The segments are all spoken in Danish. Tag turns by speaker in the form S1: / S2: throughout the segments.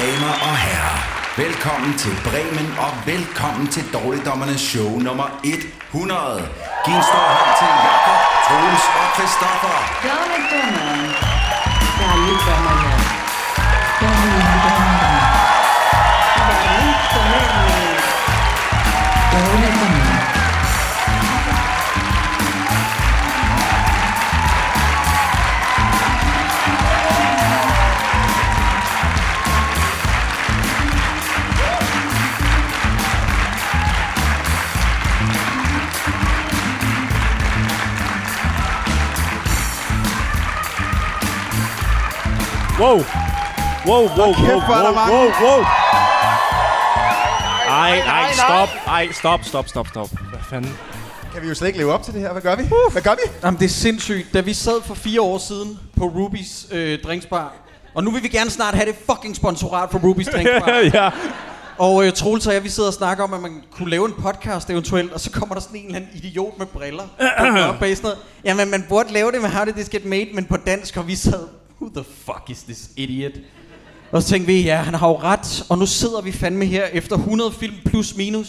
S1: damer og herrer, velkommen til Bremen og velkommen til Dårligdommernes show nummer 100. Giv en stor hånd til Jakob, Troels og Christoffer.
S2: Dårligdommeren. Dårligdommerne. Dårligdommerne. Dårligdommerne. Dårligdommerne.
S3: Wow. Wow, wow, wow,
S4: hvor er der
S3: wow,
S4: mange.
S3: wow, wow. Ej, ej, stop. Ej, stop, stop, stop, stop. Hvad fanden?
S4: Kan vi jo slet ikke leve op til det her? Hvad gør vi? Hvad gør vi?
S5: Jamen, det er sindssygt. Da vi sad for fire år siden på Rubis øh, drinksbar, og nu vil vi gerne snart have det fucking sponsorat for Rubis drinksbar.
S3: ja.
S5: og øh, Troels og jeg, vi sidder og snakker om, at man kunne lave en podcast eventuelt, og så kommer der sådan en eller anden idiot med briller. dukker op bag sådan noget. Jamen, man burde lave det med How Did This Get Made, men på dansk, og vi sad, who the fuck is this idiot? Og så tænkte vi, ja, han har jo ret, og nu sidder vi fandme her efter 100 film plus minus.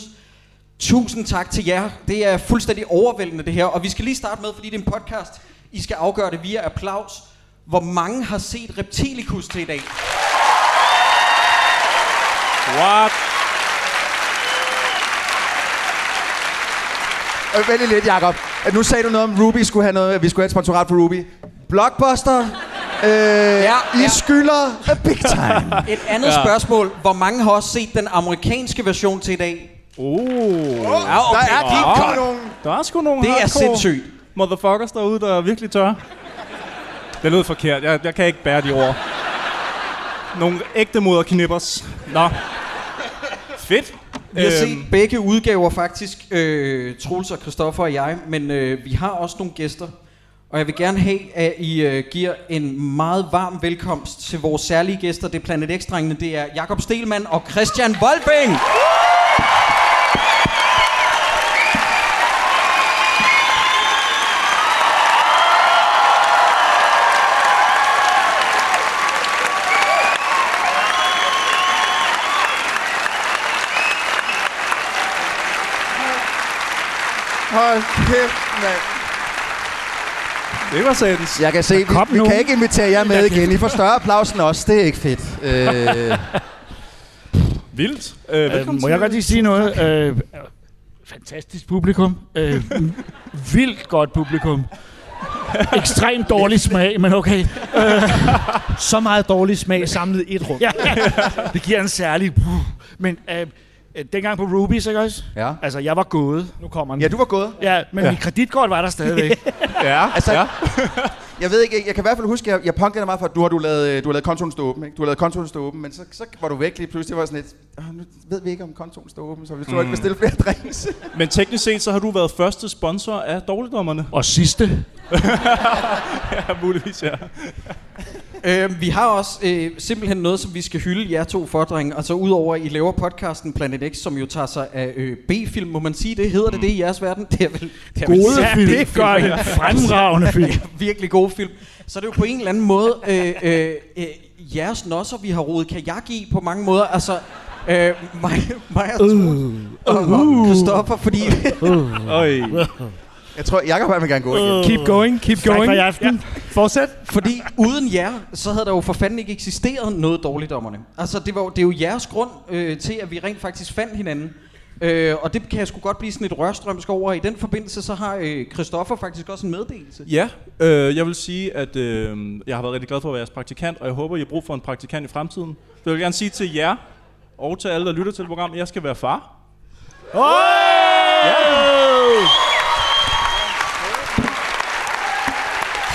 S5: Tusind tak til jer. Det er fuldstændig overvældende det her, og vi skal lige starte med, fordi det er en podcast. I skal afgøre det via applaus. Hvor mange har set Reptilicus til i dag?
S3: What?
S4: Øh, vent lige lidt, Jacob. Øh, Nu sagde du noget om, Ruby skulle have noget, at vi skulle have et sponsorat for Ruby. Blockbuster. Øh, ja, I
S5: ja.
S4: skylder a big time.
S5: Et andet ja. spørgsmål. Hvor mange har også set den amerikanske version til i dag?
S3: Oh.
S5: Ja, okay.
S4: Der er
S3: Nå.
S4: deep cut nogen.
S3: Der er sgu nogle
S5: Det er
S3: hardcore
S5: sindssygt.
S3: Motherfuckers derude, der er virkelig tør. Det lød forkert. Jeg, jeg kan ikke bære de ord. Nogle ægte moderknippers. Nå. Fedt. Øhm,
S5: Vi har set begge udgaver faktisk, øh, Troels og Christoffer og jeg, men øh, vi har også nogle gæster. Og jeg vil gerne have, at I øh, giver en meget varm velkomst til vores særlige gæster. Det er Planet x -drengene. Det er Jakob Stelmann og Christian Volbing.
S4: Hold kæft, mand.
S3: det var satans.
S4: Jeg kan se, vi,
S3: kom
S4: vi
S3: nogen.
S4: kan ikke invitere jer med igen. I får større applaus end os. Det er ikke fedt. Øh,
S3: Vildt. Øh,
S6: Øh,
S3: velkommen
S6: må jeg
S3: til.
S6: godt lige sige noget? Øh, fantastisk publikum. Øh, m- vildt godt publikum. Ekstremt dårlig smag, men okay. Øh, så meget dårlig smag samlet i et rum. ja, det giver en særlig... puh. Men øh, øh, dengang på Rubies, ikke også?
S4: ja.
S6: Altså, jeg var gået. Nu kommer den.
S4: ja, du var gået.
S6: ja men
S3: Ja.
S6: ja. mit kreditkort var der stadigvæk.
S3: Ja,
S4: Altså,
S3: ja.
S4: Jeg ved ikke, jeg kan i hvert fald huske, at jeg, jeg punkede dig meget for, at du har, du har lavet, øh, du har lavet kontoen stå åben, ikke? Du har lavet kontoen stå åben, men så, så var du væk lige pludselig. Det var sådan lidt, "Åh, nu ved vi ikke, om kontoen står åben, så vi tror mm. ikke bestille flere drinks.
S3: Men teknisk set, så har du været første sponsor af Dårligdommerne.
S6: Og sidste.
S3: Ja, muligvis, ja.
S5: Øh, vi har også øh, simpelthen noget, som vi skal hylde jer to for, drenge. Altså udover, at I laver podcasten Planet X, som jo tager sig af øh, B-film, må man sige det? Hedder det det i jeres verden? Det er vel... Det er vel
S6: Gode
S5: sandt,
S6: film.
S5: det er
S6: gør det. Fremragende film.
S5: virkelig gode film. Så det er jo på en eller anden måde øh, øh, øh, jeres nosser, vi har rodet kajak i på mange måder. Altså, øh, mig, mig og
S7: Uh,
S5: Troels og Christoffer, fordi
S3: Øj.
S4: Jeg tror, Jacob han vil gerne gå igen.
S6: Keep going, keep
S3: going.
S6: i aften. Fortsæt.
S5: Fordi uden jer, så havde der jo for fanden ikke eksisteret noget dårligdommerne. Altså, det, var, jo- det er jo jeres grund øh, til, at vi rent faktisk fandt hinanden. Øh, og det kan jeg sgu godt blive sådan et rørstrømsk over. I den forbindelse, så har øh, Christoffer faktisk også en meddelelse.
S3: Ja, øh, jeg vil sige, at øh, jeg har været rigtig glad for at være jeres praktikant, og jeg håber, I har brug for en praktikant i fremtiden. Så jeg vil gerne sige til jer, og til alle, der lytter til programmet, at jeg skal være far.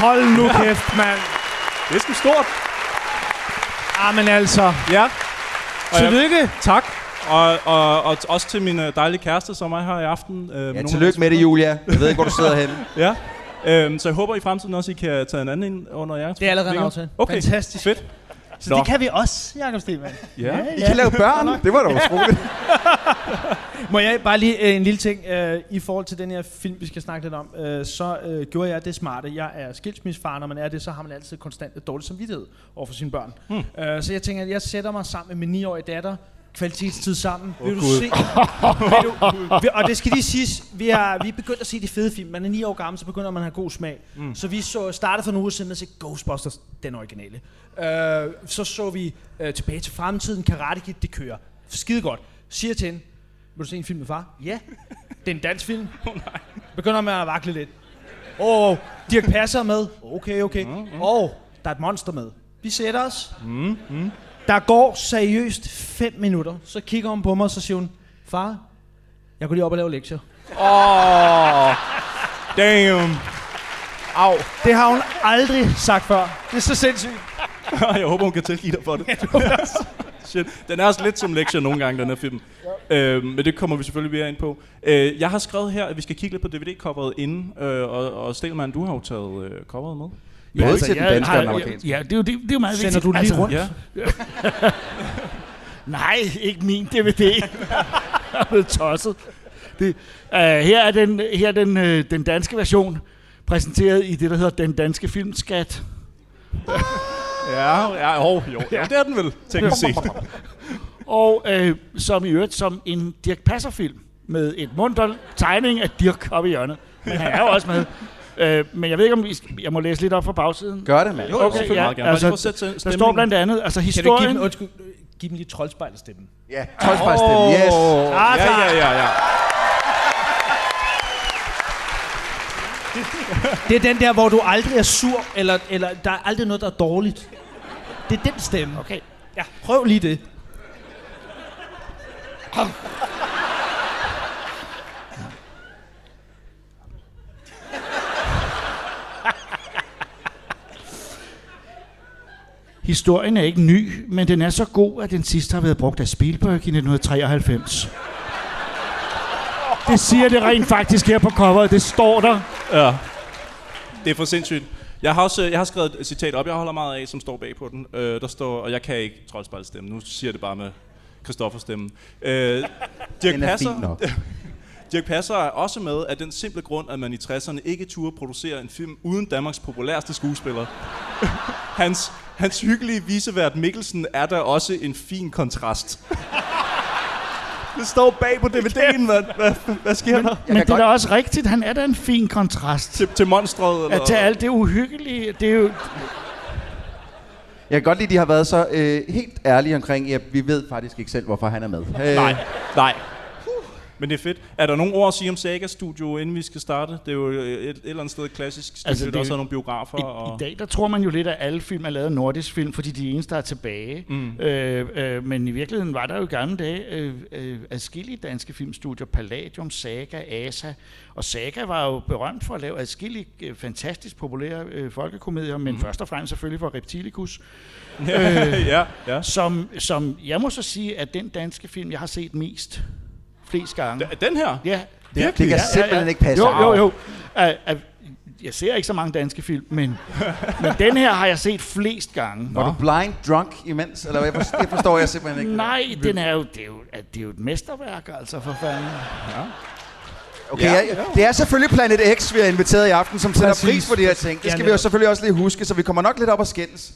S6: Hold nu kæft, mand.
S3: Det er sgu stort.
S6: Amen altså.
S3: Ja. Og jeg,
S6: Tillykke.
S3: tak. Og, og, og t- også til min øh, dejlige kæreste, som er her i aften. Øh,
S4: Ja, tillykke med det, Julia. Jeg ved ikke, hvor du sidder henne.
S3: Ja. Øhm, så jeg håber i fremtiden også, I kan tage en anden ind under jer.
S7: Det er allerede en
S3: vinger.
S7: aftale.
S3: Okay,
S6: Fantastisk.
S3: fedt.
S6: Så
S3: Nå.
S6: det kan vi også, Jakob Stemann.
S3: Ja.
S4: I kan lave børn. Det var da utroligt.
S7: Må jeg bare lige øh, en lille ting øh, i forhold til den her film, vi skal snakke lidt om. Øh, så øh, gjorde jeg det smarte. Jeg er skilsmissefar, når man er det, så har man altid konstant et dårligt samvittighed over for sine børn. Hmm. Øh, så jeg tænker, at jeg sætter mig sammen med min 9-årige datter, kvalitetstid sammen. Oh, vil du
S3: Gud.
S7: se? vil du, vi, og det skal lige siges, vi har vi er begyndt at se de fede film. Man er 9 år gammel, så begynder man at have god smag. Mm. Så vi så startede for en uge siden med at se Ghostbusters, den originale. Øh, så så vi øh, Tilbage til fremtiden, Karate Kid, det kører. Skide godt. Siger til hende, vil du se en film med far? Ja. Det er en dansk film. Oh, nej. Begynder man at vakle lidt. Åh, oh, Dirk Passer er med. Okay, okay. Åh, mm, mm. oh, der er et monster med. Vi sætter os. Mm, mm. Der går seriøst 5 minutter. Så kigger hun på mig, og så siger hun, far, jeg går lige op og lave lektier.
S3: Damn. Au.
S7: Det har hun aldrig sagt før. Det er så sindssygt.
S4: altså
S3: Jeg håber, hun kan tilgive dig for det. Shit. Den er også lidt som lektier nogle gange, den her film. Øh, men det kommer vi selvfølgelig mere ind på. Øh, jeg har skrevet her, at vi skal kigge lidt på DVD-coveret inden. Øh, og, og Stelman, du har jo taget øh, coveret med.
S4: Både altså, til den
S6: jeg
S4: danske og den
S6: har-
S4: amerikanske.
S6: Ja, det er jo, det, det er jo meget
S7: Sender
S6: vigtigt.
S7: du den lige rundt?
S3: Altså, Ja.
S6: Nej, ikke min DVD. jeg er blevet tosset. Det, uh, her er, den, her er den, uh, den danske version, præsenteret i det, der hedder Den Danske Filmskat.
S3: Ja, ja, jo, jo. Ja, det er den vel, teknisk set.
S6: Og øh, som i øvrigt som en Dirk Passer-film med et munter tegning af Dirk oppe i hjørnet. Men han er jo også med. Øh, men jeg ved ikke, om I, jeg må læse lidt op fra bagsiden.
S4: Gør det, mand.
S3: Jo, okay, ja, meget gerne. Altså, Bare lige for at sætte
S6: der står blandt andet, altså
S7: Kan du give
S6: historien...
S7: dem, undskyld, øh, giv dem lige troldspejlstemmen?
S4: Ja, troldspejlstemmen. Yes.
S3: Ja, ja, ja, ja.
S7: Det er den der, hvor du aldrig er sur, eller, eller der er aldrig noget, der er dårligt. Det er den stemme.
S6: Okay.
S7: Ja, prøv lige det.
S6: Historien er ikke ny, men den er så god, at den sidste har været brugt af Spielberg i 1993. Det siger det rent faktisk her på coveret. Det står der.
S3: Det er for sindssygt. Jeg har også øh, jeg har skrevet et citat op, jeg holder meget af, som står bag på den. Øh, der står, og jeg kan ikke troldspejlstemme. Nu siger jeg det bare med Christoffers stemme. Øh, Dirk
S4: Den er fin
S3: Passer,
S4: nok.
S3: Dirk Passer er også med af den simple grund, at man i 60'erne ikke turde producere en film uden Danmarks populærste skuespiller. hans, hans hyggelige visevært Mikkelsen er der også en fin kontrast. det står bag på DVD'en, mand. Hvad, hvad sker der?
S6: Men det er
S4: godt-
S6: da også rigtigt. Han er da en fin kontrast.
S3: Til, til monstret? Eller?
S6: At til alt det uhyggelige, det er jo...
S4: Jeg kan godt lide, at de har været så øh, helt ærlige omkring, at vi ved faktisk ikke selv, hvorfor han er med. Øh,
S3: Nej, nej. Men det er fedt. Er der nogle ord at sige om Saga Studio, inden vi skal starte? Det er jo et, et eller andet sted et klassisk studie,
S6: Altså,
S3: altså,
S6: det
S3: der
S6: er
S3: også
S6: jo-
S3: har nogle biografer.
S6: I,
S3: og...
S6: I dag, der tror man jo lidt, at alle film er lavet af nordisk film, fordi de er de eneste, der er tilbage. Mm. Øh, øh, men i virkeligheden var der jo i gamle dage øh, øh, adskillige danske filmstudier. Palladium, Saga, Asa. Og Saga var jo berømt for at lave adskillige øh, fantastisk populære øh, folkekomedier, men mm. først og fremmest selvfølgelig for Reptilicus. Øh.
S3: ja, ja.
S6: Som, som jeg må så sige, at den danske film, jeg har set mest flest gange.
S3: D- Den her?
S6: Ja,
S4: det kan simpelthen ikke passe.
S6: Jo, jo, jo. At, at, jeg ser ikke så mange danske film, men, men den her har jeg set flest gange.
S4: Var du blind drunk imens? Eller hvad? Det forstår jeg simpelthen ikke.
S6: Nej, den er jo, det, er jo, at det er jo et mesterværk, altså, for fanden.
S4: Okay, ja, ja. Det er selvfølgelig Planet X, vi har inviteret i aften, som sætter
S7: Præcis.
S4: pris på de her ting. Det skal
S7: Ja,
S4: vi jo
S7: netop.
S4: selvfølgelig også lige huske, så vi kommer nok lidt op og skændes.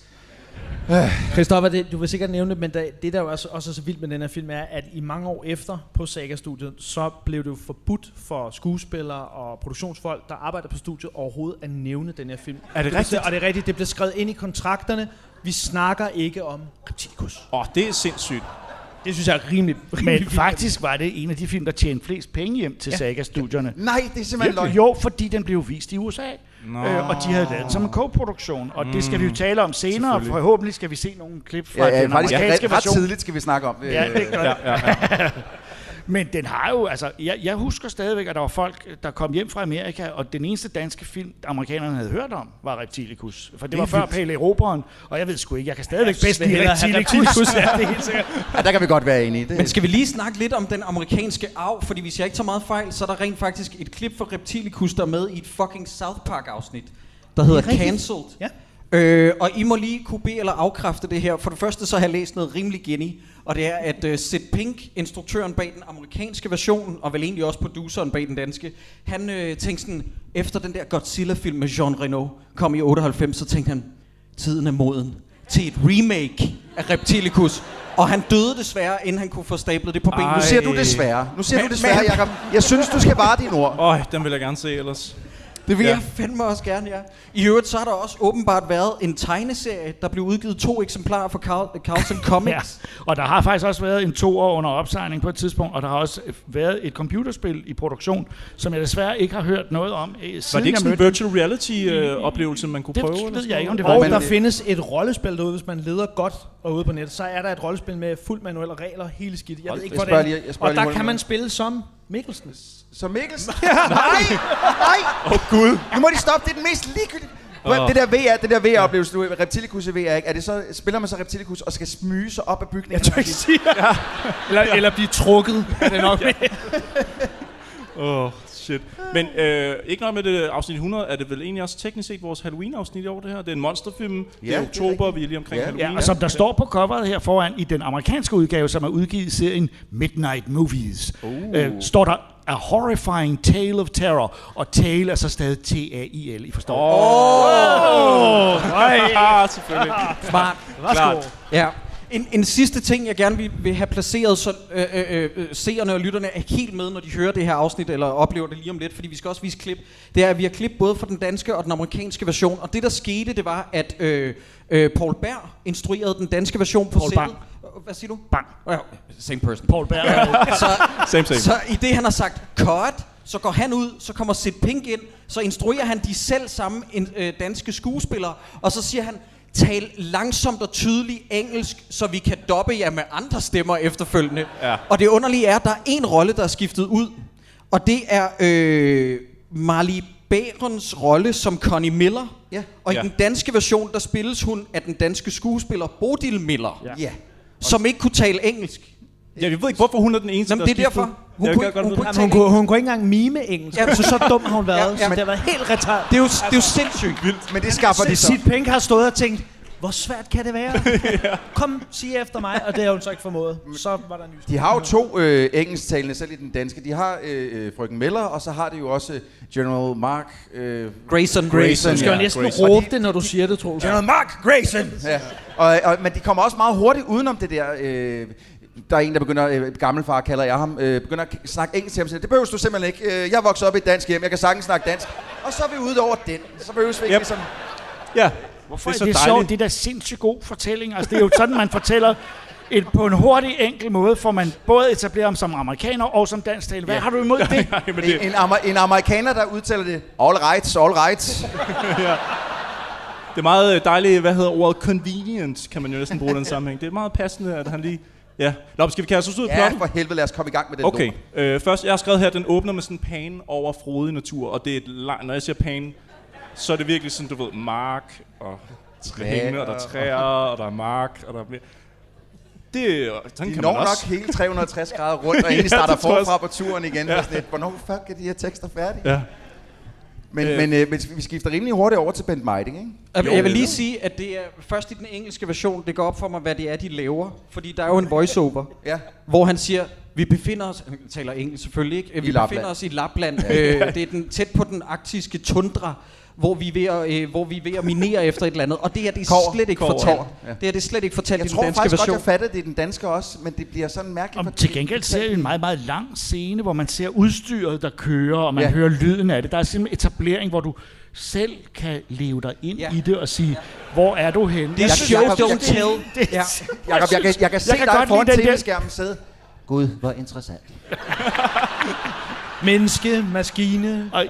S7: Christoffer, det, du vil sikkert nævne det, men der, det der jo også, også er så vildt med den her film, er, at i mange år efter på Saga-studiet, så blev det jo forbudt for skuespillere og produktionsfolk, der arbejder på studiet, overhovedet at nævne den her film.
S3: Er det
S7: blev-
S3: rigtigt?
S7: Og det er rigtigt, det blev skrevet ind i kontrakterne. Vi snakker ikke om Reptilicus.
S3: Åh, oh, det er sindssygt.
S7: Det synes jeg er rimelig, rimelig
S6: Men
S7: vildt.
S6: faktisk var det en af de film, der tjente flest penge hjem til Saga-studierne.
S4: Nej, det er simpelthen løgn.
S6: Jo, fordi den blev vist i USA, øh, og de havde lavet den
S4: Mm.
S6: som en co-produktion, og det skal vi jo tale om senere, og forhåbentlig skal vi se nogle klip fra
S4: Ja, ja,
S6: den
S4: faktisk
S6: amerikanske
S4: ret, ret
S6: version.
S4: tidligt skal vi snakke om det.
S6: Ja, det gør ja, ja, ja. Men den har jo, altså, jeg, jeg husker stadigvæk, at der var folk, der kom hjem fra Amerika, og den eneste danske film, amerikanerne havde hørt om, var Reptilicus. For det, det var før Pale Erobreren, og jeg ved sgu ikke, jeg kan stadigvæk bedst lide
S7: hellere have
S6: Reptilicus. ja, det er helt sikkert.
S4: Ja, der kan vi godt være enige. Det,
S5: Men skal vi lige snakke lidt om den amerikanske arv? Fordi hvis jeg ikke tager meget fejl, så er der rent faktisk et klip fra Reptilicus, der er med i et fucking South Park-afsnit, der hedder
S7: rigtigt.
S5: Cancelled.
S7: Ja.
S5: Øh, og I må lige kunne bede eller afkræfte det her. For det første så har jeg læst noget rimelig geni, og det er, at øh, Sid Pink, instruktøren bag den amerikanske version, og vel egentlig også produceren bag den danske, han øh, tænkte sådan, efter den der Godzilla-film med Jean Reno kom i 98, så tænkte han, tiden er moden til et remake af Reptilicus. Og han døde desværre, inden han kunne få stablet det på benene.
S4: Nu siger du desværre. Nu siger
S5: Men-
S4: du desværre,
S5: men-
S4: Jacob. Jeg synes, du skal vare dine ord.
S3: Øj, den vil jeg gerne se ellers.
S5: Det vil
S3: Ja.
S5: ja. jeg fandme også gerne, ja. I øvrigt så har der også åbenbart været en tegneserie, der blev udgivet to eksemplarer fra Carl- Carlton
S6: Ja.
S5: Comics.
S6: Og der har faktisk også været en to år under opsejling på et tidspunkt, og der har også øh, været et computerspil i produktion, som jeg desværre ikke har hørt noget om, øh,
S3: Var det
S6: siden
S3: ikke
S6: jeg
S3: sådan en
S6: mødte
S3: virtual reality-oplevelse, man kunne
S6: Det
S3: prøve?
S6: ved
S3: eller sådan
S6: jeg ikke, om det
S3: noget?
S6: var,
S7: Og
S6: men-
S7: der findes et rollespil derude, hvis man leder godt og ude på nettet, så er der et rollespil med fuld manuelle regler, hele skidt. Jeg ved ikke,
S4: jeg spørger
S7: hvordan.
S4: lige- jeg spørger
S7: og
S4: lige
S7: der
S4: hurtigt
S7: kan
S4: noget.
S7: man spille som Mikkelsen.
S4: Så Mikkelsen? nej! Nej! Åh, oh, Gud. Nu må de stoppe. Det er den mest ligegyldige... Oh. Det der VR, det der VR-oplevelse, du Reptilicus i VR, ikke? Er det så, spiller man så Reptilicus og skal smyge sig op af bygningen?
S7: Jeg tør ikke sige ja. eller, eller blive trukket, er det nok.
S3: Åh, oh, shit. Men øh, ikke nok med det afsnit 100, er det vel egentlig også teknisk set vores Halloween-afsnit i år, det her? Det er en monsterfilm, ja, det
S4: det
S3: er
S4: er
S3: oktober, vi er lige omkring
S4: Ja.
S3: Halloween.
S6: Ja, og som der står på coveret her foran i den amerikanske udgave, som er udgivet i serien Midnight Movies,
S3: Uh.
S6: øh, står der A Horrifying Tale of Terror, og tale er så stadig T-A-I-L, I forstår?
S3: Nej, selvfølgelig.
S5: Smart.
S3: Klart.
S5: Ja. En, en sidste ting, jeg gerne vil, vil have placeret, så øh, øh, øh, seerne og lytterne er helt med, når de hører det her afsnit, eller oplever det lige om lidt, fordi vi skal også vise klip, det er, at vi har klip både fra den danske og den amerikanske version, og det der skete, det var, at øh, øh, Paul Berg instruerede den danske version på
S6: Poul
S5: sættet. Hvad siger du?
S6: Bang.
S5: Ja, Same person.
S6: Paul Berg er jo
S5: Så,
S3: Same, same.
S5: Så i det, han har sagt, cut, så går han ud, så kommer Sid Pink ind, så instruerer han de selv samme en, øh, danske skuespillere, og så siger han, tal langsomt og tydeligt engelsk, så vi kan doppe jer med andre stemmer efterfølgende.
S3: Ja.
S5: Og det underlige er, at der er en rolle, der er skiftet ud, og det er øh, Marley Bærens rolle som Connie Miller.
S4: Ja.
S5: Og i
S3: Ja.
S5: den danske version, der spilles hun af den danske skuespiller Bodil Miller, ja.
S4: Ja.
S5: som ikke kunne tale engelsk.
S3: Ja, vi ved ikke, hvorfor hun er den eneste,
S5: Jamen,
S3: der
S5: det er
S3: skiftet.
S5: derfor. Hun
S3: Jeg
S5: kunne
S3: kan
S5: ikke-
S3: godt
S5: hun
S3: vide
S5: kunne
S3: det.
S7: Jamen, hun, kunne, hun kunne ikke engang mime engelsk.
S5: Ja.
S7: Ja. Så, så dum har hun været.
S5: Ja,
S7: Ja,
S5: ja.
S7: ja, det
S5: Men-
S7: har været helt retard.
S5: Det er jo, det er jo sindssygt.
S4: Men det skaffer de så.
S7: Sid Pink har stået og tænkt, hvor svært kan det være? Kom, sig efter mig, og det har hun så ikke formået. Så var der en ny
S4: De har jo to øh, engelsktalende, selv i den danske. De har øh, øh, Frøken Meller, og så har de jo også øh, General Mark... Øh,
S5: Grayson.
S4: Grayson.
S7: Du skal jo
S4: Ja.
S7: næsten
S3: Grace.
S7: råbe det, når du siger det, tror jeg.
S4: General Mark Grayson! Ja. Og, og, men de kommer også meget hurtigt udenom det der... Øh, der er en, der begynder, øh, gammelfar kalder jeg ham, øh, begynder at k- snakke engelsk til ham. siger, Det behøver du simpelthen ikke. Øh, jeg voksede op i et dansk hjem. Jeg kan sagtens snakke dansk. Og så er vi ude over den. Så behøver vi ikke
S3: Yep.
S4: yep. ligesom...
S3: Ja,
S6: Hvorfor
S3: det
S6: det
S3: er
S6: er, det
S3: så
S6: er
S3: dejligt.
S6: sjovt, det er da sindssygt god fortælling. Altså, det er jo sådan, man fortæller et, på en hurtig, enkel måde, får man både etableret ham som amerikaner og som dansk tale. Hvad har du imod det?
S3: Nej, men
S4: En,
S3: det,
S4: en, amer, en amerikaner, der udtaler det. All right, all right.
S3: det er meget øh, dejligt, hvad hedder ordet convenient, kan man jo næsten bruge i den sammenhæng. Det er meget passende, at han lige... Ja. Nå, men skal vi kaste os ud i
S4: Ja,
S3: plottet?
S4: for helvede, lad os komme i gang med den
S3: Okay,
S4: lort.
S3: øh, først, jeg har skrevet her, at den åbner med sådan en pan over frodig natur, og det er et langt, når jeg siger pan, så er det virkelig sådan, du ved, mark og hænge, og der er træer, og der er mark, og der er mere. Det, sådan
S4: De
S3: kan
S4: når
S3: man
S4: nok
S3: også.
S4: hele 360 grader rundt, og
S3: Ja,
S4: egentlig starter
S3: det tror jeg
S4: forfra på turen igen. Ja. Sådan et, Hvornår fuck er de her tekster færdige?
S3: Ja.
S4: Men,
S3: Øh.
S4: øh. men øh, hvis vi- vi skifter rimelig hurtigt over til Bent Meiding, ikke?
S5: Jeg, jeg vil lige sige, at det er først i den engelske version, det går op for mig, hvad det er, de laver. Fordi der er jo en voiceover,
S4: Ja.
S5: hvor han siger, vi befinder os, han taler engelsk selvfølgelig ikke, vi
S4: Lapland.
S5: befinder os i Lapland. øh, det er den, tæt på den arktiske tundra, hvor vi er ved at, øh, hvor vi er ved at minere efter et eller andet. Og det her, det er
S4: Kover.
S5: slet ikke
S4: Kover.
S5: fortalt.
S4: Kover, ja.
S5: Det her, det er slet ikke fortalt
S4: Jeg
S5: i den
S4: tror faktisk
S5: danske
S4: godt,
S5: version.
S4: jeg fatter, at det er den danske også, men det bliver sådan mærkeligt.
S6: Om,
S4: for-
S6: til gengæld ser vi en meget, meget lang scene, hvor man ser udstyret, der kører, og man
S4: Ja.
S6: ja. hører lyden af det. Der er simpelthen etablering, hvor du selv kan leve dig ind
S5: Ja.
S6: ja. i det og sige, hvor er du henne?
S5: Det er
S4: Jeg-
S5: show,
S4: jeg- jeg-
S5: don't tell.
S6: det,
S5: Ja.
S4: Jakob, jeg, kan, jeg kan se
S6: kan
S4: dig
S6: godt
S4: foran
S6: lide den der-
S4: tv-skærmen sidde.
S2: Gud, hvor interessant.
S7: Menneske, maskine.
S6: Og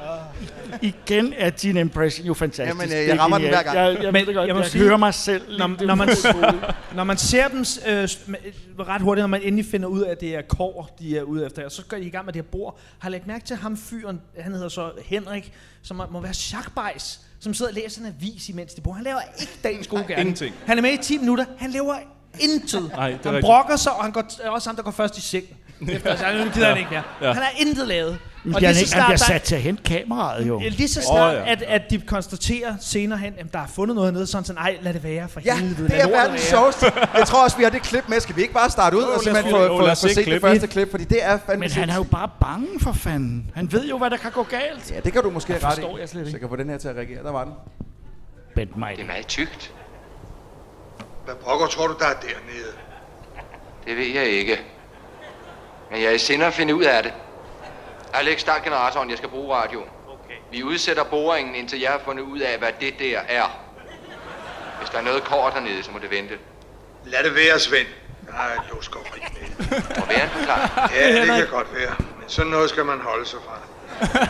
S6: igen er din impression jo fantastisk.
S4: Jamen, øh,
S6: Det er
S4: jeg rammer den
S6: genialt.
S4: hver gang.
S6: Jeg, jeg,
S7: Men
S6: ved det godt.
S7: jeg
S6: jeg,
S7: må
S6: jeg
S7: sige-
S6: hører mig selv.
S7: Når,
S6: lidt
S7: når, man, når man ser dem øh, s- med- øh, ret hurtigt, når man endelig finder ud af, at det er kår, de er ude efter, og så går de i gang med det her bord. Har lagt mærke til ham fyren, han hedder så Henrik, som må være sjakbejs, som sidder og læser en avis imens de bor. Han laver ikke dagens gode gerning.
S3: ingenting.
S7: Han er med i 10 minutter, han laver
S3: Nej,
S7: intet.
S3: det er
S7: han
S3: rigtigt.
S7: brokker sig, og han går, er også ham, der går først i seng. Efter, altså, nu gider han ikke mere. Han har intet lavet.
S6: Men
S7: Og
S6: bliver
S7: lige
S6: han,
S7: så
S6: ikke, han
S7: snart
S6: bliver
S7: der-
S6: sat til at hente kameraet, jo.
S7: Ja, Lige så snart,
S3: Åh,
S7: oh,
S3: ja.
S7: ja. at, at de konstaterer senere hen, at der er fundet noget hernede, sådan sådan, ej, lad det være for
S4: Ja,
S7: helvede.
S4: det
S7: lad
S4: er
S7: lortet
S4: verdens
S7: være."
S4: sjoveste. Jeg tror også, vi har det klip med. Skal vi ikke bare starte ud
S3: lad
S4: og
S3: os
S4: simpelthen
S3: få-
S4: få,
S3: jo,
S4: få,
S3: lad
S4: få,
S3: os se
S4: set det
S3: klippet.
S4: første klip? Fordi det er fandme
S6: Men han er jo
S4: sindssygt.
S6: bare bange for fanden. Han ved jo, hvad der kan gå galt.
S4: Ja, det kan du måske have ret i.
S6: forstår jeg slet ikke.
S4: Så jeg kan få den her til at reagere. Der var den.
S6: Bent Meiling.
S8: meget tykt.
S9: Hvad pokker tror du, der er dernede?
S8: Det ved jeg ikke. Men jeg er i sinde at finde ud af det. Alex, start generatoren. Jeg skal bruge radioen. Okay. Vi udsætter boringen, indtil jeg har fundet ud af, hvad det der er. Hvis der er noget kort dernede, så må det vente.
S9: Lad det være, Svend. Nej, du skal med.
S8: Og være en forklaring.
S9: Ja, det kan godt være. Men sådan noget skal man holde sig fra.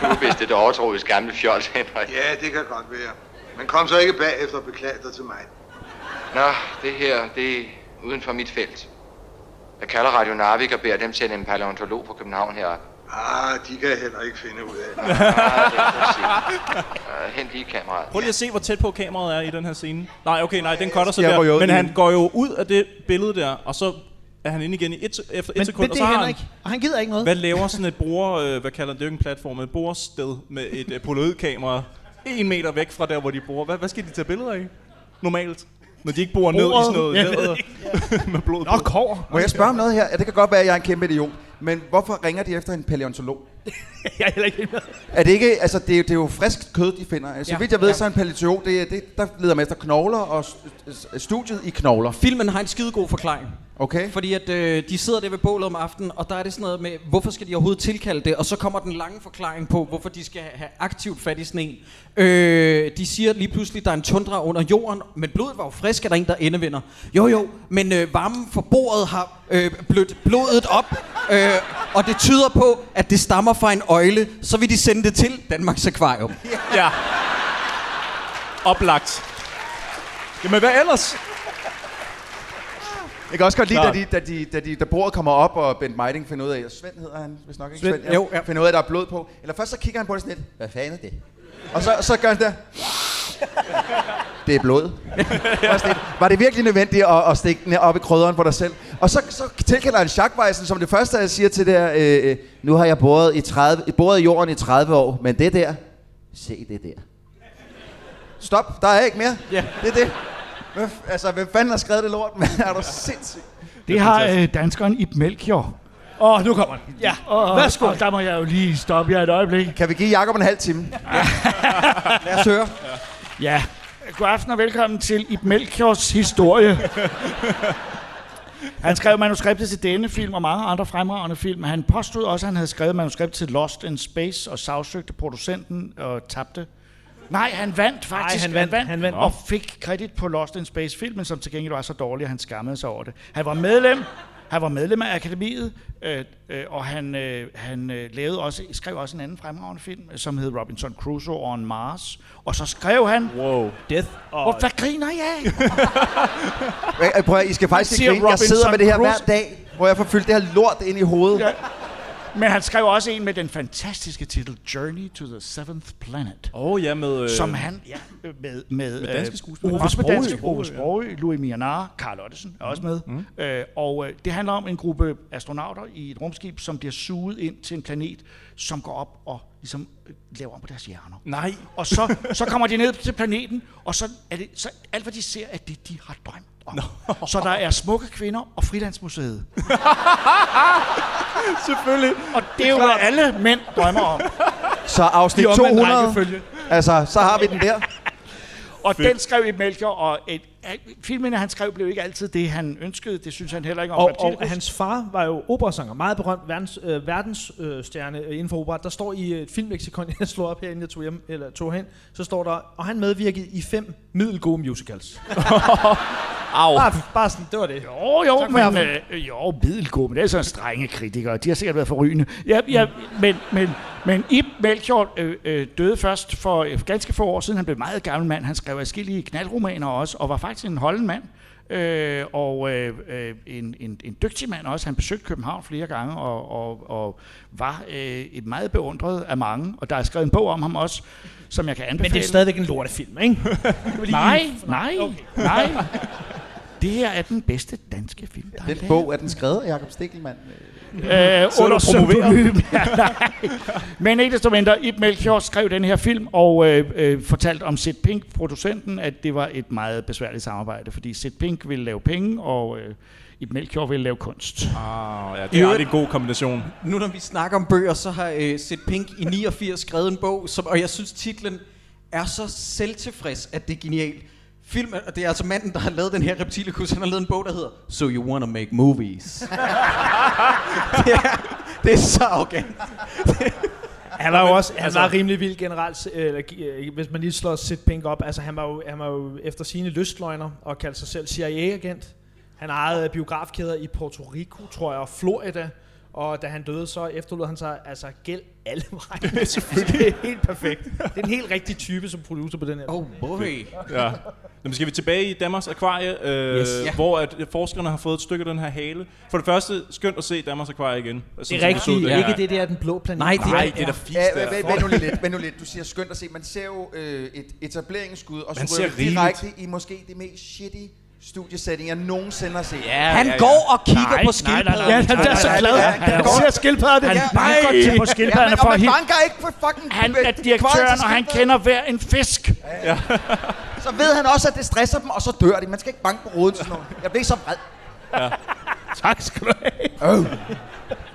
S8: Du er vist et overtroisk gamle fjols, Henrik.
S9: Ja, det kan godt være. Men kom så ikke bagefter og beklag dig til mig.
S8: Nå, det her, det er uden for mit felt. Jeg kalder Radio Narvik og beder dem sende en paleontolog på København herop.
S9: Ah, de kan heller ikke finde ud af det.
S8: Ah, det er præcis. Ah, Hent lige kameraet.
S3: Prøv lige at se, hvor tæt på kameraet er i den her scene. Nej, okay, nej, den cutter så
S4: Jeg ryger
S3: der.
S4: ud
S3: Men
S4: i
S3: han
S4: den.
S3: går jo ud af det billede der, og så er han inde igen i et, efter et
S7: Men,
S3: sekund.
S7: men
S3: og
S7: det
S3: så
S7: er
S3: har
S7: Henrik,
S3: Han,
S7: og han gider ikke noget.
S3: hvad laver sådan et bruger, øh, hvad kalder det, det er jo ikke en platform, men et borested med et øh, polaroidkamera en meter væk fra der, hvor de bor. Hvad, hvad skal de tage billeder af? Normalt. Når de ikke bor ned i sådan noget
S6: Jeg ved
S3: læder med blod på.
S6: kår.
S4: Må jeg spørge om noget her? Ja, det kan godt være, at jeg er en kæmpe idiot. Men hvorfor ringer de efter en paleontolog?
S6: Jeg er heller ikke med.
S4: Er det ikke, altså det er, det er jo frisk kød, de finder. Altså,
S7: Ja.
S4: ja. vidt jeg ved,
S7: Ja.
S4: så er en paleontolog, det, er- det, der leder man efter knogler og s- s- studiet i knogler.
S5: Filmen har en skidegod forklaring.
S4: Okay?
S5: Fordi at øh, de sidder der ved bålet om aftenen, og der er det sådan noget med, hvorfor skal de overhovedet tilkalde det? Og så kommer den lange forklaring på, hvorfor de skal have aktivt fat i sådan en. Øh, de siger lige pludselig, der er en tundra under jorden, men blodet var jo frisk, er der en, der endevinder. Jo jo, men øh, varmen fra bordet har øh, blødt blodet op, øh, og det tyder på, at det stammer fra en øjle. Så vil de sende det til Danmarks Akvarium.
S3: Ja. Oplagt. Jamen, hvad ellers?
S4: Jeg kan også godt lide, da,
S3: Klart.
S4: de, da, de, da, de, da bordet kommer op, og Bent Meiding finder ud af, og Svend hedder han, hvis nok ikke
S5: Svend, jo, ja.
S4: finder ud af, at der er blod på. Eller først så kigger han på det sådan lidt, hvad fanden er det? Og så, så gør han der. Det er blod. Og sådan lidt, Var det virkelig nødvendigt at, at stikke den her op i krydderen på dig selv? Og så, så tilkalder han Schackweisen, som det første, jeg siger til der, øh, øh, nu har jeg boret i, 30, boret i jorden i 30 år, men det der, se det der. Stop, der er ikke mere.
S5: Ja.
S4: Det er det. Hvem, f- altså, hvem fanden har skrevet det lort? Man, er du sindssyg?
S6: Det har øh, danskeren Ib Melchior. Åh, oh, nu kommer den.
S7: Ja,
S6: Og,
S7: værsgo.
S6: Og der må jeg jo lige stoppe jer et øjeblik.
S4: Kan vi give Jakob en halv time?
S5: Lad os høre.
S6: Ja. God aften og velkommen til Ib Melchiors historie. Han skrev manuskriptet til denne film og mange andre fremragende film. Han påstod også, at han havde skrevet manuskript til Lost in Space og sagsøgte producenten og tabte. Nej, han vandt faktisk.
S7: han vandt, han vandt.
S6: Og fik kredit på Lost in Space-filmen, som til gengæld var så dårlig, at han skammede sig over det. Han var medlem, han var medlem af akademiet, øh, øh, og han, øh, han øh, lavede også, skrev også en anden fremragende film, som hed Robinson Crusoe on Mars. Og så skrev han...
S3: Wow.
S7: Death og...
S6: Hvor, hvad griner jeg af?
S4: Ej, ej, Prøv at, I skal faktisk
S6: siger
S4: ikke grine. Jeg sidder
S6: Robinson
S4: med det her hver
S6: Crusoe.
S4: dag, hvor jeg får fyldt det her lort ind i hovedet.
S6: Ja. Men han skrev også en med den fantastiske titel Journey to the Seventh Planet.
S3: Åh, oh, ja, med... Øh,
S6: Som han, ja, med, med, med
S3: danske skuespillere.
S6: Ove
S3: Også med
S6: Sprogøe,
S3: danske
S6: Ove Sprogøe, Louis Mianar, Carl Ottesen er også med. Mm. Øh, og øh, det handler om en gruppe astronauter i et rumskib, som bliver suget ind til en planet, som går op og ligesom øh, laver om på deres hjerner.
S3: Nej.
S6: Og så, så kommer de ned til planeten, og så er det, så alt hvad de ser, er det, de har drømt om. No. Så der er smukke kvinder og frilandsmuseet.
S3: Selvfølgelig.
S6: Og det er jo, hvad alle mænd drømmer om.
S4: Så afsnit
S6: I omvendt
S4: 200,
S6: rækkefølge.
S4: altså, så har vi den der.
S6: Og den skrev i Melchior, og et, al- filmen, han skrev, blev ikke altid det, han ønskede. Det synes han heller ikke om.
S7: Og,
S6: Reptilkus.
S7: og hans far var jo operasanger, meget berømt verdens, øh, verdensstjerne øh, stjerne inden for opera. Der står i øh, et filmleksikon, jeg slår op herinde, jeg tog, hjem, eller tog hen, så står der, og han medvirkede i fem middelgode musicals.
S3: Au.
S7: Bare, bare sådan, det var det.
S6: Jo, jo,
S7: Tak for i
S6: men, øh, jo, middelgod, men det er sådan strenge kritikere. De har sikkert været forrygende. Ja, ja,
S7: Mm.
S6: men, men, men Ib Melchior øh, øh, døde først for øh, ganske få år siden. Han blev meget gammel mand. Han skrev adskillige knaldromaner også, og var faktisk en holden mand. Øh, og øh, øh, en, en, en dygtig mand også. Han besøgte København flere gange og, og, og var øh, et meget beundret af mange. Og der er skrevet en bog om ham også, som jeg kan anbefale.
S7: Men det er stadigvæk en lortefilm, ikke? Det var lige-
S6: Nej, nej, nej. Det her er den bedste danske film, der er
S4: Den bog er den skrevet af Jakob Stikkelmann. Øh,
S6: øh,
S3: du
S6: under
S3: og
S6: pseudonym. Ja, nej. Men ikke desto mindre, Ib Melchior skrev den her film og øh, øh, fortalte om Sid Pink, producenten, at det var et meget besværligt samarbejde, fordi Sid Pink ville lave penge, og øh, Ib Melchior ville lave kunst.
S3: Ah, ja,
S5: I
S3: det er
S5: øvrigt-
S3: aldrig en god kombination.
S5: Nu når vi snakker om bøger, så har øh, Sid Pink i 89 skrevet en bog, som, og jeg synes titlen er så selvtilfreds, at det er genialt. Film, og det er altså manden, der har lavet den her reptilikus, han har lavet en bog, der hedder So You Wanna Make Movies. det, er, det er så arrogant.
S7: Han var jo også han var rimelig vild generelt, øh, eller, øh, hvis man lige slår Sid Pink op. Altså, han var jo, han var jo efter sine lystløgner og kaldte sig selv CIA-agent. Han ejede øh, biografkæder i Puerto Rico, tror jeg, og Florida. Og da han døde, så efterlod han sig altså gæld alle veje. Selvfølgelig. det er helt perfekt. Det er en helt rigtig type som producer på den her.
S5: Oh boy.
S3: Ja. Nå, men skal vi tilbage i Danmarks Akvarie, øh,
S5: Yes.
S3: yes,
S5: Ja.
S3: ja. hvor at forskerne har fået et stykke af den her hale. For det første, skønt at se Danmarks Akvarie igen. Altså,
S7: Det
S3: som
S7: er
S3: så
S7: rigtigt.
S3: her.
S7: Ikke det der, den blå planet.
S5: Nej, det,
S3: Nej, det er da fisk
S4: Ja,
S3: der.
S4: vent, vent nu lige lidt, vent nu lidt. Du siger skønt at se. Man ser jo øh, et etableringsskud, og
S3: Man
S4: så
S3: ser
S4: ryger vi
S3: rigeligt.
S4: direkte i måske det mest shitty studiesetting, jeg nogensinde har set.
S3: Ja,
S5: han
S3: ja, ja.
S5: går og kigger
S6: Nej,
S5: på
S6: nej, nej, nej.
S5: skildpadden.
S6: Ja, han er så
S4: nej,
S6: glad.
S4: nej, nej,
S6: Han
S4: nej.
S6: ser skildpadderne. Han banker til på
S4: Ja,
S6: skildpadderne
S4: men,
S6: for
S4: og
S6: at
S4: man
S6: hitte.
S4: banker ikke for fucking
S6: Han er
S4: øh, kvaret
S6: direktøren,
S4: til
S6: og han
S4: skildpadden.
S6: kender hver en fisk.
S4: Så ved han også, at det stresser dem, og så dør de. Man skal ikke banke på roden til sådan noget. Jeg blev så vred.
S6: Tak skal du have.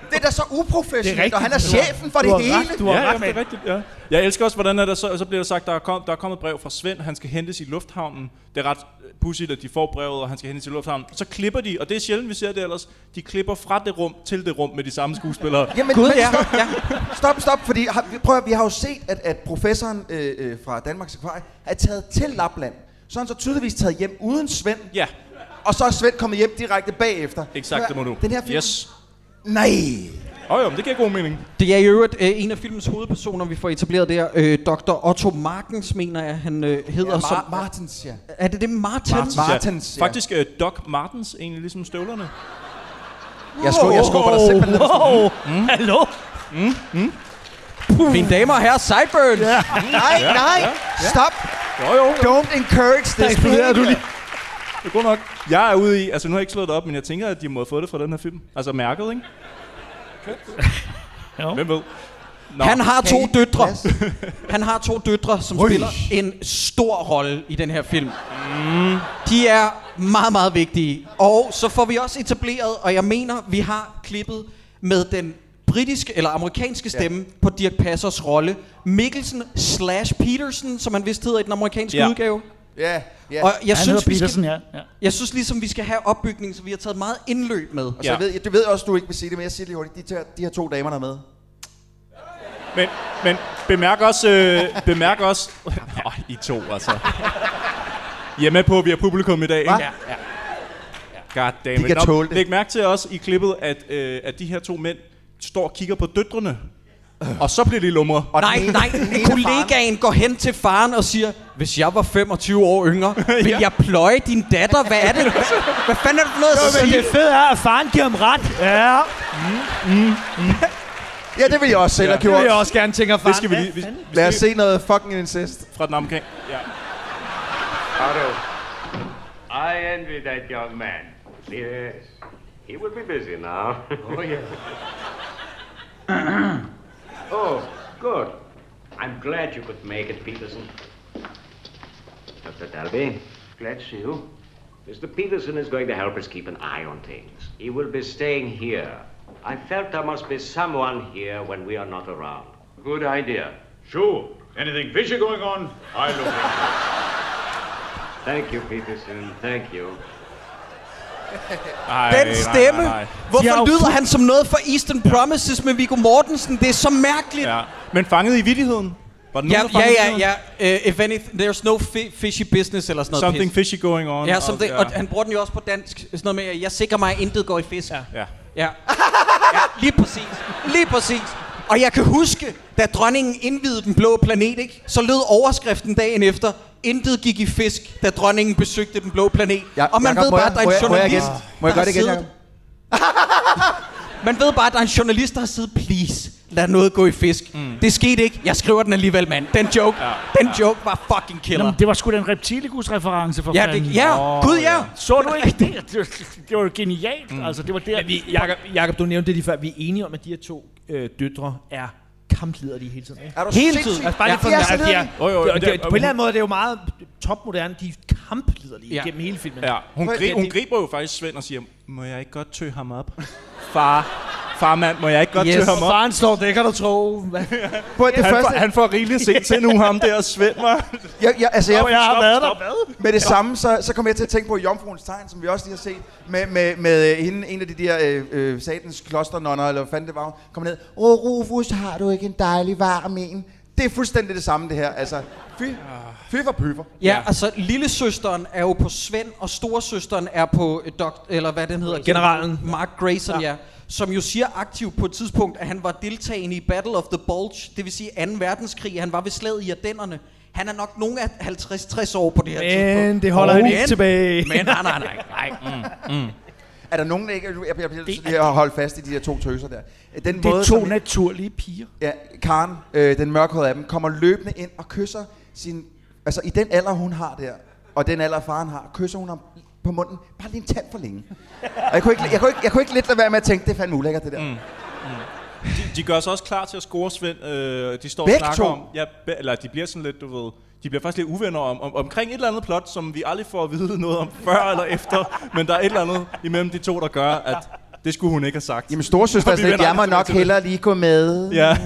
S4: Det er da så uprofessionelt,
S7: rigtigt,
S4: og han er
S7: du har-
S4: chefen for det
S7: du har
S4: hele.
S7: ret, du har
S3: ja,
S7: ret,
S3: ja, det er rigtigt, ja. Jeg elsker også, hvordan er der så, så bliver der sagt, der er, kom, der er kommet et brev fra Svend, han skal hentes i lufthavnen. Det er ret pudsigt, at de får brevet, og han skal hentes i lufthavnen. Så klipper de, og det er sjældent, vi ser det ellers, de klipper fra det rum til det rum med de samme skuespillere.
S4: Jamen,
S5: Gud,
S4: men
S5: ja.
S4: stop,
S5: ja.
S4: stop, stop, fordi har, vi- prøv at, vi har jo set, at, at professoren øh, øh, fra Danmarks Akvarie er taget til Lapland. Så er han så tydeligvis taget hjem uden Svend,
S3: Ja,
S4: og så er Svend kommet hjem direkte bagefter.
S3: exakt, det må du.
S4: Den her film?
S3: Yes.
S4: Nej!
S3: Åh oh, jo, men det giver god mening.
S5: Det er i øvrigt øh, en af filmens hovedpersoner, vi får etableret der. Øh, Dr. Otto Markens, mener jeg, han øh, hedder.
S4: Ja,
S5: som,
S4: Mar- Martins, ja.
S5: er det det Martin?
S4: Martens. Martens, ja.
S3: Faktisk uh, Doc Martens, egentlig ligesom støvlerne.
S4: Jeg, skub, jeg skubber dig simpelthen.
S6: Wow, hallo?
S5: Mine damer og herrer, Sideburns! Ja.
S4: Nej, nej! Stop!
S3: Jo jo,
S4: Don't encourage this.
S6: eksploderede du lige.
S3: det er godt nok. Jeg er ude i, altså nu har jeg ikke slået det op, men jeg tænker, at de må have fået det fra den her film. Altså mærket, ikke?
S6: Jo.
S3: Hvem ved? Nå.
S5: Han har to
S4: Okay.
S5: døtre.
S4: Yes.
S5: Han har to døtre, som spiller en stor rolle i den her film. De er meget, meget vigtige. Og så får vi også etableret, og jeg mener, vi har klippet med den britiske eller amerikanske stemme ja. på Dirk Passers rolle. Mikkelsen slash Peterson, som han vist hedder i den amerikanske
S3: Ja.
S5: udgave.
S4: Ja, ja.
S5: Og jeg
S6: Han
S5: synes,
S6: hedder
S5: vi
S6: Petersen,
S5: skal,
S6: ja. ja.
S5: jeg synes ligesom, vi skal have opbygningen, så vi har taget meget indløb med.
S4: Og så
S3: Ja.
S4: ved, jeg, det ved jeg også, du ikke vil sige det, men jeg siger det lige hurtigt. De, her- de her to damer, der er med.
S3: Men, men bemærk også... Øh, bemærk også... Åh, I to, altså. I er med på, at vi har publikum i dag, ikke?
S4: Hva?
S3: ja. God damn
S4: De
S3: it.
S4: kan
S3: Nå,
S4: tåle det.
S3: Læg mærke til også i klippet, at, øh, at de her to mænd står og kigger på døtrene. Og så bliver de lumre.
S4: Og den
S5: Nej,
S4: ene-
S5: nej,
S4: den ene er faren.
S5: kollegaen går hen til faren og siger, hvis jeg var 25 år yngre, vil
S3: Ja.
S5: jeg pløje din datter? Hvad er det? Hvad- Hvad fanden er det for noget at
S7: Så
S5: sige?
S7: det fede er, at faren giver ham ret. Ja,
S4: Ja, det vil jeg også selv have
S7: det vil jeg
S4: gjort.
S7: også gerne tænke, at faren...
S3: Det skal vi
S7: Hvad
S3: lige... Vi,
S7: fanden?
S3: vi
S4: Lad
S3: skal
S4: os se noget fucking incest.
S3: fra den omkring. Ja.
S10: I envy that young man. Yes. He will be busy now. Oh, yes. oh, good. I'm glad you could make it, Peterson. Dr. Dalby, glad to see you. Mr. Peterson is going to help us keep an eye on things. He will be staying here. I felt there must be someone here when we are not around. Good idea.
S11: Sure. Anything fishy going on, I look into it.
S10: Thank you, Peterson. Thank you.
S3: Ej,
S5: Den stemme,
S6: De har
S5: hvorfor
S6: jo
S5: lyder han som noget fra Eastern Promises med Viggo Mortensen? Det er så mærkeligt.
S3: Ja. Men fanget i vittigheden. Var det
S5: Ja,
S3: nogen, der
S5: ja,
S3: fangede
S5: ja,
S3: i
S5: ja. Uh, if anything, there's no fi- fishy business eller sådan noget
S3: Something
S5: pis.
S3: fishy going on.
S5: Ja, something,
S3: ja.
S5: og han bruger den jo også på dansk. Sådan noget med, jeg sikrer mig, at intet går i fisk. Ja.
S3: ja.
S5: Ja. ja, lige præcis. Lige præcis. Og jeg kan huske, da dronningen indvidede den blå planet, ikke? så lød overskriften dagen efter, intet gik i fisk, da dronningen besøgte den blå planet. Ja, og man
S4: Jakob,
S5: ved
S4: må
S5: bare,
S4: jeg-
S5: at der er en
S4: må jeg- må jeg
S5: journalist,
S4: igen? Må
S5: der
S4: jeg gøre det
S5: har
S4: igen,
S5: siddet- Man ved bare, at der er en journalist, der har siddet, please, lad noget gå i fisk. Mm. Det skete ikke. Jeg skriver den alligevel, mand. Den joke, ja. den joke var fucking killer.
S6: Jamen, det var sgu da en reptilikus-reference for
S5: Ja, det-
S6: fanden.
S5: ja. Åh, Gud, ja. ja.
S6: Så du ikke det? Det var, det var jo genialt. Mm. Altså, det var der...
S7: Men vi, Jacob, Jacob, du nævnte det lige før. Vi er enige om, at de her to øh, døtre er kampledere hele tiden. Ikke?
S4: Er du
S5: Hele
S4: sindssyg?
S5: tiden.
S7: Altså bare lige for
S4: Ja,
S7: ja,
S4: så
S7: at de er,
S3: Jo,
S4: leder
S3: jo,
S7: det,
S3: men
S7: det,
S3: det-
S7: på en eller anden måde er det jo meget topmoderne. De er kampledere
S5: Ja.
S7: ja. gennem hele filmen.
S3: Ja, hun, gri- hun griber jo faktisk Svend og siger, må jeg ikke godt tø ham op? Far, far mand, må jeg ikke godt yes. tø ham op?
S7: Faren slår, det kan du tro. Hvad?
S4: Prøv at det
S3: Han
S4: første...
S3: får, han får rigeligt set til nu, ham der Svend, var.
S4: Jeg, jeg, altså, jeg,
S3: har været der.
S4: Med det samme, så, så kom jeg til at tænke på Jomfruens Tegn, som vi også lige har set, med, med, med øh, hende, en af de der øh, øh, satans klosternonner, eller hvad fanden det var, hun kom ned. Åh, Rufus, har du ikke en dejlig varm en? Det er fuldstændig det samme, det her. Altså, fy, fy for pyfer.
S5: Ja, ja, altså lillesøsteren er jo på Svend, og storesøsteren er på øh, dok, eller hvad den hedder?
S7: Generalen.
S5: Mark Grayson, ja. ja. Som jo siger aktivt på et tidspunkt, at han var deltagende i Battle of the Bulge, det vil sige 2. verdenskrig, han var ved slaget i Ardennerne. Han er nok nogen af 50-60 år på det her tidspunkt.
S7: Men det holder han
S5: Men-
S7: ikke tilbage.
S5: Men nej, nej, nej. nej.
S4: Er der nogen, der ikke... Jeg, jeg, jeg bliver lige at holde fast i de der to tøser der. Øh, Den
S6: Det er
S4: som-
S6: to naturlige piger.
S4: Ja, Karen, øh, den mørkhårede af dem, kommer løbende ind og kysser sin... Altså, i den alder, hun har der, og den alder, faren har, kysser hun ham på munden bare lige en tand for længe. Og jeg kunne ikke, jeg kunne ikke, jeg kunne ikke lidt lade være med at tænke, det er fandme ulækkert, det der. Mm.
S3: De, de gør sig også klar til at score Svend. Øh, de står
S4: Begge
S3: og snakker
S4: to?
S3: om... Ja, be, eller de bliver sådan lidt, du ved... De bliver faktisk lidt uvenner om, om, omkring et eller andet plot, som vi aldrig får at vide noget om før eller efter. Men der er et eller andet imellem de to, der gør, at det skulle hun ikke have sagt.
S4: Jamen, storsøster er
S3: Vi
S4: sådan lidt,
S3: vender
S4: jeg må
S3: aldrig
S4: nok
S3: tilbage til det."
S4: hellere lige gå med.
S3: Ja.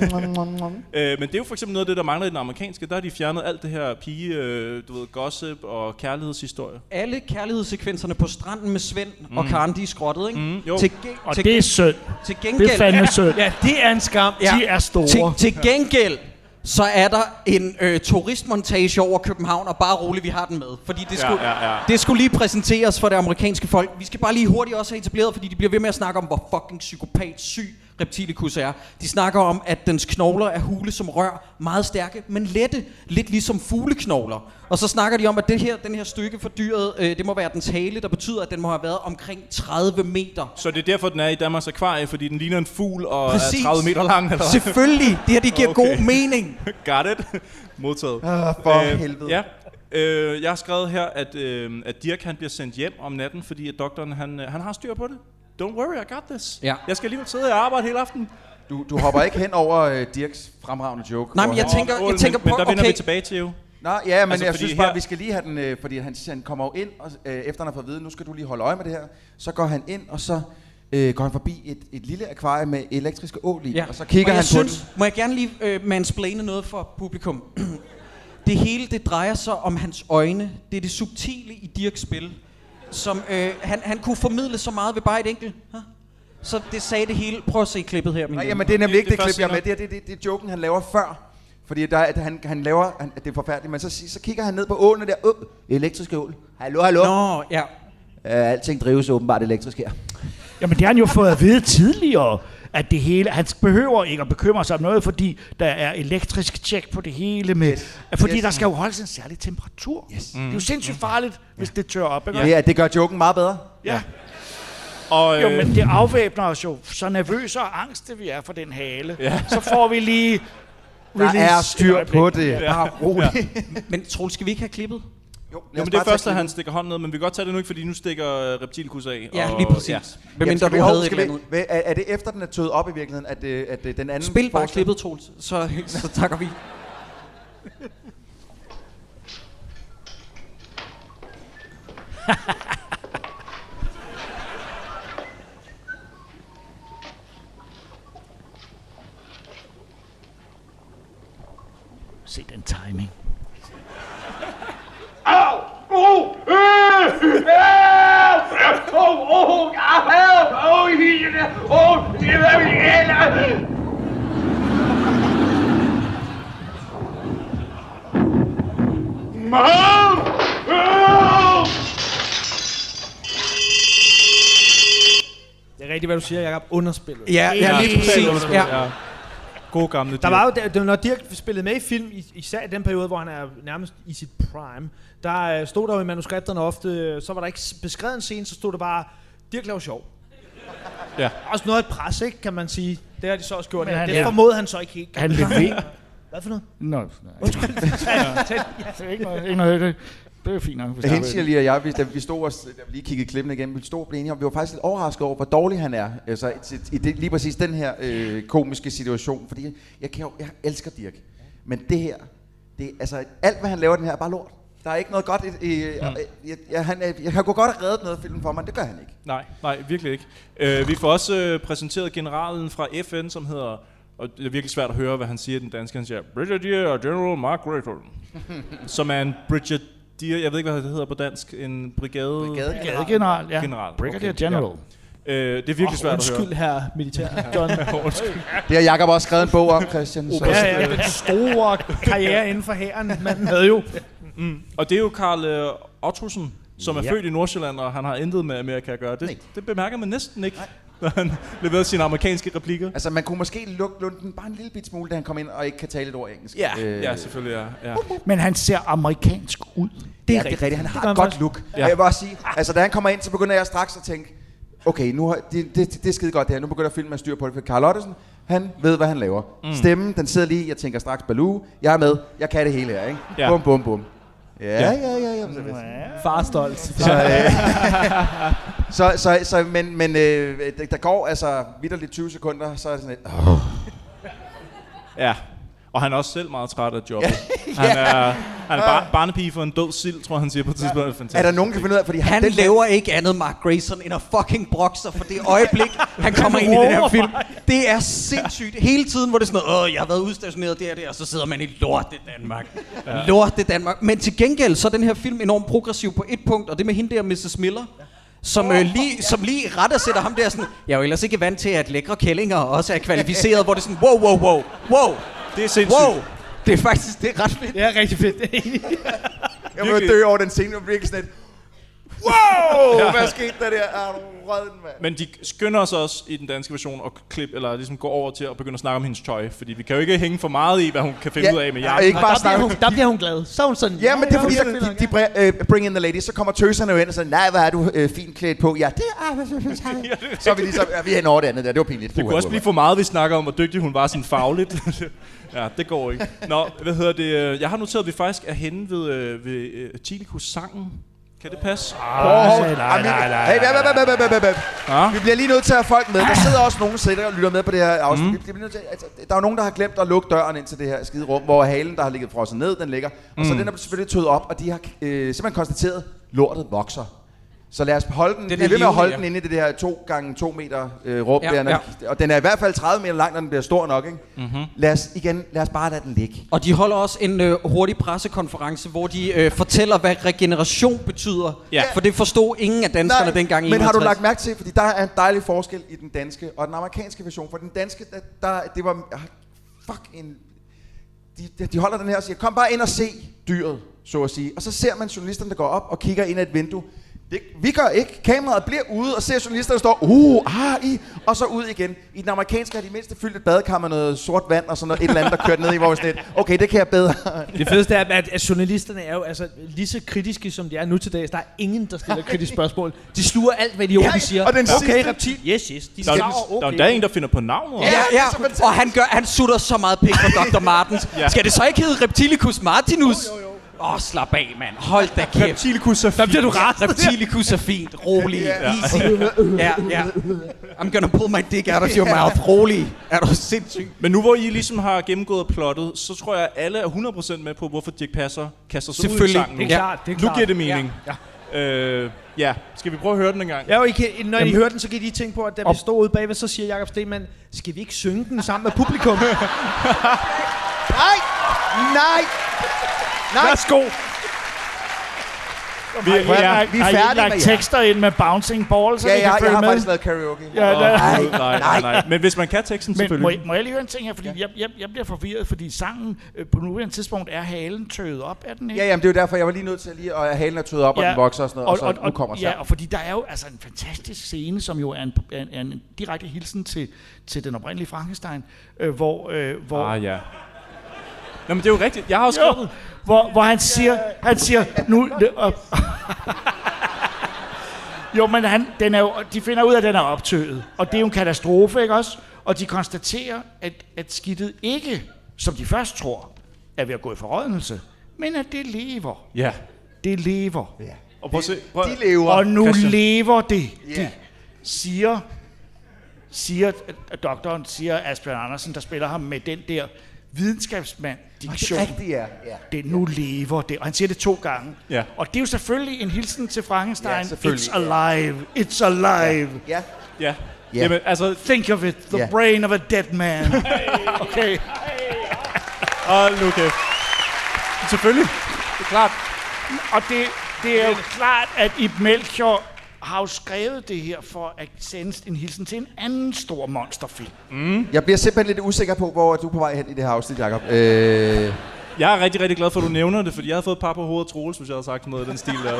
S4: Mm.
S3: Øh, men det er jo for eksempel noget af det, der mangler i den amerikanske. Der har de fjernet alt det her pige, øh, du ved, gossip og kærlighedshistorie.
S5: Alle kærlighedssekvenserne på stranden med Svend mm. og Karen, de er skrottet, ikke? Mm.
S3: jo.
S5: Til, ge-
S6: Og
S5: til,
S6: det er synd.
S5: til
S6: Det er
S5: gengæld...
S6: fandme synd.
S7: Ja, det er en skam.
S5: Ja.
S6: De er
S5: Til,
S6: store.
S5: til gengæld, så er der en øh, turistmontage over København, og bare roligt, vi har den med. Fordi det skulle,
S3: ja, ja.
S5: det skulle lige præsenteres for det amerikanske folk. Vi skal bare lige hurtigt også have etableret, fordi de bliver ved med at snakke om, hvor fucking psykopat syg Reptilicus er. De snakker om, at dens knogler er hule som rør, meget stærke, men lette, lidt ligesom fugleknogler. Og så snakker de om, at det her, den her stykke for dyret, øh, det må være dens hale, der betyder, at den må have været omkring 30 meter.
S3: Så det er derfor, den er i Danmarks Akvarie, fordi den ligner en fugl og
S5: Præcis.
S3: er 30 meter lang. Eller? hvad?
S5: Selvfølgelig, det her det giver okay.
S3: Okay.
S5: god mening.
S3: Got it. Modtaget. Øh,
S4: Ah, for helvede.
S3: Ja. Øh, jeg har skrevet her, at, øh, at Dirk han bliver sendt hjem om natten, fordi at doktoren han, øh, han har styr på det. Don't worry, I got this.
S5: Ja.
S3: Jeg skal alligevel sidde og arbejde hele aftenen.
S4: Du, du hopper ikke hen over øh, Dirks fremragende joke.
S5: Nej,
S4: hvor
S5: men jeg
S4: han-
S3: Åh,
S5: tænker-
S3: åh,
S5: tænker
S3: men,
S5: på-
S3: Men der vender
S5: okay.
S3: vi tilbage til jo.
S4: Nå, ja, men
S3: Altså,
S4: altså, jeg
S3: fordi
S4: synes bare,
S3: her-
S4: vi skal lige have den, øh, fordi han, han kommer jo ind, og, øh, efter han har fået at vide, nu skal du lige holde øje med det her. Så går han ind, og så øh, går han forbi et, et lille akvarie med elektriske ål i, ja. og så kigger
S5: og
S4: han
S5: jeg
S4: på
S5: synes,
S4: den.
S5: Må jeg gerne lige øh, mansplane noget for publikum? det hele, det drejer sig om hans øjne. Det er det subtile i Dirks spil, som øh, han, han kunne formidle så meget ved bare et enkelt. Huh? Så det sagde det hele. Prøv at se klippet her, min
S4: Nej,
S5: ven.
S4: jamen, det er nemlig ikke det,
S3: det er
S4: klip, jeg er med.
S3: først
S4: Det, er- det, det, det er joken, han laver før. Fordi der, er- at han, han laver, han, at det er forfærdeligt, men så, sig- så kigger han ned på ålene der. Åh, elektriske ål. Hallo, hallo. No.
S5: Nå, ja.
S4: Øh, alting drives åbenbart elektrisk her.
S6: Jamen, det har han jo fået at vide tidligere, at det hele, han behøver ikke at bekymre sig om noget, fordi der er elektrisk tjek på det hele. Med,
S4: Yes.
S6: yes. Fordi
S4: Yes.
S6: yes. der skal jo holdes en særlig temperatur. Yes. Mm. Det er jo sindssygt farligt, hvis det tør op. Ikke?
S4: Ja. ja, det gør joken meget bedre.
S6: ja.
S3: Og, øh,
S6: Jo, men det afvæbner os jo. Så nervøse og angste vi er for den hale. Ja. Så får vi lige...
S4: Der er
S6: release et
S4: styr
S6: øjeblik.
S4: på det. Bare roligt. Ja.
S5: Men Troels, skal vi ikke have klippet?
S4: Jo, lad
S3: Jo, men
S4: os
S3: det er
S4: bare tage
S3: først, at
S4: klippet.
S3: han stikker hånden ned, men vi kan godt tage det nu, ikke, fordi nu stikker øh, reptilkus af.
S5: Ja,
S3: og,
S5: lige præcis. Ja. Hvem
S4: Jamen,
S5: mindre
S4: skal
S5: du
S4: vi hov,
S5: havde et
S4: skal
S5: eller
S4: vi-
S5: andet.
S4: hvad- Er, er det efter, den er tøet op i virkeligheden, at, øh, at, øh, den anden...
S5: Spil bare
S4: forestilling-
S5: klippet, Troels, så, så takker vi.
S6: Se den timing.
S11: Oh! eh, eh, Oh! Oh! ah, Help! Oh! he- Oh! dear, eh, eh, Help! Help!
S7: Det er rigtigt, hvad du siger, Jacob. Underspillet.
S5: Ja, ja lige præcis. Ja.
S3: Ja. God gamle
S7: Der
S3: Dirk.
S7: var jo, der, der- når Dirk spillede med i film, is- især i den periode, hvor han er nærmest i sit prime, der øh, stod der jo i manuskripterne ofte, øh, så var der ikke s- beskrevet en scene, så stod der bare, Dirk laver sjov.
S3: Ja.
S7: Også noget af et pres, ikke, kan man sige. Det har de så også gjort.
S6: Men
S7: her.
S6: han-
S7: Det
S6: ja.
S7: formåede han så ikke helt.
S6: Han leverer.
S7: Hvad for noget?
S6: Nå, nej. Undskyld. ikke noget, ikke noget. Det, det er fint nok. hvis der er-
S4: Hensige lige og jeg, vi, da vi stod og s- da vi lige kiggede klippene igennem, vi stod og blev enige om, vi var faktisk lidt overrasket over, hvor dårlig han er. Altså, i, i det, lige præcis den her øh, komiske situation, fordi jeg, jeg, kan jo, jeg elsker Dirk. Men det her, det, altså, alt hvad han laver, den her er bare lort. Der er ikke noget godt. I, i,
S5: Hmm.
S4: øh, jeg, jeg, han, er- jeg, han kunne godt have reddet noget film for mig, men det gør han ikke.
S3: Nej, nej, virkelig ikke. Øh, vi får også øh, præsenteret generalen fra FN, som hedder, og det er virkelig svært at høre, hvad han siger i den danske, han siger, Brigadier General Mark Riddle, som er en brigadier, jeg ved ikke, hvad det hedder på dansk, en brigade...
S6: Brigadegeneral, ja.
S3: General.
S6: Brigadier General.
S3: Ja. Øh, det er virkelig oh, svært at høre.
S7: Undskyld her, militær.
S6: John.
S3: Undskyld.
S4: Det har Jacob også skrevet en bog om, Christian. Så.
S7: Ja, ja, den store karriere inden for hæren, manden havde jo.
S3: Og det er jo Karl øh, Ottosen, som er
S6: Ja.
S3: født i Nordsjælland, og han har intet med Amerika at gøre. Det, det bemærker man næsten ikke, når han leverer sine amerikanske replikker.
S4: Altså, man kunne måske lukke lunden bare en lille bit smule, da han kom ind og ikke kan tale et ord engelsk.
S3: Øh. Ja, selvfølgelig, ja. ja.
S6: Men han ser amerikansk ud.
S4: Det er, ja, rigtigt. det er rigtigt. Han har et godt look. Ja. Jeg vil bare sige, altså da han kommer ind, så begynder jeg straks at tænke, okay, nu har, det, det, det er skide godt det her. Nu begynder filmen at styre på det, for Carl Ottesen, han ved, hvad han laver. Mm. Stemmen, den sidder lige, jeg tænker straks Baloo, jeg er med, jeg kan det hele her, ikke?
S3: Ja.
S4: Ja. Bum, bum, bum. Ja,
S3: Ja.
S4: ja, ja, ja. ja.
S7: Far stolt.
S4: øh, Så, så, så, men, men øh, der- der går altså vidderligt 20 sekunder, så er det sådan et, åh,
S3: Ja. Og han er også selv meget træt af jobbet. Han er, han er bar- barnepige for en død sild, tror jeg, han siger på et tidspunkt. Det er
S4: er
S3: fantastisk.
S4: der nogen, der kan finde ud af, fordi
S5: Han
S4: den,
S5: laver ikke andet, Mark Grayson, end at fucking brokke sig for det øjeblik, han kommer ind i den her film. Det er sindssygt. Hele tiden, hvor det er sådan noget, Åh, jeg har været udstationeret der og der, og så sidder man i lorte Danmark. Ja. Lorte Danmark. Men til gengæld, så er den her film enormt progressiv på et punkt, og det med hende der, Mrs. Miller. Som, øh, lige, som lige retter sætter ham der sådan, jeg er jo ellers ikke vant til, at lækre kællinger også er kvalificeret, hvor det er sådan, wow, wow, wow, wow,
S3: Det er sindssygt.
S5: wow. Det er faktisk, det er ret fedt.
S7: Det er rigtig fedt.
S4: jeg vil dø over den scene, og virkelig sådan et, wow, ja. hvad skete der der? Er du rød, mand?
S3: Men de skynder sig også i den danske version at klip, eller ligesom gå over til at begynde at snakke om hendes tøj. Fordi vi kan jo ikke hænge for meget i, hvad hun kan finde ud af med jer.
S4: og ikke bare snakke
S7: der bliver hun glad. Så er hun sådan...
S4: Ja, men det er fordi,
S7: "Nå,
S4: så,
S7: ja,
S4: de, de bri- øh, bring in the ladies, så kommer tøserne jo ind og siger, nej, hvad er du øh, fint klædt på? Ja, det er... så er vi ligesom, ja, vi er hen over det andet der, det var pinligt.
S3: Det kunne også blive for meget, vi snakker om, hvor dygtig hun var sådan fagligt. ja, det går ikke. Nå, hvad hedder det? øh, Jeg har noteret, at vi faktisk er henne ved, øh, ved øh, Chilikus-sangen. Kan det passe?
S4: Oh,
S6: nej, nej, nej, nej,
S4: Hey, hvad, hvad, hvad, hvad, hvad, hvad, hvad?
S3: Ja.
S4: Vi bliver lige nødt til at have folk med. Der sidder også nogen sidder og lytter med på det her afsnit. Vi bliver nødt til, altså, der er jo nogen, der har glemt at lukke døren ind til det her skide rum, hvor halen, der har ligget frosset ned, den ligger. Og så er den er selvfølgelig tøet op, og de har øh, simpelthen konstateret, lortet vokser. Så lad os holde den.
S5: Den
S4: Den er
S5: er
S4: ved med at
S5: levende,
S4: holde
S5: ja.
S4: den inde i det der 2 gange 2 meter øh, rum.
S5: Ja,
S4: Ja, der, når-
S5: ja.
S4: Og den er i hvert fald 30 meter lang, når den bliver stor nok. Ikke? Mm-hmm. Lad os igen, lad os bare lade den ligge.
S5: Og de holder også en øh, hurtig pressekonference, hvor de øh, fortæller, hvad regeneration betyder.
S3: Ja.
S5: Ja. For det forstod ingen af danskerne Nej, dengang i
S4: men har du
S5: 61.
S4: lagt mærke til, fordi der er en dejlig forskel i den danske og den amerikanske version. For den danske, der, der det var... ah, Fuck en... De, de- de holder den her og siger, kom bare ind og se dyret, så at sige. Og så ser man journalisterne, der går op og kigger ind ad et vindue. Det, vi gør ikke. Kameraet bliver ude og ser journalisterne stå, uh, ah, i, og så ud igen. I den amerikanske har de mindste fyldt et badekar med noget sort vand og sådan noget, et eller andet, der kørte ned i vores net. Okay, det kan jeg bedre.
S7: Det fedeste er, at, at journalisterne er jo altså, lige så kritiske, som de er nu til dags. Der er ingen, der stiller kritiske spørgsmål. De sluger alt, hvad de
S4: Ja,
S7: ja, siger.
S4: og den
S7: okay,
S4: sidste-
S7: reptil. Yes, yes.
S3: Der,
S7: De skal,
S3: er, der, der er en, der finder på navnet.
S5: Ja,
S4: det er så
S5: ja.
S4: fantastisk.
S5: Og han, gør, han sutter så meget pik på Dr. Martens. ja. Skal det så ikke hedde Reptilicus Martinus? Åh, oh, slap af, mand. Hold da kæft.
S3: Chilikus er fint.
S5: Det er du ret. Reptilicus er fint. Rolig. Easy. Ja, ja. I'm gonna pull my dick out of your mouth. Rolig. Er du sindssyg?
S3: Men nu hvor I ligesom har gennemgået plottet, så tror jeg, at alle er 100% med på, hvorfor Dirk Passer kaster sig ud i
S5: Selvfølgelig.
S3: sangen.
S7: Det er
S3: nu.
S7: klart, det er
S3: nu
S7: klart.
S3: giver det mening. Ja. Øh, ja. Skal vi prøve at høre den en gang?
S7: Ja, og I kan, når I hører den, så kan I lige tænke på, at da vi stod ude bagved, så siger Jakob Stemann, skal vi ikke synge den sammen med publikum?
S4: Nej! Nej! Nej!
S7: Værsgo!
S3: vi,
S6: Prøv
S3: ja.
S6: at-
S4: vi er
S6: har I ikke
S4: færdige
S6: lagt
S4: med jer.
S6: tekster ind med bouncing balls, så
S4: Ja,
S6: vi
S4: jeg,
S6: kan
S4: har- jeg
S6: følge
S4: har
S6: med?
S4: faktisk lavet karaoke.
S6: Ja, der,
S3: Nej, nej, nej, nej. Men hvis man kan teksten,
S6: Men må,
S3: selvfølgelig.
S6: jeg- må jeg lige høre en ting her, fordi ja. jeg, jeg, jeg bliver forvirret, fordi sangen øh, på nuværende tidspunkt er halen tøet op, er den ikke?
S4: Ja, jamen det er jo derfor, jeg var lige nødt til lige at halen er tøet op, ja. og den vokser og sådan noget, og, og, og så nu kommer
S6: Ja,
S4: ja.
S6: og fordi der er jo altså en fantastisk scene, som jo er en, er en, er en direkte hilsen til, til den oprindelige Frankenstein, øh, hvor, øh, hvor,
S3: Ah, ja. Nå, men det er jo rigtigt. Jeg har også
S6: jo,
S3: skrevet
S6: hvor, hvor han siger, han siger, nu, og, Jo, men han, den er jo, de finder ud af, at den er optøet. Og det er jo en katastrofe, ikke også? Og de konstaterer, at, at skidtet ikke, som de først tror, er ved at gå i forrådnelse, men at det lever.
S3: Ja.
S6: Det lever. Ja.
S3: Og prøv at se. Prøv. at-
S6: Og nu
S3: Christian.
S6: lever det.
S3: Ja.
S6: Det siger, siger at doktoren, siger Asbjørn Andersen, der spiller ham med den der videnskabsmand diktion.
S4: rigtigt, ja. Ja.
S6: Det nu lever det. Og han siger det to gange.
S3: Ja.
S6: Og det er jo selvfølgelig en hilsen til Frankenstein.
S4: Ja, selvfølgelig,
S6: It's
S4: ja.
S6: alive. It's alive.
S4: Ja.
S3: Ja.
S4: Ja.
S3: Jamen, altså,
S6: Think of it. The
S4: Ja.
S6: brain of a dead man. okay.
S3: og nu kæft. Selvfølgelig. Det er klart.
S6: Og det, det er jo klart, at Ib Melchior har jo skrevet det her for at sende en hilsen til en anden stor monsterfilm.
S4: Jeg bliver simpelthen lidt usikker på, hvor er du på vej hen i det her afsnit, Jacob. Øh,
S3: Jeg er rigtig, rigtig glad for, at du nævner det, fordi jeg havde fået et par på hovedet af Troels, hvis jeg havde sagt noget i den stil der.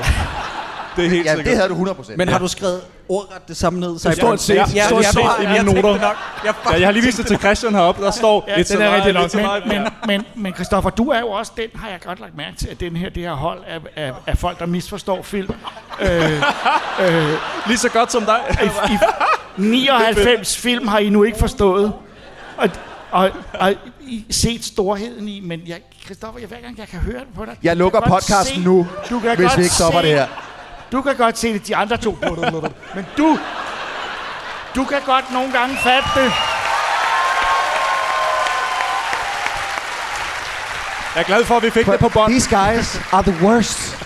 S3: Det er helt
S4: ja,
S3: sikkert.
S4: det havde du 100%.
S5: Men har du skrevet ordret det samme ned? Så
S3: Stort set.
S5: Ja,
S3: Stort
S5: jeg-
S3: set
S5: jeg-
S3: i
S5: jeg
S3: mine
S5: tænkte
S3: noter.
S5: det nok. Jeg,
S3: Ja, jeg har lige vist det til Christian heroppe, der står... Ja,
S6: den er rigtig nok,
S3: Men,
S6: Men, men, men Christoffer, du er jo også den, har jeg godt lagt mærke til, at den her, det her hold af, af, af folk, der misforstår film.
S3: lige så godt som dig.
S6: I, i 99 film har I nu ikke forstået. Og, og, og I set storheden i, men jeg, Christoffer, jeg, hver gang jeg kan høre det på dig...
S4: Jeg lukker
S6: kan godt
S4: podcasten nu,
S6: du kan
S4: hvis
S6: godt
S4: vi ikke stopper
S6: se,
S4: det her.
S6: Du kan godt se det, de andre to. Men du... Du kan godt nogle gange fatte det.
S3: Jeg er glad for, at vi fik det på bånd.
S4: These guys are the worst.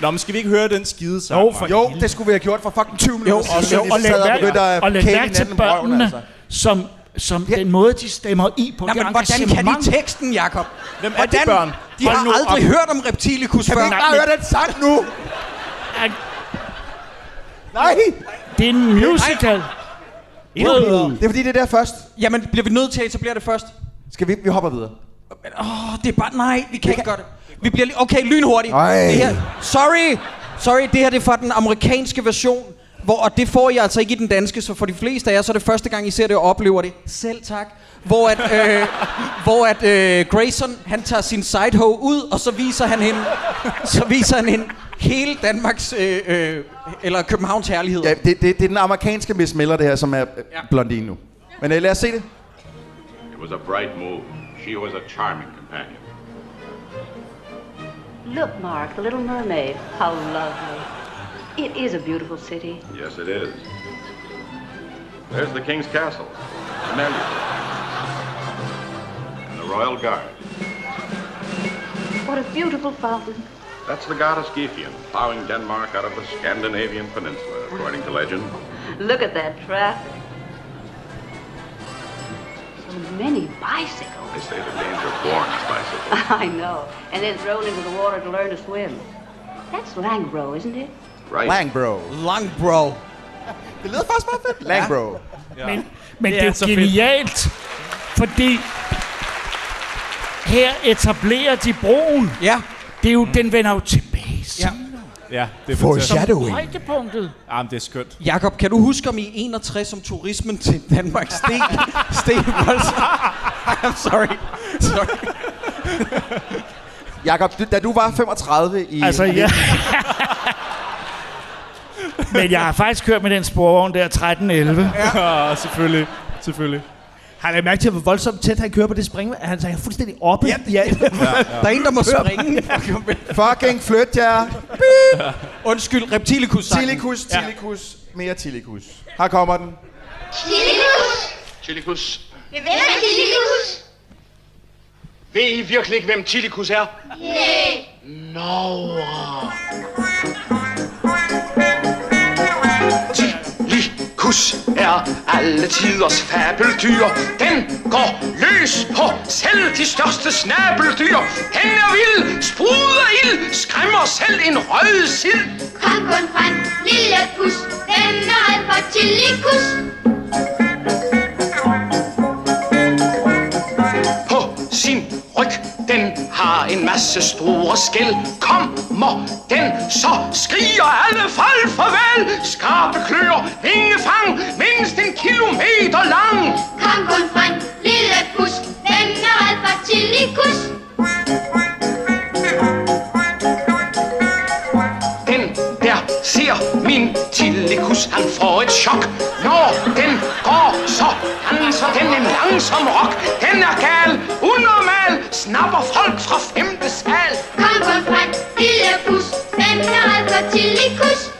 S3: Nå, men skal vi ikke høre den skide sang?
S6: Jo, for
S4: Jo, det skulle vi have gjort for fucking 20 minutter
S6: og,
S4: siden,
S6: og, og
S4: hvis vi
S6: læg
S4: sad og begyndte
S6: mærke,
S4: at
S6: og læg
S4: kæle
S6: mærke til
S4: hinanden om røven,
S6: børnene,
S4: altså.
S6: som, som den måde, de stemmer i
S5: Nå,
S6: på.
S5: men
S6: det
S5: hvordan kan
S6: engagement.
S5: de teksten, Jakob?
S3: Hvem er de
S5: hvordan?
S3: børn?
S5: De
S6: Hold
S5: har
S6: nu
S5: aldrig
S6: op.
S5: hørt om reptilicus
S4: Kan
S5: før.
S4: vi ikke bare
S6: men-
S4: høre den sang nu?
S6: Ej,
S4: Nej!
S6: Det er en musical.
S5: Endnu bedre.
S4: Det er fordi, det er der først.
S5: Jamen, bliver vi nødt til at etablere det først?
S4: Skal vi, vi hopper videre.
S5: Men, åh, det er bare... Nej, vi kan ikke gøre det. Vi bliver lige... Okay, lynhurtigt.
S4: Ej.
S5: Det her... Sorry! Sorry, det her det er fra den amerikanske version. Hvor, og det får I altså ikke i den danske, så for de fleste af jer, så er det første gang, I ser det og oplever det. Selv tak. Hvor at, øh, hvor at øh, Grayson, han tager sin sidehoe ud, og så viser han hende, så viser han hende hele Danmarks, øh, øh, eller Københavns herlighed.
S4: Ja, det, det, det er den amerikanske Miss Miller, det her, som er øh, blondine nu. Men øh, lad os se det.
S11: It was a bright move. She was a charming companion.
S2: Look, Mark, the Little Mermaid. How lovely. It is a beautiful city.
S11: Yes, it is. There's the king's castle, the Manual, and the royal guard.
S2: What a beautiful fountain.
S11: That's the goddess Gefion, plowing Denmark out of the Scandinavian peninsula, according to legend.
S2: Look at that traffic. So many bicycles.
S11: They say the Danes are born as bicycles.
S2: I know. And then thrown into the water to learn to swim. That's Langbro, isn't it?
S11: Right?
S4: Langbro.
S5: Lang, bro.
S4: Det lyder faktisk meget fedt. Langbro.
S6: Men, men
S3: Det
S6: det
S3: er
S6: er
S3: så
S6: jo
S3: fedt.
S6: genialt, fordi her etablerer de broen.
S5: Ja.
S6: Det er jo, den vender jo tilbage. Ja.
S3: Ja, det er fantastisk.
S6: Højdepunktet.
S3: Jamen, det er skønt.
S5: Jakob, kan du huske, om i 61 som turismen til Danmark steg, steg voldsomt? I'm sorry. sorry.
S4: Jakob, du- da du var 35 i...
S6: Altså, ja. men jeg har faktisk kørt med den sporvogn der 1311.
S3: Ja, selvfølgelig. Selvfølgelig.
S7: Har jeg mærke til, hvor voldsomt tæt han kører på det springvand? Han er fuldstændig oppe. Ja, ja.
S5: Der er en, der må springe.
S4: Fucking flyt jer.
S5: Undskyld, reptilicus
S4: Tilikus, tilikus. Mere tilikus. Her kommer den.
S12: Chilikus!
S11: Chilikus.
S12: Hvem er Chilikus?
S11: Ved I virkelig ikke, hvem Chilikus er?
S12: Nej.
S11: Chilikus er alle tiders fabeldyr. Den går løs på selv de største snabeldyr. Den er vild, spruder ild, skræmmer selv en rød sild.
S12: Kom kun fra en lille pus. Den er red for Chilikus.
S11: på sin ryg. Den har en masse store skæl. Kommer den, så skriger alle folk farvel. Skarpe klør, vingefang, mindst en kilometer lang.
S12: Kom kun fra en lille pus. Den er red for Chilikus.
S11: Den der ser mere chok Når den går, så danser den en langsom rock Den er gal, unormal Snapper folk fra femte sal
S12: Kom, kom frem, lille pus, den er altså alt for tillikus.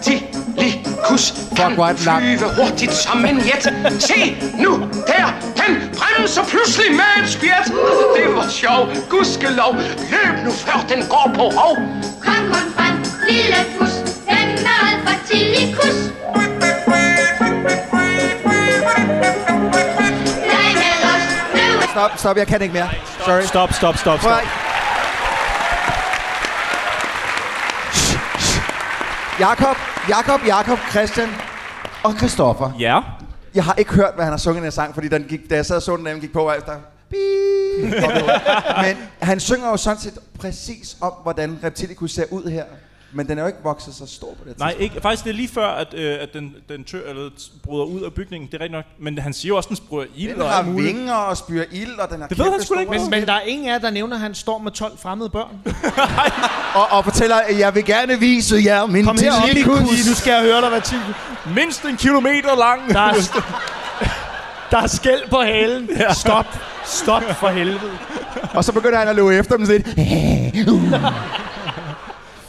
S11: Tillikus Fuck, kan flyve hurtigt som en jet Se nu, der, den bremser pludselig med et spjæt Det var sjov, gudskelov Løb nu, før den går på rov
S12: Kom, kom frem, lille pus, den er alt for tillikus. Nej, med os, løv
S4: Stop, stop, jeg kan ikke mere. Sorry.
S13: Stop, stop, stop,
S4: Prøv
S13: stop.
S4: at- Jakob, Jakob, Jakob, Christian og Christoffer.
S3: Ja.
S4: Jeg har ikke hørt, hvad han har sunget i den her sang, fordi den gik, da jeg sad og så den, da den gik på, og efter... Beep, kom det ud. Men han synger jo sådan set præcis om, hvordan Reptilicus ser ud her. Men den er jo ikke vokset så stor på det
S3: Nej,
S4: tidspunkt.
S3: ikke. faktisk det er lige før, at, øh, at den, den tør, eller, t- bryder ud af bygningen. Det er rigtigt nok. Men han siger jo også, at den sprøger ild
S4: Den
S3: og
S4: har
S3: alt muligt.
S4: vinger og spyrer ild, og den har
S3: Det ved han
S4: kæmpe
S3: sgu da
S4: store-
S3: ikke.
S7: Men, men der er ingen af jer, der nævner, at han står med 12 fremmede børn.
S4: og, og fortæller, at jeg vil gerne vise jer min
S7: Kom herop,
S4: tillikus.
S7: Nikus. Nu skal jeg høre dig, hvad til.
S3: Mindst en kilometer lang.
S6: Der er, der er skæld på halen. Stop. Stop for helvede.
S4: Og så begynder han at løbe efter dem lidt.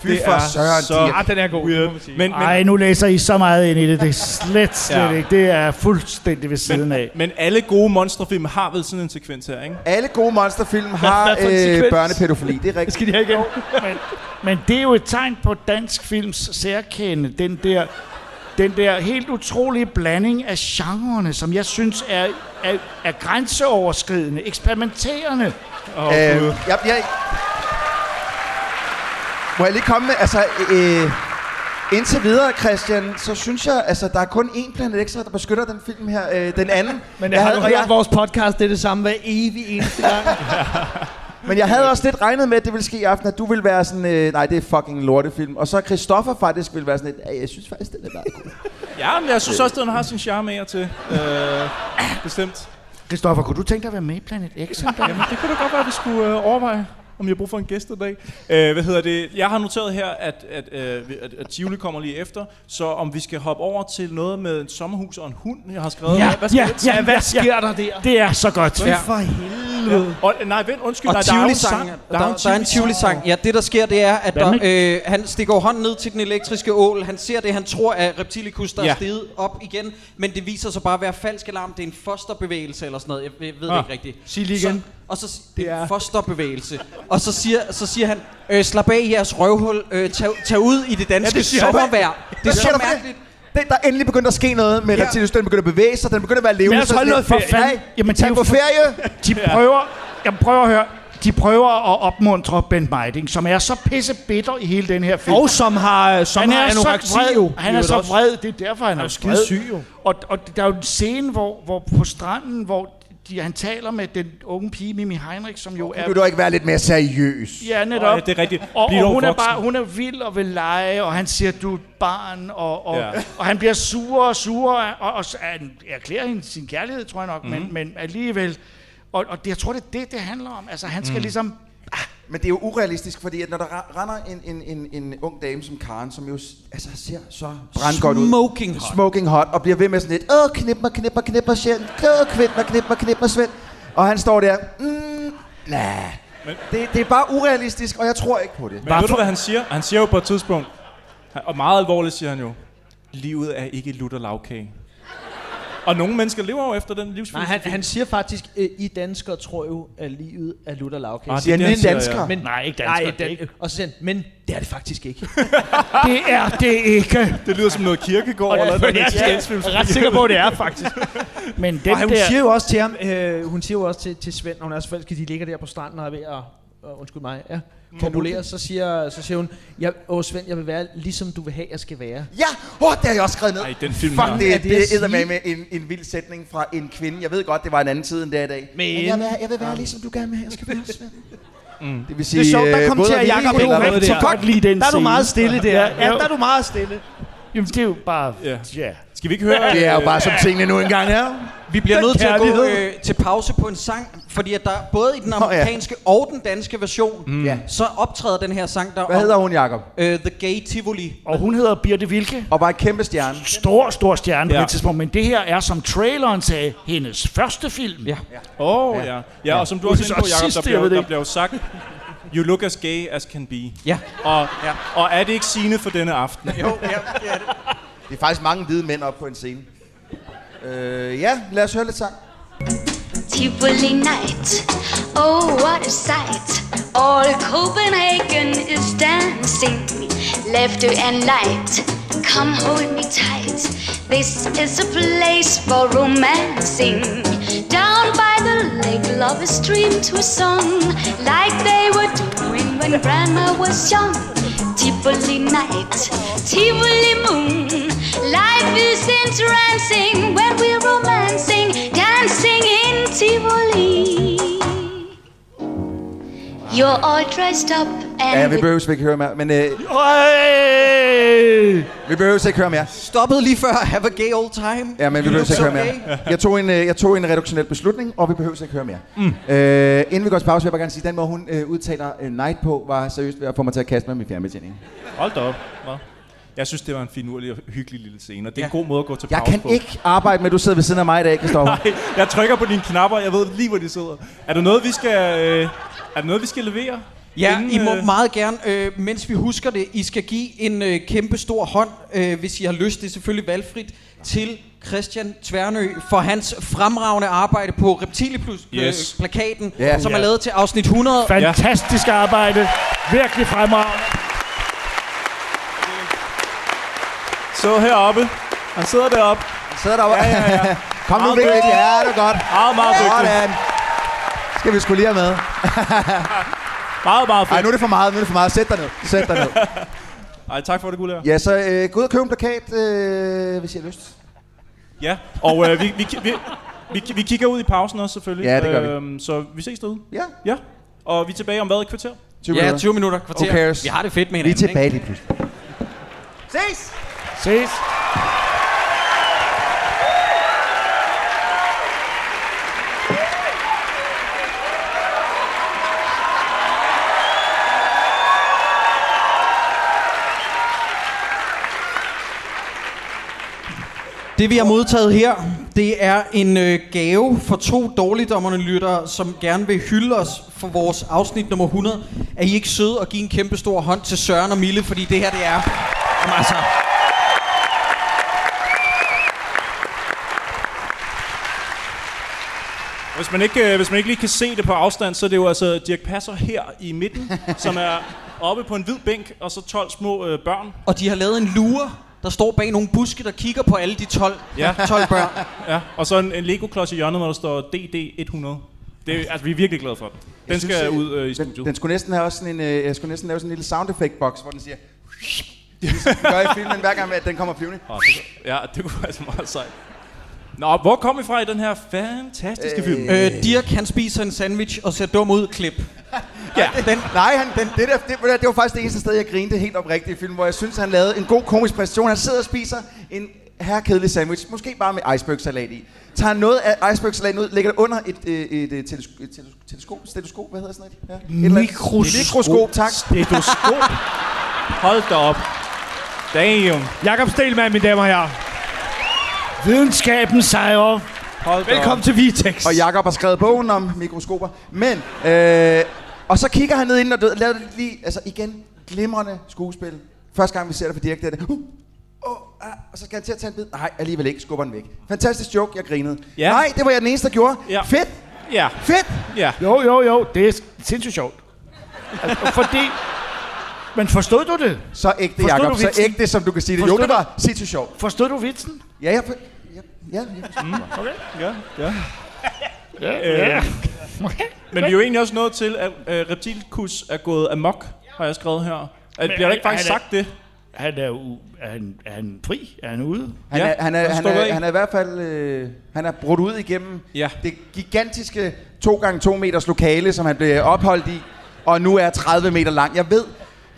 S4: Fy
S3: Det
S4: for
S3: er
S4: søren,
S3: så
S4: de er-
S7: Ah, den er god, det må man sige.
S3: Men, men,
S6: Nej, nu læser I så meget ind i det. Det er slet, slet
S3: Ja.
S6: ja. ikke. Det er fuldstændig ved siden af.
S3: men alle gode monsterfilm har vel sådan en sekvens her, ikke?
S4: Alle gode monsterfilm har
S6: hvad for en
S4: øh,
S6: sekvens?
S4: børnepædofili, det er rigtigt.
S7: Skal de have igen?
S6: Men, men det er jo et tegn på dansk films særkende. Den der, den der helt utrolige blanding af genrerne, som jeg synes er, er, er grænseoverskridende, eksperimenterende.
S4: Øh, jeg, jeg, må jeg lige komme med, altså, øh, indtil videre, Christian, så synes jeg, altså, der er kun én Planet Extra, der beskytter den film her, øh, den anden.
S7: Men jeg har
S4: havde,
S7: du
S4: og
S7: hørt vores podcast, det er det samme hver evig eneste gang.
S4: men jeg havde også lidt regnet med, at det ville ske i aften, at du ville være sådan, øh, nej, det er fucking lortefilm. Og så Christoffer faktisk ville være sådan lidt, "Ja, jeg synes faktisk, den er meget god.
S3: Ja, men jeg synes også, at den har sin charme af og til. Øh, bestemt.
S6: Kristoffer, kunne du tænke dig at være med i Planet X? en dag?
S3: Jamen, det kunne da godt være, at vi skulle øh, overveje, om jeg har brug for en gæst i dag. Øh, hvad hedder det? Jeg har noteret her, at, at, øh, at, at Tivoli kommer lige efter, så om vi skal hoppe over til noget med et sommerhus og en hund, jeg har skrevet.
S6: Ja,
S3: hvad skal
S6: ja,
S3: det?
S6: ja, hvad sker
S7: der der?
S6: Det er så godt. Ja.
S7: For helvede.
S3: Og, nej, vent, undskyld.
S5: Og
S3: nej, der
S5: der
S3: er jo en
S5: Tivoli-sang.
S3: sang.
S5: Der, der, der er en Tivoli-sang. Ja, det der sker, det er, at der,
S6: Hvad
S5: øh, han stikker jo hånden ned til den elektriske ål. Han ser det, han tror er Reptilicus, der ja.
S3: Ja.
S5: er steget op igen. Men det viser sig bare at være falsk alarm. Det er en fosterbevægelse eller sådan noget. Jeg ved, ved det
S3: Ah.
S5: ikke rigtigt.
S7: Sig lige
S5: Så,
S7: igen.
S5: og så, det er en fosterbevægelse. Og så siger, så siger han, øh, slap af i jeres røvhul. Øh, tag, tag ud i det danske ja,
S4: det
S5: det
S4: siger han.
S5: sommervejr. Det
S4: Hvad
S5: er
S4: sker
S5: så
S4: der for det?
S5: mærkeligt.
S4: Det, der er endelig begyndt at ske noget med ja. Reptilus. Den begynder at bevæge sig, den begynder at være levende.
S6: Men lad os
S4: Så
S6: holde
S4: sådan
S6: noget
S4: lidt,
S6: for fanden.
S4: nej,
S6: Jamen, det er
S4: Tag
S6: jo
S4: på
S6: for-
S4: ferie.
S6: De prøver, jamen prøv at høre, de prøver at opmuntre Ben Meiding, som er så pisse bitter i hele den her film.
S7: Og som har, som
S6: han
S7: har
S6: er
S7: anoreksi,
S6: så vred.
S7: jo.
S6: Han
S7: I
S6: er
S7: øvrigt
S6: så
S7: også.
S6: vred. Det er derfor, han er,
S7: jo
S6: er
S7: skide syg, jo.
S6: Og, og der er jo en scene hvor, hvor på stranden, hvor de, han taler med den unge pige, Mimi Heinrich, som jo er...
S4: Vil du ikke være lidt mere seriøs?
S6: Ja, netop.
S3: Åh, ja, det er rigtigt.
S6: Og,
S3: Bliv dog
S6: og hun, er
S3: voksen.
S6: bare, hun er vild og vil lege, og han siger, du er et barn, og, og,
S3: Ja.
S6: ja. og han bliver surere og surere, og, og, så- han erklærer hende sin kærlighed, tror jeg nok,
S3: Mhm.
S6: mm-hmm. men, men alligevel. Og, og det, jeg tror, det er det, det handler om. Altså, han
S3: Mhm.
S6: skal mm. ligesom...
S4: Men det er jo urealistisk, fordi at når der ra- render en, en, en, en ung dame som Karen, som jo s- altså, ser så brandgodt ud.
S5: Smoking hot.
S4: Smoking hot. Og bliver ved med sådan lidt, åh, knip mig, knip mig, knip mig, Sjæl. Åh, knip mig, knip mig, knip mig, Svend. Og han står der, mm, nah. Det, det er bare urealistisk, og jeg tror ikke på det.
S3: Men ved du, hvad han siger? Han siger jo på et tidspunkt, han- og meget alvorligt siger han jo, livet er ikke lutter lavkage. Og nogle mennesker lever jo efter den
S7: Nej,
S3: livsfilosofi.
S7: han, han siger faktisk, øh, I danskere tror jo, at livet er lutter lavkage.
S3: Ah, det
S4: Siger
S3: er det,
S4: han
S3: han
S4: lige
S3: siger,
S4: dansker?
S3: ja.
S7: Men,
S6: Nej, ikke danskere,
S7: nej,
S6: det er ikke.
S7: Og så siger han, men det er det faktisk ikke.
S6: Det er det ikke.
S3: Det lyder som noget kirkegård eller noget eksistensfilosofi.
S6: på, det er faktisk. Men den
S7: Og han, hun
S6: der...
S7: siger jo også til ham, øh, hun siger jo også til, til Svend, når hun er så forelsket, de ligger der på stranden og er ved at, øh, undskyld mig, ja, formulere, så siger, så siger hun, jeg, åh Svend, jeg vil være, ligesom du vil have, jeg skal være.
S4: Ja, oh, det har jeg også skrevet ned.
S3: Ej, den film
S4: Fuck,
S3: her.
S4: det,
S7: Er
S4: er,
S7: det
S4: det
S7: at sige?
S4: er med med en, en vild sætning fra en kvinde. Jeg ved godt, det var en anden tid end det er i dag.
S7: Men-
S4: jeg, vil, jeg vil være ligesom du gerne vil have, jeg skal være Svend. Mm. Det vil sige,
S7: Det er sjovt, der
S4: øh,
S7: kom
S4: både
S7: til, at
S4: at
S7: Jacob
S4: ville
S7: ikke
S4: eller hvad?
S7: rigtig
S6: Så
S7: godt
S6: godt lide den
S7: Der er du
S6: scene.
S7: meget stille der.
S6: Ja,
S7: Ja,
S6: jo.
S7: der er du meget stille.
S6: Jamen, det er jo bare...
S3: Ja.
S6: Ja.
S3: Skal vi ikke høre...
S4: Det er jo
S3: øh,
S4: bare, som tingene nu engang er.
S5: Vi bliver
S4: Den
S5: nødt til at gå
S4: kærlighed.
S5: øh, til pause på en sang, fordi at der både i den
S4: Nå, ja.
S5: amerikanske oh, ja. og den danske version,
S4: Mm. Ja.
S5: så optræder den her sang der
S4: Hvad hedder hun, Jacob?
S5: Øh, The Gay Tivoli.
S6: Og hun hedder Birte Vilke.
S4: Og var en kæmpe stjerne.
S6: Stor, stor stjerne ja.
S3: Ja.
S6: på det tidspunkt. Men det her er, som traileren sagde, hendes første film.
S5: Ja.
S3: Åh, oh, ja. ja. og som du også er inde på,
S6: Og
S3: Jacob, der
S6: sidste,
S3: bliver,
S6: jeg
S3: jo-
S6: ved det
S3: der
S6: ikke.
S3: bliver jo sagt, you look as gay as can be.
S5: Ja.
S3: Og, og er det ikke sine for denne aften?
S5: Jo, ja, det er det.
S4: Det er faktisk mange hvide mænd op på en scene. Øh, ja, lad os høre lidt sang.
S12: Tivoli night. Oh, what a sight. All Copenhagen is dancing. Laughter and light. Come hold me tight. This is a place for romancing. Down by the lake, lovers stream to a song like they were doing when grandma was young. Tivoli night, Tivoli moon. Life is entrancing when we're romancing, dancing in Tivoli. You're all dressed up and
S4: Ja, vi behøver ikke høre mere, men øh,
S6: Øj!
S4: vi behøver ikke høre mere.
S5: Stoppede lige før Have a Gay Old Time.
S4: Ja, men vi
S5: You
S4: behøver ikke
S5: look
S4: høre
S5: so gay.
S4: mere. Jeg tog en, øh, jeg tog en reduktionel beslutning, og vi behøver ikke høre mere. Mm. Øh, inden vi går til pause, vil jeg bare gerne sige, at den måde, hun øh, udtaler øh, night på, var seriøst ved at få mig til at kaste mig med min fjernbetjening.
S3: Hold da op. Hva? Jeg synes, det var en finurlig og hyggelig lille scene, og det er en god måde at gå til
S4: Jeg
S3: pause
S4: kan
S3: på.
S4: ikke arbejde med, at du sidder ved siden af mig i dag, Kristoffer.
S3: Nej, jeg trykker på dine knapper, jeg ved lige, hvor de sidder. Er der noget, vi skal, øh, er der noget, vi skal levere?
S5: Ja,
S3: Inden,
S5: I må
S3: øh,
S5: meget gerne, øh, mens vi husker det, I skal give en øh, kæmpe stor hånd, øh, hvis I har lyst, det er selvfølgelig valgfrit, til Christian Tvernø for hans fremragende arbejde på
S3: Yes.
S5: Reptiliplus-plakaten,
S4: Ja.
S5: som er
S6: Ja.
S5: lavet til afsnit 100.
S6: Fantastisk arbejde. Virkelig fremragende.
S3: Så heroppe. Han sidder deroppe.
S4: Sidder der ja, ja, ja. Kom nu,
S3: Meget
S4: Mikkel.
S3: dygtig.
S4: Ja, det er godt.
S3: Meget, meget dygtig.
S4: Sådan. Skal vi skulle lige have med.
S3: Meget, meget
S4: Ej,
S3: fedt.
S4: nu er det for meget, nu er det for meget. Sæt dig ned. Sæt dig ned.
S3: Ej, tak for det, Gulær.
S4: Ja, så øh, gå ud og køb en plakat, øh, hvis I har lyst.
S3: Ja, og øh, vi, vi, vi, vi, vi kigger ud i pausen også, selvfølgelig.
S4: Ja, det gør
S3: vi. Så vi ses derude.
S4: Ja,
S3: Ja, og vi er tilbage om hvad, et kvarter?
S4: 20
S5: Ja,
S4: minutter.
S5: 20 minutter, kvarter.
S4: Who cares?
S5: Vi har det fedt med
S4: Vi er
S5: hinanden,
S4: tilbage lige pludselig.
S5: Ses!
S6: Ses.
S5: Det vi har modtaget her, det er en øh, gave for to dårligdommerne lyttere, som gerne vil hylde os for vores afsnit nummer 100. Er I ikke søde og give en kæmpe stor hånd til Søren og Mille, fordi det her det er... Jamen, altså,
S3: Hvis man, ikke, øh, hvis man ikke lige kan se det på afstand, så er det jo altså Dirk Passer her i midten, som er oppe på en hvid bænk, og så 12 små øh, børn.
S5: og de har lavet en lure, der står bag nogle buske, der kigger på alle de 12, ja.
S3: Ja.
S5: 12 børn.
S3: Ja, og så en, en Lego-klods i hjørnet, hvor der står DD100. Det, er- altså, vi er virkelig glade for den. Den
S4: Jeg synes,
S3: skal
S4: øh,
S3: ud øh, i
S4: Den,
S3: studiet.
S4: den skulle næsten have også sådan en, øh, jeg skulle næsten lave sådan en lille sound effect box, hvor den siger... Ligesom den gør i filmen, hver gang at den kommer flyvende.
S3: Åh, Ah, det- Ja, det kunne faktisk meget sejt. Nå, hvor kom vi fra i den her fantastiske øh, film?
S5: Øh, Dirk, han spiser en sandwich og ser dum ud, klip.
S3: ja.
S5: Den,
S4: Nej, han, den, det, der, det, ved du hvad, det var faktisk det eneste sted, jeg grinede helt oprigtigt i filmen, hvor jeg synes, han lavede en god komisk præstation. Han sidder og spiser en herrekedelig sandwich, måske bare med icebergsalat i. Tager noget af icebergsalaten ud, lægger det under et, øh, et, et, telesko- et telesko- teleskop, stetoskop, hvad hedder sådan et? Ja. et eller andet.
S6: Mikroskop.
S4: Mikroskop, tak.
S3: Stetoskop. Hold da op. Damn.
S6: Jakob Stelmann, mine damer og herrer. Videnskaben sejrer.
S3: Hold da
S6: Velkommen
S3: op.
S6: til Vitex.
S4: Og Jakob har skrevet bogen om mikroskoper. Men, øh, og så kigger han ned inden og død, laver det lige, altså igen, glimrende skuespil. Første gang vi ser det på Dirk, det er det, uh, oh, ah, og så skal han til at tage en bid. Nej, alligevel ikke, skubber den væk. Fantastisk joke, jeg grinede. Ja.
S3: Ja.
S4: Nej, det var jeg den eneste, der gjorde. Ja.
S3: Ja.
S4: Fedt,
S3: Ja,
S4: fedt.
S3: ja.
S6: Jo, jo, jo. Det er sindssygt sjovt. Altså, fordi... Men forstod du det?
S4: Så ægte,
S6: Forstod
S4: Jakob,
S6: du
S4: så
S6: vitsen?
S4: ægte, som du kan sige det.
S6: Forstod
S4: jo, det
S6: du-
S4: var sindssygt sjovt.
S6: Forstod du vitsen?
S4: Ja, jeg, for- ja, ja, jeg forstod.
S3: Ja, ja.
S6: Ja.
S3: Øh, Men vi er jo egentlig også nået til, at øh, Reptilkus er gået amok, har jeg skrevet her. At, bliver der ikke
S6: er-
S3: faktisk
S6: er det-
S3: sagt det?
S6: Han er, jo, er, han, er han fri? Er han ude?
S4: Han,
S3: Ja,
S4: er, han, er,
S3: der
S4: han,
S3: står
S4: er,
S3: bag.
S4: han er i hvert fald øh, han er brudt ud igennem
S3: Ja.
S4: det gigantiske 2x2 meters lokale, som han blev opholdt i, og nu er 30 meter lang. Jeg ved,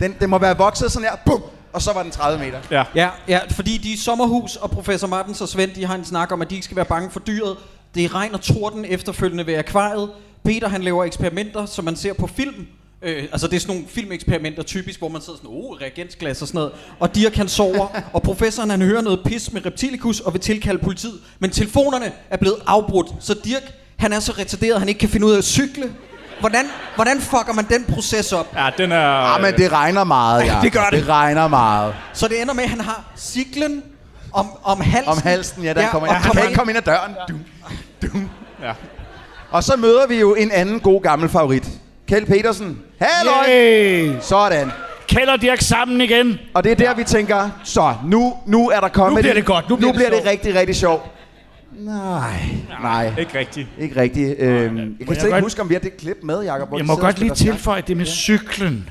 S4: den, den må være vokset sådan her, bum, og så var den 30 meter.
S3: Ja.
S5: ja, ja, fordi de er sommerhus, og professor Martens og Svend, de har en snak om, at de ikke skal være bange for dyret. Det regner torden efterfølgende ved akvariet. Peter, han laver eksperimenter, som man ser på film. Øh, altså det er sådan nogle filmeksperimenter typisk, hvor man sidder sådan, oh, reagensglas og sådan noget. Og Dirk han sover, og professoren han hører noget pis med Reptilicus og vil tilkalde politiet. Men telefonerne er blevet afbrudt, så Dirk han er så retarderet, han ikke kan finde ud af at cykle. Hvordan, hvordan fucker man den proces op?
S3: Ja, den er...
S4: Ah, men det regner meget, ja.
S5: det gør det.
S4: Det regner meget.
S5: Så det ender med, at han har siklen om, om halsen.
S4: Om halsen, ja, der ja, kommer ind.
S5: og
S4: Han kan ikke
S5: ind.
S4: komme ind ad døren. Dum, dum.
S3: Ja.
S4: Og så møder vi jo en anden god gammel favorit. Kjeld Petersen. Halløj!
S6: Yay!
S4: Sådan.
S6: Kjeld og Dirk sammen igen.
S4: Og det er der, vi tænker, så nu, nu er der kommet...
S6: bliver det godt, nu bliver det
S4: nu bliver det,
S6: sjovt.
S4: rigtig, rigtig sjovt. Nej, nej.
S3: Ikke rigtigt.
S4: Ikke rigtigt. Øhm, jeg kan
S6: jeg
S4: slet ikke
S6: godt-
S4: huske, om vi har det klip med, Jacob. hvor
S6: Jeg
S4: de
S6: må
S4: sidder
S6: godt
S4: og
S6: lige
S4: spiller
S6: tilføje det med cyklen.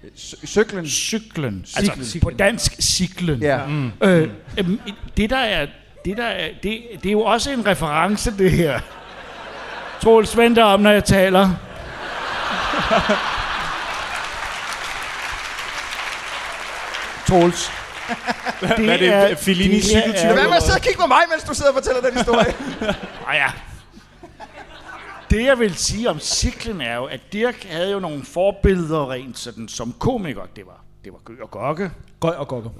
S4: skak. Cy- Cyklen.
S6: Cyklen.
S4: Cyklen.
S6: Altså, på dansk, cyklen.
S4: Ja.
S6: Øh, øhm, det der er, det der er, det, det er jo også en reference, det her. Troels, vend dig om, når jeg taler. Troels. Det
S3: Hvad er det? Fellini
S6: det her
S3: cykeltype?
S6: er-
S4: Hvad med at sidde og kigge på mig, mens du sidder og fortæller den historie?
S6: Ah, ja. Det, jeg vil sige om Siklen, er jo, at Dirk havde jo nogle forbilleder rent sådan, som komiker. Det var, det var Gøg og Gokke.
S7: Gøj og gokker.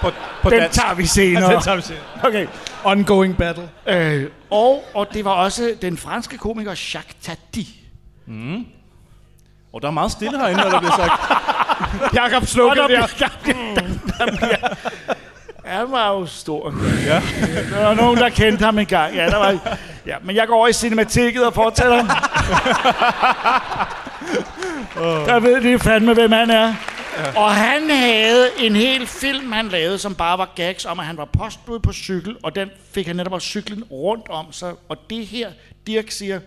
S3: På, på
S6: Den
S3: dansk.
S6: tager vi senere.
S3: Den tager vi senere.
S6: Okay.
S7: Ongoing battle.
S6: Øh, og, og det var også den franske komiker Jacques Tati.
S3: Og der er meget stille herinde, når der bliver sagt.
S6: Jakob slukker der. Han var jo stor. Ja. Der var nogen, der kendte ham engang. Ja, der var, ja, men jeg går over i cinematikket og fortæller. der ved de fandme, hvem han er. Og han havde en hel film, han lavede, som bare var gags om, at han var postbud på cykel, og den fik han netop også cyklen rundt om sig. Og det her, Dirk siger,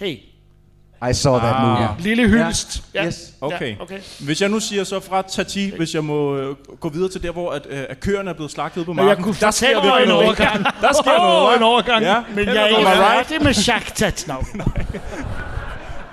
S6: hey,
S4: I saw that movie.
S6: lille hyldest. Ja.
S4: Yes.
S3: Okay.
S6: Ja, okay.
S3: Hvis jeg nu siger så fra Tati, hvis jeg må øh, gå videre til der, hvor at, øh, at køerne er blevet slagtet på marken.
S6: jeg kunne
S3: der sker
S6: fortælle dig en
S3: virkelig noget.
S6: overgang.
S3: Der sker
S6: Åh,
S3: noget.
S6: en overgang.
S3: Ja.
S6: Men jeg er ikke
S3: Am I right?
S6: færdig med Jacques Tat. No.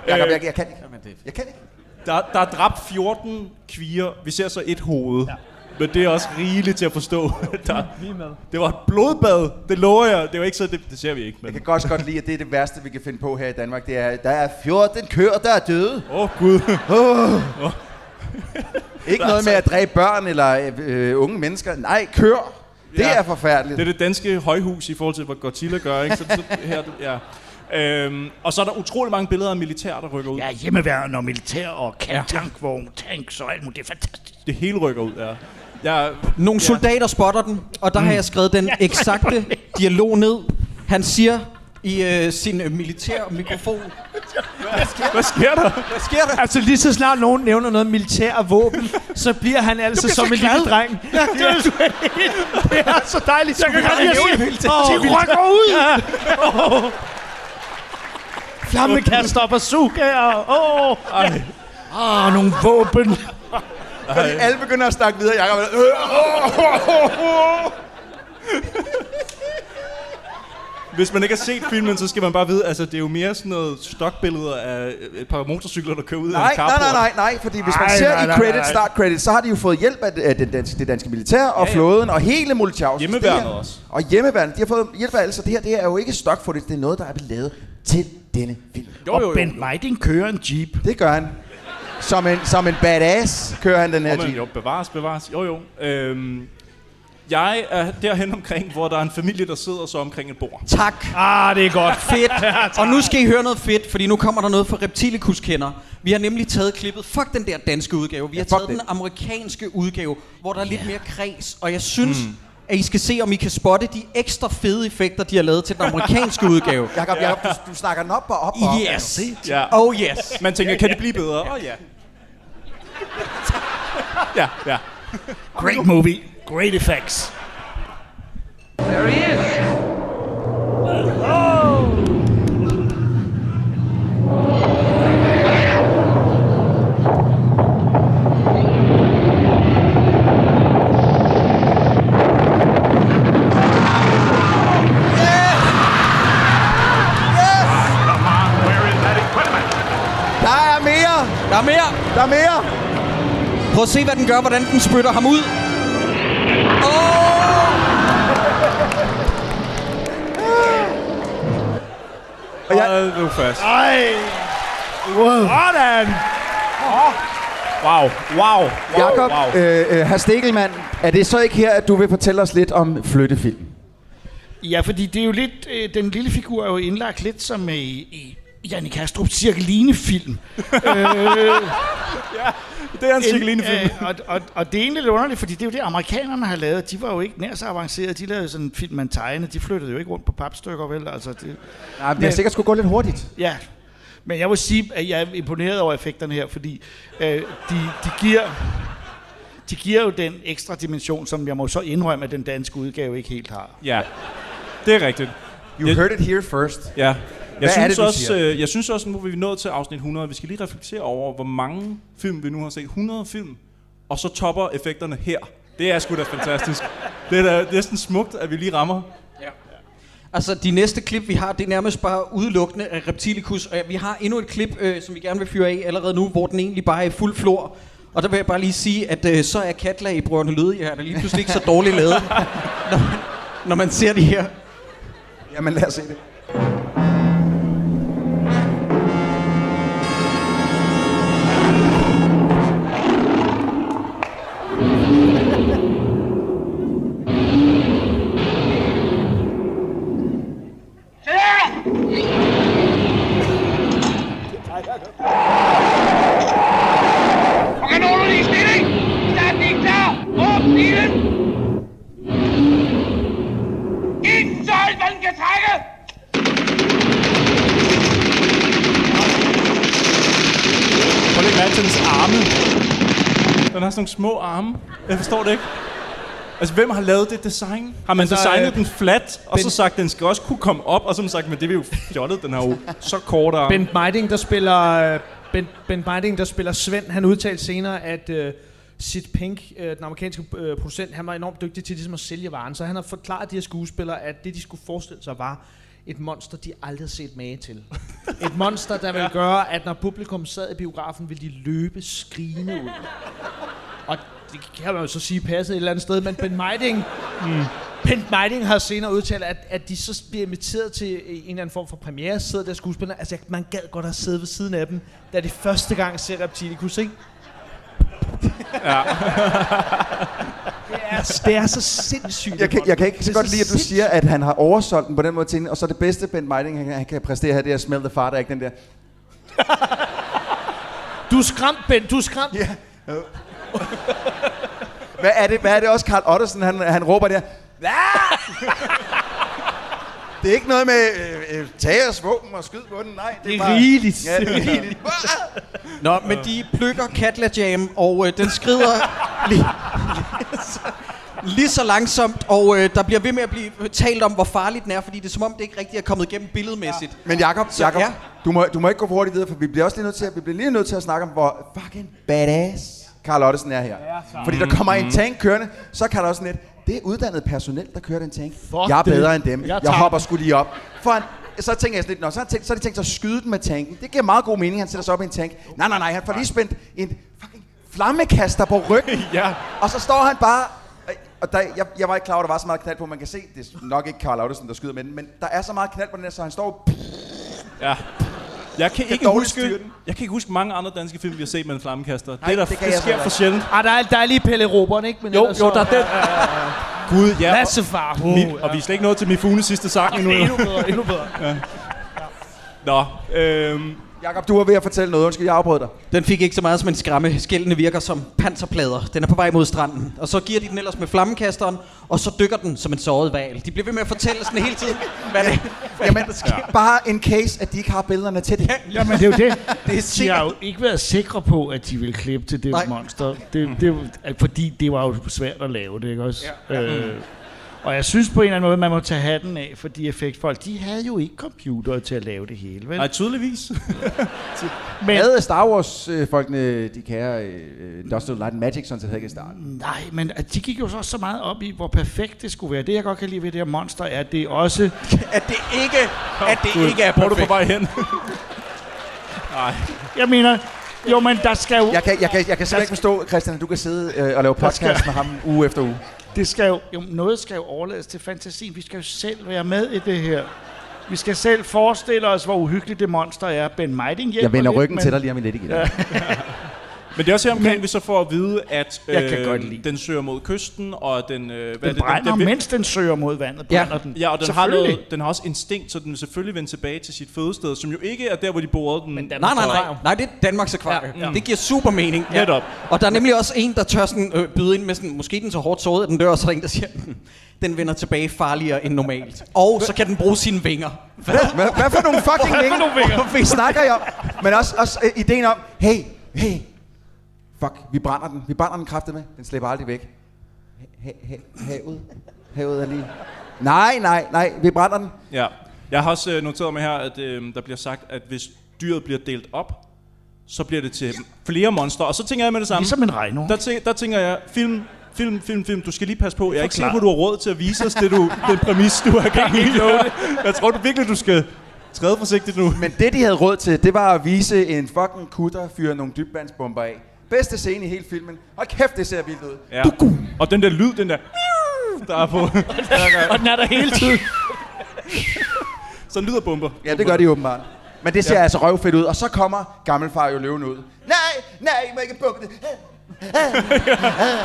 S4: Jacob, jeg, jeg
S6: Øh.
S4: kan ikke. Jeg kan ikke.
S3: Der, der er dræbt 14 kvier. Vi ser så et hoved. Ja. Men det er også rigeligt til at forstå. Der, vi med. Det var et blodbad. Det lover jeg. Det var ikke så, det, det ser vi ikke.
S4: Jeg
S3: Men.
S4: kan godt godt lide, at det er det værste, vi kan finde på her i Danmark. Det er, at der er 14 køer, der er døde.
S3: Åh, oh, Gud.
S4: Ikke noget med at dræbe børn eller øh, øh, unge mennesker. Nej, køer. Det
S3: Ja.
S4: er forfærdeligt.
S3: Det er det danske højhus i forhold til, hvad Godzilla gør. Ikke? Så, så her, ja. Øhm, og så er der utrolig mange billeder af militær, der rykker ud.
S6: Jeg
S3: Ja.
S6: er hjemmeværende og militær og kan tankvogn, tanks og alt muligt. Det er fantastisk.
S3: Det hele rykker ud, ja. Jeg,
S5: Nogle soldater spotter den, og der har
S4: Mm.
S5: jeg skrevet den eksakte dialog ned. Han siger i øh, sin øh, militær mikrofon.
S3: hvad sker der?
S5: Hvad sker der?
S7: Altså lige så snart nogen nævner noget militær og våben, så bliver han altså som en lille dreng. Ja, det, er, det er så dejligt. Jeg kan
S6: godt lide at sige,
S7: oh,
S6: De rykker ud!
S7: flammekaster og bazooka og... Oh.
S6: Åh, Ah, nogle våben.
S4: Fordi alle begynder at snakke videre. Jacob er, øh,
S3: Hvis man ikke har set filmen, så skal man bare vide, altså det er jo mere sådan noget stokbilleder af et par motorcykler, der kører ud af
S4: nej,
S3: en
S4: nej,
S3: carport.
S4: nej, nej, nej, fordi hvis man
S6: Ej,
S4: ser
S6: nej,
S4: i
S6: nej,
S4: credit,
S6: nej, nej.
S4: start credit, så har de jo fået hjælp af, af den danske, det danske militær og ja, ja. flåden og hele Multiaus.
S3: Hjemmeværnet
S4: Det her-
S3: også.
S4: Og hjemmeværnet, de har fået hjælp af alt, så det her det her er jo ikke stock footage, det er noget, der er blevet lavet til denne film.
S6: Jo, jo, jo. Og Bent Meiding kører en jeep.
S4: Det gør han. Som en, som en badass kører han den her
S3: Åh, men
S4: jeep.
S3: jo, bevares, bevares. Jo, jo. Øhm, jeg er derhen omkring, hvor der er en familie, der sidder så omkring et bord.
S5: Tak.
S6: Ah, det er godt.
S5: Fedt. Og nu skal I høre noget fedt, fordi nu kommer der noget for Reptilicus kender. Vi har nemlig taget klippet. Fuck den der danske udgave. Vi har
S4: fuck
S5: taget
S4: det.
S5: den amerikanske udgave, hvor der er lidt mere kreds. Og jeg synes,
S4: Mm.
S5: at I skal se, om I kan spotte de ekstra fede effekter, de har lavet til den amerikanske udgave.
S4: Jakob, Jakob du, du snakker den op og op og op.
S5: Yes.
S3: Ja.
S5: Oh yes.
S3: Man tænker, kan det blive bedre? Åh, oh, ja. ja, ja.
S6: Great movie. Great effects.
S4: Der er mere!
S5: Der er mere.
S4: Der er mere!
S5: Prøv at se, hvad den gør, hvordan den spytter ham ud.
S3: Og jeg... nu fast.
S6: Ej!
S3: Wow.
S6: Sådan!
S3: Wow, wow, wow,
S4: Jakob,
S3: wow.
S4: øh, øh, herr Stegelmann, er det så ikke her, at du vil fortælle os lidt om flyttefilm?
S6: Ja, fordi det er jo lidt, øh, den lille figur er jo indlagt lidt som øh, i Janne Kastrup cirkeline-film. øh,
S3: Det er en cirkelinefilm.
S6: Øh, og, og, og det er egentlig lidt underligt, fordi det er jo det, amerikanerne har lavet. De var jo ikke nær så avancerede. De lavede jo sådan en film, man tegnede. De flyttede jo ikke rundt på papstykker, vel? Altså, det,
S4: Nej, men det har sikkert skulle gå lidt hurtigt.
S6: Ja, men jeg vil sige, at jeg er imponeret over effekterne her, fordi øh, de, de giver... De giver jo den ekstra dimension, som jeg må så indrømme, at den danske udgave ikke helt har.
S3: Ja, det er rigtigt.
S4: You
S3: Jeg-
S4: heard it here first.
S3: Ja. Jeg
S4: Hvad er
S3: synes,
S4: det, du
S3: også,
S4: siger?
S3: øh, jeg synes også, nu er vi nået til afsnit 100. Vi skal lige reflektere over, hvor mange film vi nu har set. 100 film, og så topper effekterne her. Det er sgu da fantastisk. det er da næsten smukt, at vi lige rammer.
S5: Altså, de næste klip, vi har, det er nærmest bare udelukkende af Reptilicus. Og vi har endnu et klip, øh, som vi gerne vil fyre af allerede nu, hvor den egentlig bare er i fuld flor. Og der vil jeg bare lige sige, at øh, så er Katla i Brødrene Løde her, der lige pludselig ikke så dårligt lavet, når, når man ser det her.
S4: Jamen lad os se det.
S11: Okay, nu er du lige stille. Stand lige klar. Åb stilen. Giv den så alt, hvad den kan trække.
S3: Prøv lige at mærke til dens arme. Den har sådan nogle små arme. Jeg forstår det ikke. Altså, hvem har lavet det design? Har man
S6: Altså,
S3: designet
S6: øh,
S3: den flat, og så
S7: Ben-
S3: sagt, den skal også kunne komme op, og som sagt, men det er jo fjollet, den har jo så kort arme.
S7: Bent Meiding, der spiller, øh, Bent, Bent Meiding, der spiller Svend, han udtalte senere, at øh, Sid Pink, øh, den amerikanske øh, producent, han var enormt dygtig til ligesom at sælge varen, så han har forklaret de her skuespillere, at det de skulle forestille sig var et monster, de aldrig har set mage til. Et monster, der ville gøre, at når publikum sad i biografen, ville de løbe skrigende ud. Og det kan man jo så sige passet et eller andet sted, men Ben Meiding, mm. ben Meiding har senere udtalt, at, at de så bliver inviteret til en eller anden form for premiere, sidder der skuespillere, altså jeg- man gad godt have siddet ved siden af dem, da de første gang ser Reptilicus, ikke?
S3: Ja.
S7: det, er, det er så sindssygt.
S4: Jeg kan, jeg kan ikke
S7: Det
S4: så
S7: er
S4: godt lide, at du
S7: sindssygt.
S4: siger, at han har oversolgt den på den måde til hende, og så det bedste, Ben Meiding han, han kan præstere her, det er at smell the fart, er ikke den der.
S7: Du er skræmt, Ben, du er skræmt.
S4: Ja. Hvad er det, hvad er det også, Carl Ottesen, han, han råber der? "Ah!" Det er ikke noget med øh, øh, tag og svåben og skyd på den, nej.
S7: Det er
S4: bare-
S7: rigeligt.
S4: Ja, det er rigeligt.
S5: Nå, men de plukker Katla Jam, og øh, den skrider lige, lige så langsomt, og øh, der bliver ved med at blive talt om, hvor farlig den er, fordi det er som om, det ikke rigtig er kommet igennem billedmæssigt. Ja.
S4: Men Jakob,
S5: Så,
S4: Jakob
S5: ja.
S4: du, må, du må ikke gå for hurtigt videre, for vi bliver også lige nødt til at, vi bliver lige nødt til at snakke om, hvor fucking badass Carl Ottesen er her. Fordi der kommer
S7: Mhm.
S4: en tank kørende, så er Carl Ottesen lidt, det er uddannet personel, der kører den tank.
S7: Fuck
S4: jeg er
S7: det.
S4: bedre end dem.
S7: Jeg
S4: Jeg, jeg
S7: tager
S4: hopper sgu lige op. For han, så tænker jeg sådan lidt, Nå, så, har han tænkt, så har de tænkt sig at skyde den med tanken. Det giver meget god mening, han sætter sig op i en tank. Nej, nej, nej, han får lige spændt en fucking flammekaster på ryggen.
S3: ja.
S4: Og så står han bare... øh, Og der, jeg, jeg var ikke klar over, at der var så meget knald på. Man kan se, det er nok ikke Karl Audussen, der skyder med den, men der er så meget knald på den her, så han står...
S3: Ja. Jeg kan, ikke
S4: dårligt
S3: huske,
S4: styre den.
S3: jeg kan ikke huske mange andre danske film, vi har set med en flammekaster.
S4: Nej,
S3: det, der,
S4: det
S3: det,
S4: kan
S3: det
S4: jeg
S3: sker
S4: så
S3: for sjældent.
S7: Ah, der, er, der er lige Pelle Roberen, ikke? Men
S3: Jo,
S7: ellers
S3: jo,
S7: så-
S3: der er den. Gud, ja. og-
S7: Massefar. Oh,
S3: Mi, og vi er slet ikke nået til Mifunes sidste sang endnu.
S7: endnu bedre, endnu bedre.
S3: Nå, øhm,
S4: Jakob, du var ved at fortælle noget. Undskyld, jeg afbrød dig.
S5: Den fik ikke så meget som en skræmme. Skældene virker som panserplader. Den er på vej mod stranden. Og så giver de den ellers med flammekasteren, og så dykker den som en såret val. De bliver ved med at fortælle sådan hele tiden, hvad det, hvad
S4: Jamen,
S5: der sker.
S4: bare en case, at de ikke har billederne til det.
S6: Jamen, det er jo det.
S5: Det er
S6: De har jo
S5: sikkert.
S6: ikke været sikre på, at de ville klippe til det
S5: Nej.
S6: Nej. monster. Det, det, at- fordi det var jo svært at lave det, ikke også? Ja. Øh, og jeg synes på en eller anden måde, man må tage hatten af for de effektfolk. De havde jo ikke computer til at lave det hele, vel?
S3: nej, tydeligvis.
S6: Men,
S4: Havde Star Wars-folkene, de kære øh, Dustin Light and Magic, sådan set havde ikke startet.
S6: nej, men at de gik jo så også så meget op i, hvor perfekt det skulle være. Det, jeg godt kan lide ved det her monster, er, at det er også...
S5: At det ikke, at det ikke er
S3: Hvor er du på
S5: perfekt.
S3: vej hen?
S6: Jeg mener, Jo, men der skal jo...
S4: Jeg kan, jeg kan, jeg kan simpelthen ikke forstå, Christian, at du kan sidde øh, og lave podcast
S6: skal-
S4: med ham uge efter uge.
S6: Det skal jo, jo, noget skal jo overlades til fantasien. Vi skal jo selv være med i det her. Vi skal selv forestille os, hvor uhyggeligt det monster er. Ben Meiding hjælper
S4: Jeg vender
S6: lidt,
S4: ryggen
S6: men-
S4: til dig lige om lidt igen.
S6: Ja.
S3: Men det er også her omkring, vi så får at vide, at øh,
S6: Jeg kan godt
S3: den søger mod kysten, og den... Øh,
S6: Den brænder, den, den, mens den søger mod vandet. Brænder den.
S3: Ja, og den har,
S6: Selvfølgelig.
S3: noget, den har også instinkt, så den vil selvfølgelig vende tilbage til sit fødested, som jo ikke er der, hvor de boede den. Men
S5: Nej, nej, nej. Nej, det er Danmarks akvarie. Ja. Det giver super mening.
S3: Ja. Netop.
S5: Og der er nemlig også en, der tør sådan, øh, byde ind med sådan, måske er den så hårdt såret, at den dør, og så er der en, der siger, "Hm, den vender tilbage farligere end normalt. Og så kan den bruge sine vinger. Hvad,
S4: hvad, hvad for nogle fucking vinger? Hvad snakker jeg om? Men også, også øh, ideen om, hey, hey, fuck, vi brænder den. Vi brænder den kraftigt med. Den slipper aldrig væk. Ha- ha- havet. Havet er lige... Nej, nej, nej, vi brænder den.
S3: Ja. Jeg har også øh, noteret mig her, at øh, der bliver sagt, at hvis dyret bliver delt op, så bliver det til flere monstre. Og så tænker jeg med det samme.
S6: Ligesom en regno.
S3: Der, tæ- der tænker jeg, film, film, film, film, du skal lige passe på. Jeg er ikke
S6: Forklar.
S3: sikker på, du har råd til at vise os det, du, den præmis, du har gang i.
S6: ikke love det.
S3: Jeg tror du virkelig, du skal træde forsigtigt nu.
S4: Men det, de havde råd til, det var at vise en fucking kutter fyre nogle dybvandsbomber af. Bedste scene i hele filmen. Hold kæft, det ser vildt ud.
S3: Ja. Og den der lyd, den der... Der er på.
S6: og den er der hele tiden.
S3: så lyder bomber.
S4: Ja, det gør de åbenbart. Men det ser
S3: Ja.
S4: ja. altså røvfedt ud. Og så kommer gammelfar jo løven ud. Nej, nej, I må ikke bukke det.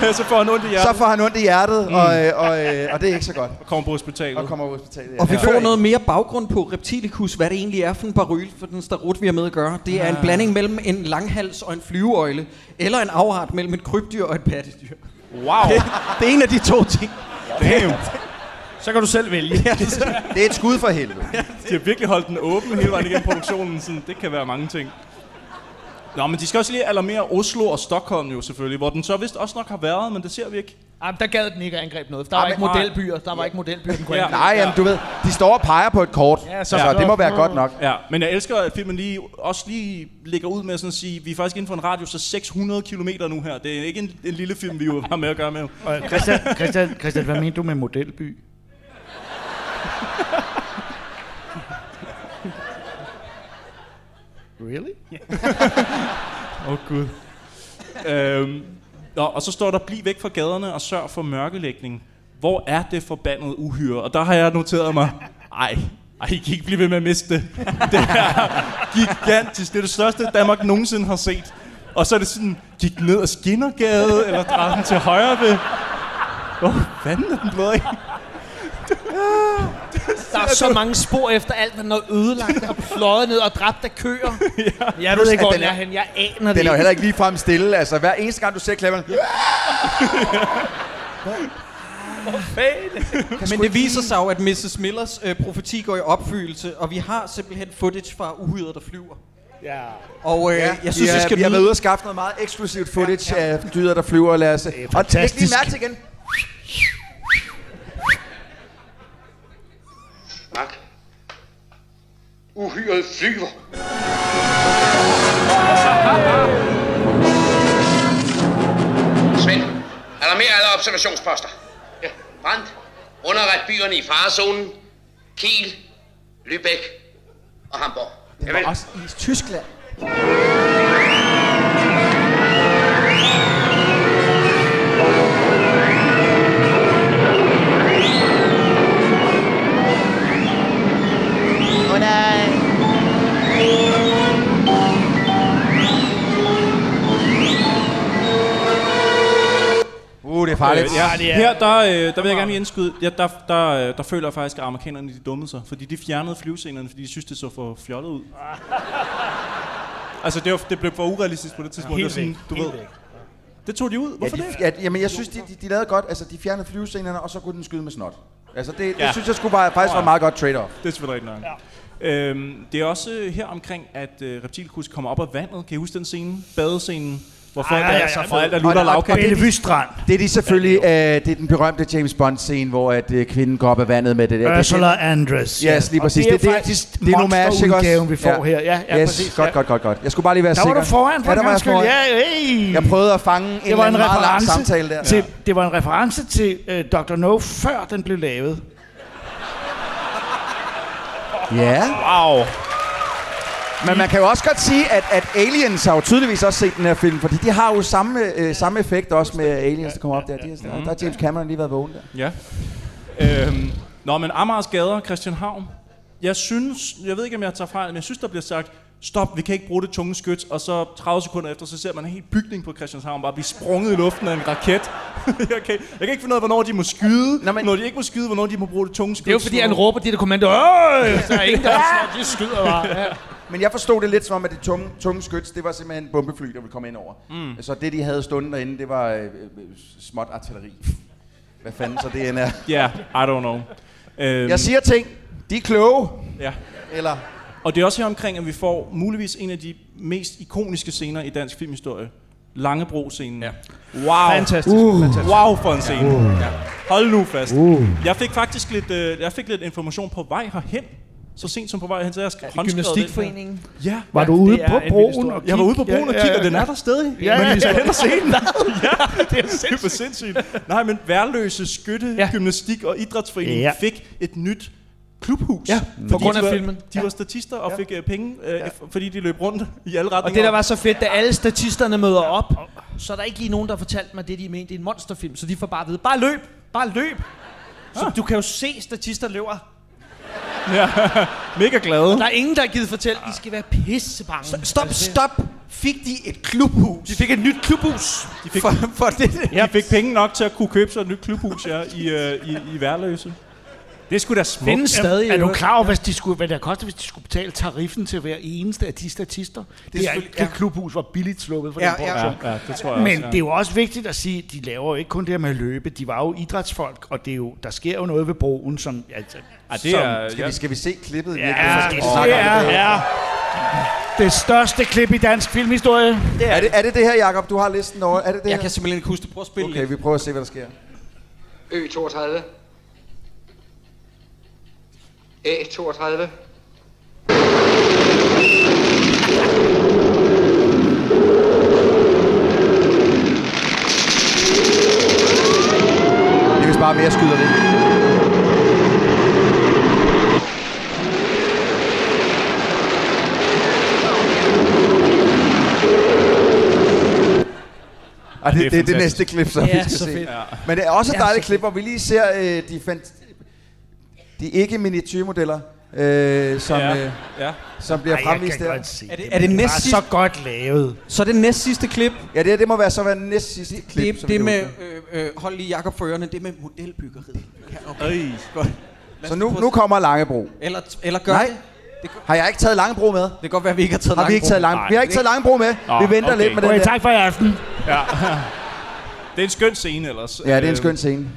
S3: Ja, så får han ondt i hjertet.
S4: Så får han ondt i hjertet, mm. og, øh, og, øh, og det er ikke så godt.
S3: Og kommer på hospitalet.
S4: Og kommer på hospitalet.
S5: Og vi
S4: Ja.
S5: får noget mere baggrund på Reptilicus, hvad det egentlig er for en baryl, for den starut, vi har med at gøre. Det er
S3: Ah.
S5: en blanding mellem en langhals og en flyveøjle, eller en afart mellem et krybdyr og et pattedyr.
S3: Wow.
S5: Det, det er en af de to ting.
S3: Damn.
S7: Så kan du selv vælge.
S5: Ja, det,
S4: Det er et skud for helvede.
S3: De har virkelig holdt den åben hele vejen igennem produktionen. Sådan, det kan være mange ting. Nå, men de skal også lige alarmere Oslo og Stockholm jo selvfølgelig, hvor den så vist også nok har været, men det ser vi ikke.
S7: Jamen, der gad den ikke at angribe noget. for Der
S4: Ej,
S7: var ikke
S4: men-
S7: modelbyer. Der var ikke modelbyer, den kunne
S3: Ja.
S7: angribe.
S4: Nej, jamen, du ved, de står og peger på et kort,
S7: Ja,
S4: ja,
S7: så-
S4: så, så det må være godt nok.
S3: Ja, men jeg elsker, at filmen lige, også lige lægger ud med sådan at sige, vi er faktisk inden for en radius af 600 km nu her. Det er ikke en, en lille film, vi jo har med at gøre med.
S6: Og Christian, Christian, Christian, hvad mener du med modelby? really?
S3: Åh, oh, Gud. øhm, nå, og så står der, bliv væk fra gaderne og sørg for mørkelægning. Hvor er det forbandede uhyre? Og der har jeg noteret mig, ej, ej, I kan ikke blive ved med at miste det. Det er gigantisk. Det er det største, Danmark nogensinde har set. Og så er det sådan, gik den ned ad Skinnergade, eller drej den til højre ved... Hvor fanden er den blevet af?
S7: Der er så mange spor efter alt, hvad den har ødelagt og pløjet ned og dræbt af køer. ja. Jeg ved
S4: Plus,
S7: ikke,
S4: at
S7: hvor
S4: den
S7: den er
S4: er-
S7: hen. Jeg aner det
S4: Den er jo
S7: ikke.
S4: heller ikke ligefrem stille. Altså, hver eneste gang, du ser klapperne...
S5: Men det viser sig jo, at Mrs. Millers øh, profeti går i opfyldelse, og vi har simpelthen footage fra uhyret, der flyver.
S7: Ja.
S5: Og øh,
S4: Ja,
S5: ja, jeg synes,
S4: vi,
S5: det
S4: er,
S5: skal
S4: vi har
S5: lyde...
S4: været ude og skaffe noget meget eksklusivt footage ja, ja. af dyder, der flyver. Lad os, og læg lige
S6: fantastisk.
S4: mærke til igen.
S9: Mark. Uhyret flyver.
S8: Svend, alarmer alle observationsposter. Ja. Brandt, underret byerne i farezonen. Kiel, Lübeck og Hamburg.
S4: Det var også i Tyskland. Uh, det er farligt.
S3: Øh, ja, Her, der, øh, der vil jeg gerne lige indskyde, ja, der, der, øh, der føler jeg faktisk, at amerikanerne de dummede sig, fordi de fjernede flyvescenerne, fordi de synes, det så for fjollet ud.
S7: Ah.
S3: altså, det, var, det blev for urealistisk på det tidspunkt.
S7: Helt
S3: det var
S7: væk.
S3: sådan, du
S7: Helt
S3: ved.
S7: væk.
S3: Det tog de ud.
S4: Ja,
S3: Hvorfor
S4: de,
S3: det?
S4: ja, jamen, jeg synes, de, de, de lavede godt. Altså, de fjernede flyvescenerne, og så kunne den skyde med snot. Altså, det, ja.
S3: Ja.
S4: det synes jeg skulle bare, faktisk var et meget godt trade-off.
S3: Det er selvfølgelig rigtigt nok. Ja. Øhm, det er også øh, her omkring, at øh, reptilkus kommer op af vandet. Kan I huske den scene? Badescenen, hvor folk
S7: ja, ja,
S3: er
S7: ja,
S3: så
S7: jeg
S3: for
S7: ved.
S3: alt er lutter
S4: Og-
S3: og
S4: og-
S3: lavkage.
S4: og det-
S6: Bystrand.
S4: Det er de selvfølgelig, øh, det er den berømte James Bond-scene, hvor at, øh, kvinden går op af vandet med det der.
S6: Ursula
S4: det,
S6: Andress.
S4: Ja, yes, lige præcis.
S6: Og det er faktisk det, det, monsterudgaven, vi får her. Ja, ja
S4: yes,
S6: præcis.
S4: Godt,
S6: ja.
S4: godt, godt, godt. Jeg skulle bare lige være
S6: Der
S4: sikker.
S6: var du foran for
S4: ja,
S6: ja,
S4: der
S6: en gang
S4: var jeg
S6: skyld.
S4: foran.
S6: Ja, hey.
S4: Jeg prøvede at fange en,
S6: det var en
S4: meget lang
S6: reference
S4: samtale der.
S6: Til, det var en reference til øh, Dr. No, før den blev lavet.
S4: Ja.
S3: Wow.
S4: Men man kan jo også godt sige, at, at aliens har jo tydeligvis også set den her film, fordi de har jo samme, øh, samme effekt også med aliens, der kommer op der. De har, der har James Cameron lige været vågen der.
S3: Ja. Øhm, nå, men Amagers gader, Christian Havn. Jeg synes, jeg ved ikke, om jeg tager fejl, men jeg synes, der bliver sagt, stop, vi kan ikke bruge det tunge skyt, og så 30 sekunder efter, så ser man en hel bygning på Christianshavn bare blive sprunget i luften af en raket. jeg, kan, jeg kan ikke finde ud af, hvornår de må skyde, Nå, men... når de ikke må skyde, hvornår de må bruge det tunge skyt.
S6: Det er jo fordi, han råber de der kommando, Øj! så er ingen, der slår, de skyder bare. Ja.
S4: Men jeg forstod det lidt som om, at det tunge, tunge skyts, det var simpelthen bombefly, der ville komme ind over. Mm. Så det, de havde stunden derinde, det var øh, øh, småt artilleri. Hvad fanden så det end er.
S3: Ja, yeah, I don't know. Øhm,
S4: Jeg siger ting, de er kloge.
S3: Ja.
S4: Eller...
S3: Og det er også her omkring, at vi får muligvis en af de mest ikoniske scener i dansk filmhistorie. Langebro-scenen. Ja. Wow.
S7: Fantastisk,
S3: Uh.
S7: fantastisk.
S3: Wow for en scene.
S7: Uh.
S3: Ja. Hold nu fast.
S6: Uh.
S3: Jeg fik faktisk lidt, øh, jeg fik lidt information på vej herhen. Så sent som på vej hen, så jeg skal ja,
S5: Gymnastikforeningen.
S3: Ja.
S6: Var du ude på broen og
S3: Jeg var ude på broen og kiggede, og den er der stadig.
S6: Ja, ja,
S3: Men vi skal
S6: ja.
S3: hen og se den.
S6: ja, det er
S3: Det var
S6: sindssygt.
S3: sindssygt. Nej, men værløse skytte, ja. gymnastik og idrætsforening ja.
S6: Ja.
S3: fik et nyt klubhus.
S7: Ja,
S3: Fordi
S5: grund af
S3: de var,
S5: filmen.
S3: De var statister og fik øh, penge, øh, f- fordi de løb rundt i alle retninger.
S7: Og det, der var så fedt, da alle statisterne møder op, så er der ikke lige nogen, der fortalte mig det, de mente i en monsterfilm. Så de får bare at vide, bare løb, bare løb. Så du kan jo se, statister løber.
S3: mega glade.
S7: Der er ingen, der har givet fortælle, I skal være pissebange. Altså,
S5: Stop, stop! Fik de et klubhus?
S7: De fik et nyt klubhus.
S3: De fik,
S5: For, for det.
S3: de fik penge nok til at kunne købe sig et nyt klubhus ja, i, øh, i, i værløse. Det skulle da
S7: Findes
S3: smukt.
S7: stadig. øh,
S6: Er
S7: i
S6: du
S7: øvrigt.
S6: klar over, hvad, de skulle, hvad det koster, hvis de skulle betale tariffen til hver eneste af de statister? Det, er,
S5: selvfølgelig-
S6: det
S5: ja.
S6: klubhus var billigt sluppet for
S5: Ja,
S6: den
S5: ja.
S6: produktion.
S3: Ja, ja, det tror jeg
S6: Men
S3: også, ja.
S6: det er jo også vigtigt at sige, de laver jo ikke kun det her med at løbe. De var jo idrætsfolk, og det er jo, der sker jo noget ved broen, som... Altså,
S3: ja, det er,
S4: Skal, vi, skal vi se klippet?
S6: ja,
S4: virkelig?
S6: det,
S4: Så skal vi snakke om
S6: er,
S4: det.
S6: ja, det største klip i dansk filmhistorie.
S4: Er det, er det det her, Jakob? Du har listen over. Er det det
S5: Jeg
S4: her?
S5: kan simpelthen ikke huske det. Prøv at spille
S4: Okay,
S5: okay.
S4: vi prøver at se, hvad der sker.
S8: Ø32. A32.
S4: Det er vist bare mere skyder det. Og det,
S3: er
S4: det, det er det
S3: fantastisk.
S4: næste klip, som
S7: Ja,
S4: vi skal
S7: så
S4: se.
S7: fedt. Ja.
S4: Men det er også et
S7: Ja,
S4: dejligt
S7: så
S4: klip, hvor vi lige ser øh, de, fant- de ikke miniatyrmodeller, øh, som, ja. øh,
S3: ja, ja.
S4: som bliver
S6: Ej, jeg
S4: fremvist
S6: kan
S4: der.
S6: godt se
S5: Er det,
S6: det.
S5: er det
S6: Det
S5: næst
S6: var
S5: sidste?
S6: så godt lavet.
S5: Så er det næst sidste klip.
S4: Ja, det, her, det må være så være næst sidste klip.
S5: det,
S4: som
S5: det
S4: vi
S5: med,
S4: åbner.
S5: øh, øh, hold lige Jakob for ørerne, det med modelbyggeriet. Ja, okay.
S3: Øj.
S5: Godt. Lad
S4: Så
S5: os
S4: nu,
S5: prøve at-
S4: nu kommer Langebro.
S5: Eller, eller gør
S4: Nej.
S5: det. Det kan,
S4: Har jeg ikke taget Langebro med?
S5: det kan godt være, at vi ikke har taget
S4: Har vi ikke taget
S5: langt.
S4: Langebro? Vi har ikke taget Langebro med.
S3: Nå,
S4: Vi venter
S3: okay.
S4: lidt med den
S6: Okay,
S4: der.
S6: tak for i aften.
S3: Det er en skøn scene ellers.
S4: Ja, det er en
S3: Øhm,
S4: skøn scene.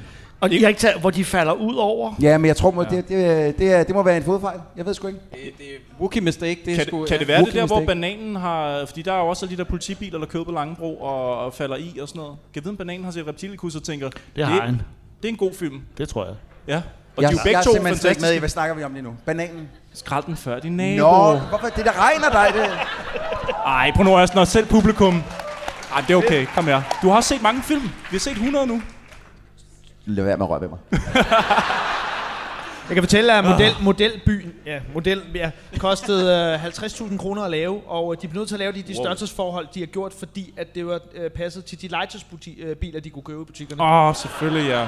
S6: Og de har ikke taget, hvor de falder ud over.
S4: Ja, men jeg tror, ja. det, det, det, er- det må være en fodfejl. Jeg ved sgu ikke.
S5: Det, det er Wookie mistake, det er
S3: Kan,
S5: sgu...
S3: det,
S5: ja.
S3: kan det være det
S4: Rookie
S3: der, hvor
S4: mistake.
S3: bananen har... Fordi der er jo også alle de der politibiler, der kører på Langebro og, og falder i og sådan noget. Kan jeg vide, om bananen har set Reptilikus og tænker...
S6: Det har han.
S3: Det er en god film.
S6: Det tror jeg.
S3: Ja. Og
S4: Jeg,
S3: de er jo begge
S4: jeg er
S3: to
S4: simpelthen slet ikke med i,
S3: fantastiske.
S4: hvad snakker vi om lige nu? Bananen.
S3: Skrald den før din
S4: Nå,
S3: nabo.
S4: hvorfor? Det der regner dig, det.
S3: Ej, på nu når selv publikum. Ej, det er okay. Kom her. Du har også set mange film. Vi har set 100 nu.
S4: Lad være med at røre ved mig.
S7: Jeg kan fortælle, at model, modelbyen ja, model, ja, kostede øh, 50.000 kroner at lave, og øh, de blev nødt til at lave de, de
S3: Wow.
S7: størrelsesforhold, de har gjort, fordi at det var øh, passet til de legetøjsbiler, de kunne købe i butikkerne. Oh.
S3: Åh, oh, selvfølgelig, ja.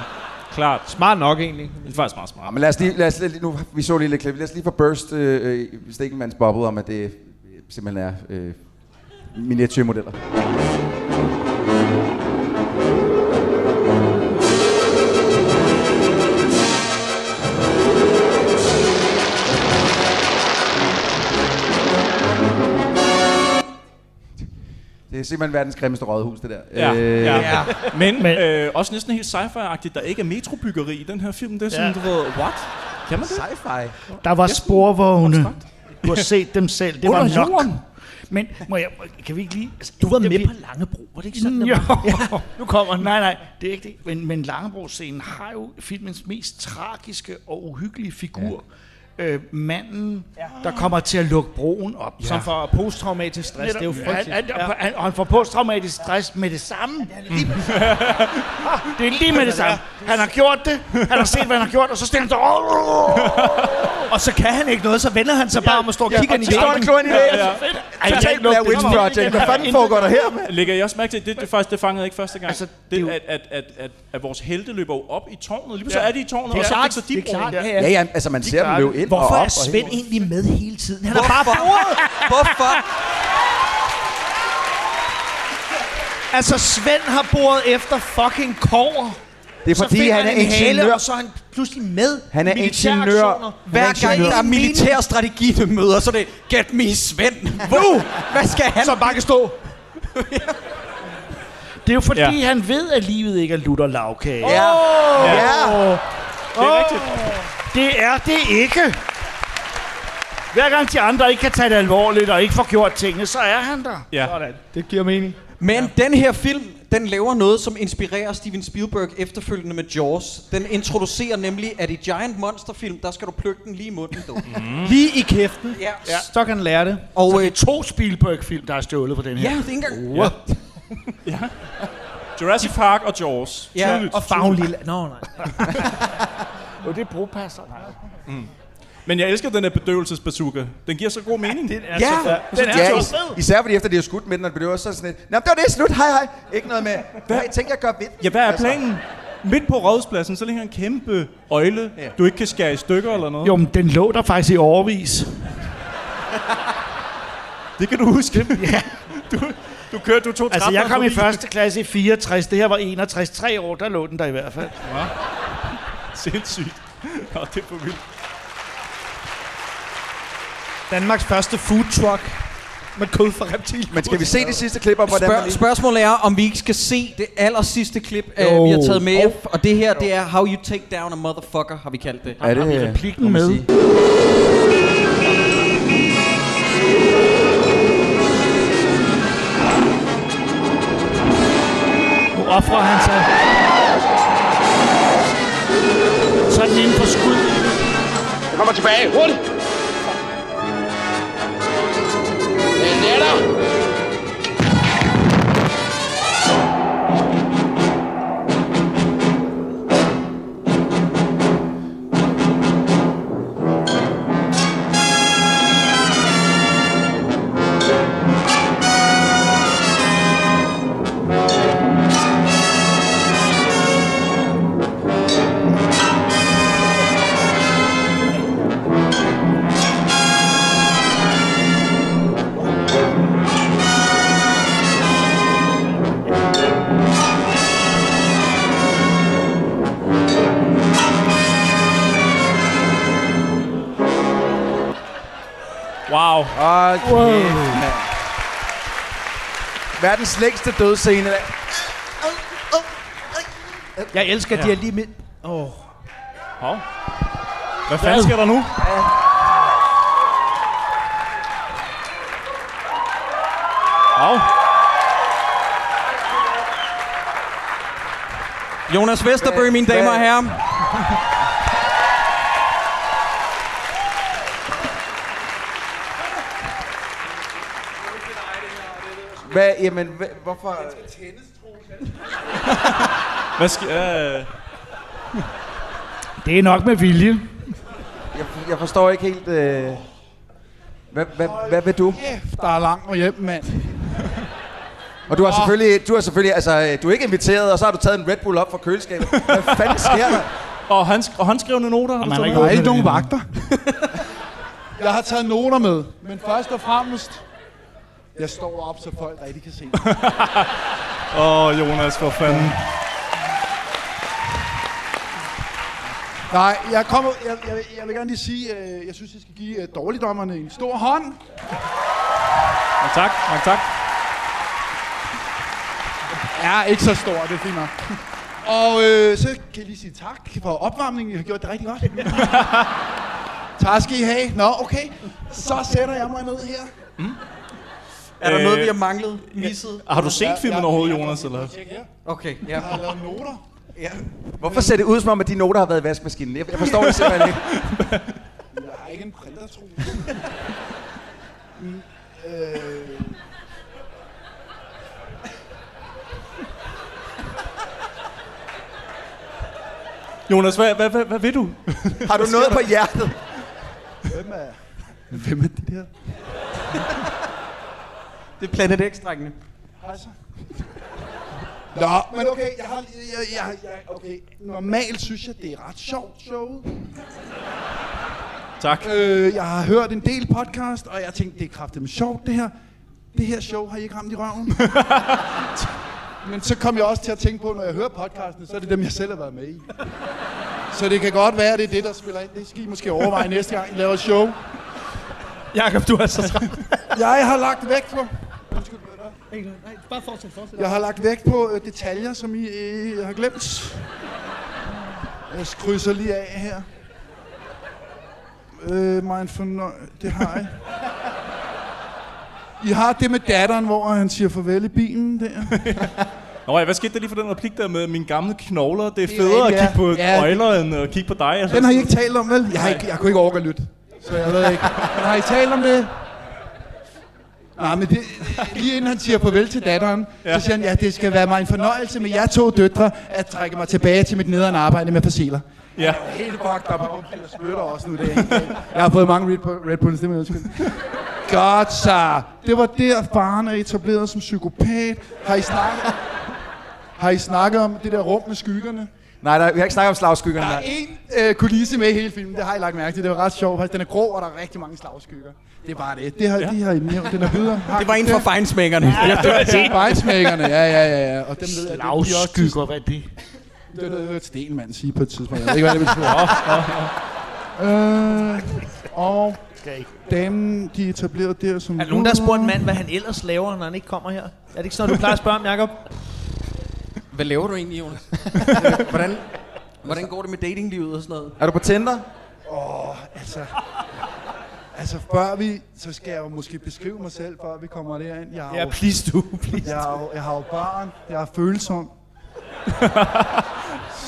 S3: Klart.
S7: Smart nok egentlig.
S3: Det er faktisk meget
S4: Ja,
S3: smart.
S4: Ah, men lad os lige, lad os lige, nu, vi så lige lidt klip. Lad os lige få burst øh, øh, Stikkelmands bobbet om, at det øh, simpelthen er øh, miniatyrmodeller. Det er simpelthen verdens grimmeste rådhus, det der.
S3: Ja,
S4: Øh,
S3: ja. ja. Men,
S6: Men-
S3: øh, også næsten helt sci-fi-agtigt. Der ikke er metrobyggeri i den her film. Det er sådan,
S6: Ja.
S3: ja. du ved, what? Kan man det?
S4: Sci-fi.
S6: Der var sporvogne. Du har set dem selv. Det var
S3: Under
S6: nok.
S3: jorden.
S6: Men må jeg, må- kan vi ikke lige... Altså,
S7: Du var
S6: inden
S7: med
S6: vi-
S7: på Langebro, var det ikke sådan? det
S6: Jo,
S7: var?
S6: ja. nu kommer den. Nej, nej, det er ikke det. Men, men Langebro-scenen har jo filmens mest tragiske og uhyggelige figur. øh, manden, ja. der kommer til at lukke broen op.
S7: Ja. Som får posttraumatisk stress.
S6: Netop.
S7: Altså, det er jo frygteligt.
S6: Han, han, han, og han får posttraumatisk stress med det samme. Ja, det, er lige, det er lige med det samme. Han har gjort det, han har set, hvad han har gjort, og så stiller han sig...
S7: Og så kan han ikke noget, så vender han sig bare om og står og kigger ind i
S6: så står
S7: væggen.
S6: han kloen i væggen.
S3: Ej, jeg
S4: Total
S3: lukker
S4: Blair
S3: det
S4: Witch
S3: op.
S4: Project. Hvad fanden foregår der her? mand?
S3: Lægger jeg også mærke til, det, det, faktisk, det fangede jeg ikke første gang. Altså, det, at, at, at, at, at, vores helte løber jo op i tårnet. Lige pludselig
S6: Ja.
S3: er de i tårnet,
S6: Det er
S3: og så
S6: klart,
S3: fikser de
S6: det er klart.
S3: broen.
S6: Ja,
S4: Ja, ja, altså man ser dem
S6: klarer
S4: løbe
S6: det.
S4: ind og
S7: Hvorfor
S4: op.
S7: er Svend egentlig med hele tiden? Han er bare på ordet.
S5: Hvorfor?
S7: Altså, Svend har boret efter fucking kover.
S4: Det er fordi,
S7: finder
S4: han er
S7: en hale,
S4: ingeniør.
S7: Og så er han pludselig med
S4: Han er
S7: i militære
S4: ingeniør.
S7: aktioner.
S4: Han
S5: Hver gang der er militær strategi ved møder, så er det, get me Svend. Nu! Hvad skal han?
S7: Som bare kan stå.
S6: Det er jo fordi,
S3: Ja.
S6: ja. han ved, at livet ikke er lutter lavkage.
S4: Ja. Ja.
S3: Det er rigtigt.
S6: Det er det ikke. Hver gang de andre ikke kan tage det alvorligt og ikke får gjort tingene, så er han der.
S3: Ja.
S7: Det giver mening.
S5: Men ja. den her film, den laver noget, som inspirerer Steven Spielberg efterfølgende med Jaws. Den introducerer nemlig, at i Giant Monster-film, der skal du plukke den lige i munden, du.
S7: Lige i kæften.
S5: ja.
S7: Ja. Så kan han lære det.
S5: Og øh,
S6: To Spielberg-film, der er stjålet på den her.
S5: ja, det er ikke engang...
S3: Ja. ja. Jurassic Park og Jaws.
S5: Ja,
S3: Tydeligt.
S7: Og farven lille. Nå, nej.
S6: Og det er brugpasser. Nej.
S3: Mm. Men jeg elsker den her bedøvelsesbazooka. Den giver så god mening. Det er
S5: Ja,
S6: Altså,
S3: den er
S4: Ja,
S3: så fed.
S4: is- især fordi efter de har skudt med den, og det var så sådan lidt, Nå, men det var det, slut, hej hej. Ikke noget med, hey, tænk jeg gør ved. Altså,
S3: Ja, hvad
S7: Altså-
S3: er planen? Midt på rådspladsen, så ligger en kæmpe øjle, ja. du ikke kan skære i stykker eller noget.
S6: Jo, men den lå der faktisk i overvis.
S3: Det kan du huske. ja. Du, du kørte, du tog
S6: Altså, jeg
S3: trapperne
S6: kom i
S3: forbi.
S6: første klasse i 64. Det her var 61. Tre år, der lå den der i hvert fald.
S3: Sindssygt. Nå, det er for vildt.
S7: Danmarks første food truck med kød fra reptil.
S4: Men skal vi se det sidste klip om, hvordan man
S5: Spørg-
S4: lige...
S5: spørgsmålet er, om vi ikke skal se det aller sidste klip, øh,
S6: Jo.
S5: vi har taget med. Og det her, det er How You Take Down a Motherfucker, har vi kaldt det.
S4: Er det,
S6: vi replikken med? Nu offrer han sig. Sådan inden for skud.
S11: Jeg kommer tilbage. Hurtigt. Den er der.
S3: Wow.
S4: Åh, kæft, mand. Verdens længste dødscene.
S7: Jeg elsker, at de er lige midt. Åh.
S3: Hov. Hvad fanden sker der nu? Hov.
S5: Jonas Vesterbø, mine damer og herrer.
S4: Hvad, jamen, hvad, hvorfor...
S3: Hvad sker... Øh,
S6: Det er nok med vilje.
S4: Jeg, jeg forstår ikke helt... Øh... Hvad, hvad, hvad vil du?
S13: Der er langt og hjem, mand.
S4: Og du har selvfølgelig, du har selvfølgelig, altså, øh, du er ikke inviteret, og så har du taget en Red Bull op fra køleskabet. Hvad fanden sker der?
S3: og, hans, og håndskrevne noter. har du
S6: man har
S3: taget
S6: ikke
S13: Der er
S3: med?
S13: ikke nogen vagter. jeg har taget noter med, men først og fremmest... Jeg står op, så folk rigtig kan se det.
S3: Åh, oh, Jonas, for fanden.
S13: Nej, jeg, kommer, jeg, jeg, jeg vil gerne lige sige, øh, jeg synes, jeg skal give øh, dårligdommerne en stor hånd.
S3: Mange tak, mange tak.
S13: Ja, ikke så stor, det er fint nok. Og øh, så kan jeg lige sige tak for opvarmningen. I har gjort det rigtig godt. tak skal I have. Nå, okay. Så sætter jeg mig ned her.
S5: Er der
S3: Øh,
S5: noget, vi har manglet, misset?
S3: Har du set
S13: Ja,
S3: filmen
S13: ja,
S3: overhovedet,
S13: ja.
S3: Jonas? Eller?
S5: Okay, ja.
S13: Jeg har lavet noter.
S4: Hvorfor ser det ud som om, at de noter har været i vaskemaskinen? Jeg, jeg forstår det simpelthen ikke.
S13: Jeg har ikke en printertrus. Mm, øh.
S3: Jonas, hvad, hvad, hvad, hvad vil du?
S4: Har du
S3: Hvad
S4: noget
S3: sker
S4: på
S3: der?
S4: hjertet?
S13: Hvem er...
S5: Hvem er det der? det er Planet X-drengene.
S13: Hej så. Nå, men okay, jeg har... Jeg, jeg, jeg, okay. Normalt synes jeg, det er ret sjovt showet.
S3: Tak.
S13: Øh, jeg har hørt en del podcast, og jeg tænkte, det er kraftedeme sjovt det her. Det her show har I ikke ramt i røven. Men så kom jeg også til at tænke på, når jeg hører podcasten, så er det dem, jeg selv har været med i. Så det kan godt være, at det er det, der spiller ind. Det skal I måske overveje næste gang, I laver et show.
S6: Jakob, du er så træt.
S13: Jeg har lagt vægt på...
S7: Ikke noget. Nej, bare fortsæt, fortsæt.
S13: Jeg har lagt vægt på øh, detaljer, som I øh, har glemt. Jeg krydser lige af her. Øh, mig en fornøj... Det har jeg. I har det med datteren, hvor han siger farvel i bilen der.
S3: Nå ja, hvad skete der lige for den replik der med mine gamle knogler? Det er
S13: er
S3: federe at
S13: rigtigt,
S3: kigge på
S13: ja. Ja, det-
S3: øjler, end at kigge på dig. Altså.
S13: Den har I ikke talt om, vel? Jeg, har ikke, jeg kunne ikke overgå at lytte. Så jeg ved ikke. Men har I talt om det? Nej, men det, lige inden han siger farvel til datteren, ja. så siger han, ja, det skal være mig en fornøjelse med jer to døtre at trække mig tilbage til mit nederen arbejde med fossiler.
S3: Ja.
S13: Helt fucked up, og jeg spytter også nu det Jeg har fået mange Red, Bull- Red Bulls, det må jeg undskylde. Godt så. Det var der, faren er etableret som psykopat. Har I snakket, har I snakket om det der rum med skyggerne?
S4: Nej, der, vi har ikke snakket om slagskyggerne.
S13: Der er
S4: nej.
S13: en øh, kulisse med i hele filmen, det har I lagt mærke til. Det var ret sjovt, faktisk. Den er grå, og der er rigtig mange slagskygger. Det er bare det. Det har, ja. de har I nævnt, den er videre. Har
S5: Det var en fra fejnsmækkerne.
S13: Ja, det var en fejnsmækkerne, ja, ja, ja. ja. Og dem ved jeg, det- de er også
S6: Slagskygger, hvad er det?
S13: Det var noget, jeg hørte Stenmann sige på et tidspunkt. Jeg ved ikke, hvad det betyder. øh, og damen, de er etableret der som...
S7: Er der nogen, der har spurgt en mand, hvad han ellers laver, når han ikke kommer her? Er det ikke sådan, du plejer at spørge om, Jacob?
S5: Hvad laver du egentlig, Jonas? Hvordan, hvordan går det med datinglivet og sådan noget?
S4: Er du på Tinder?
S13: Åh, oh, altså... Altså, før vi... Så skal jeg jo måske beskrive mig selv, før vi kommer derind. Jeg har
S7: Ja,
S13: jo-
S7: please do, please
S13: jeg, har jo- jeg har jo barn. Jeg er følsom.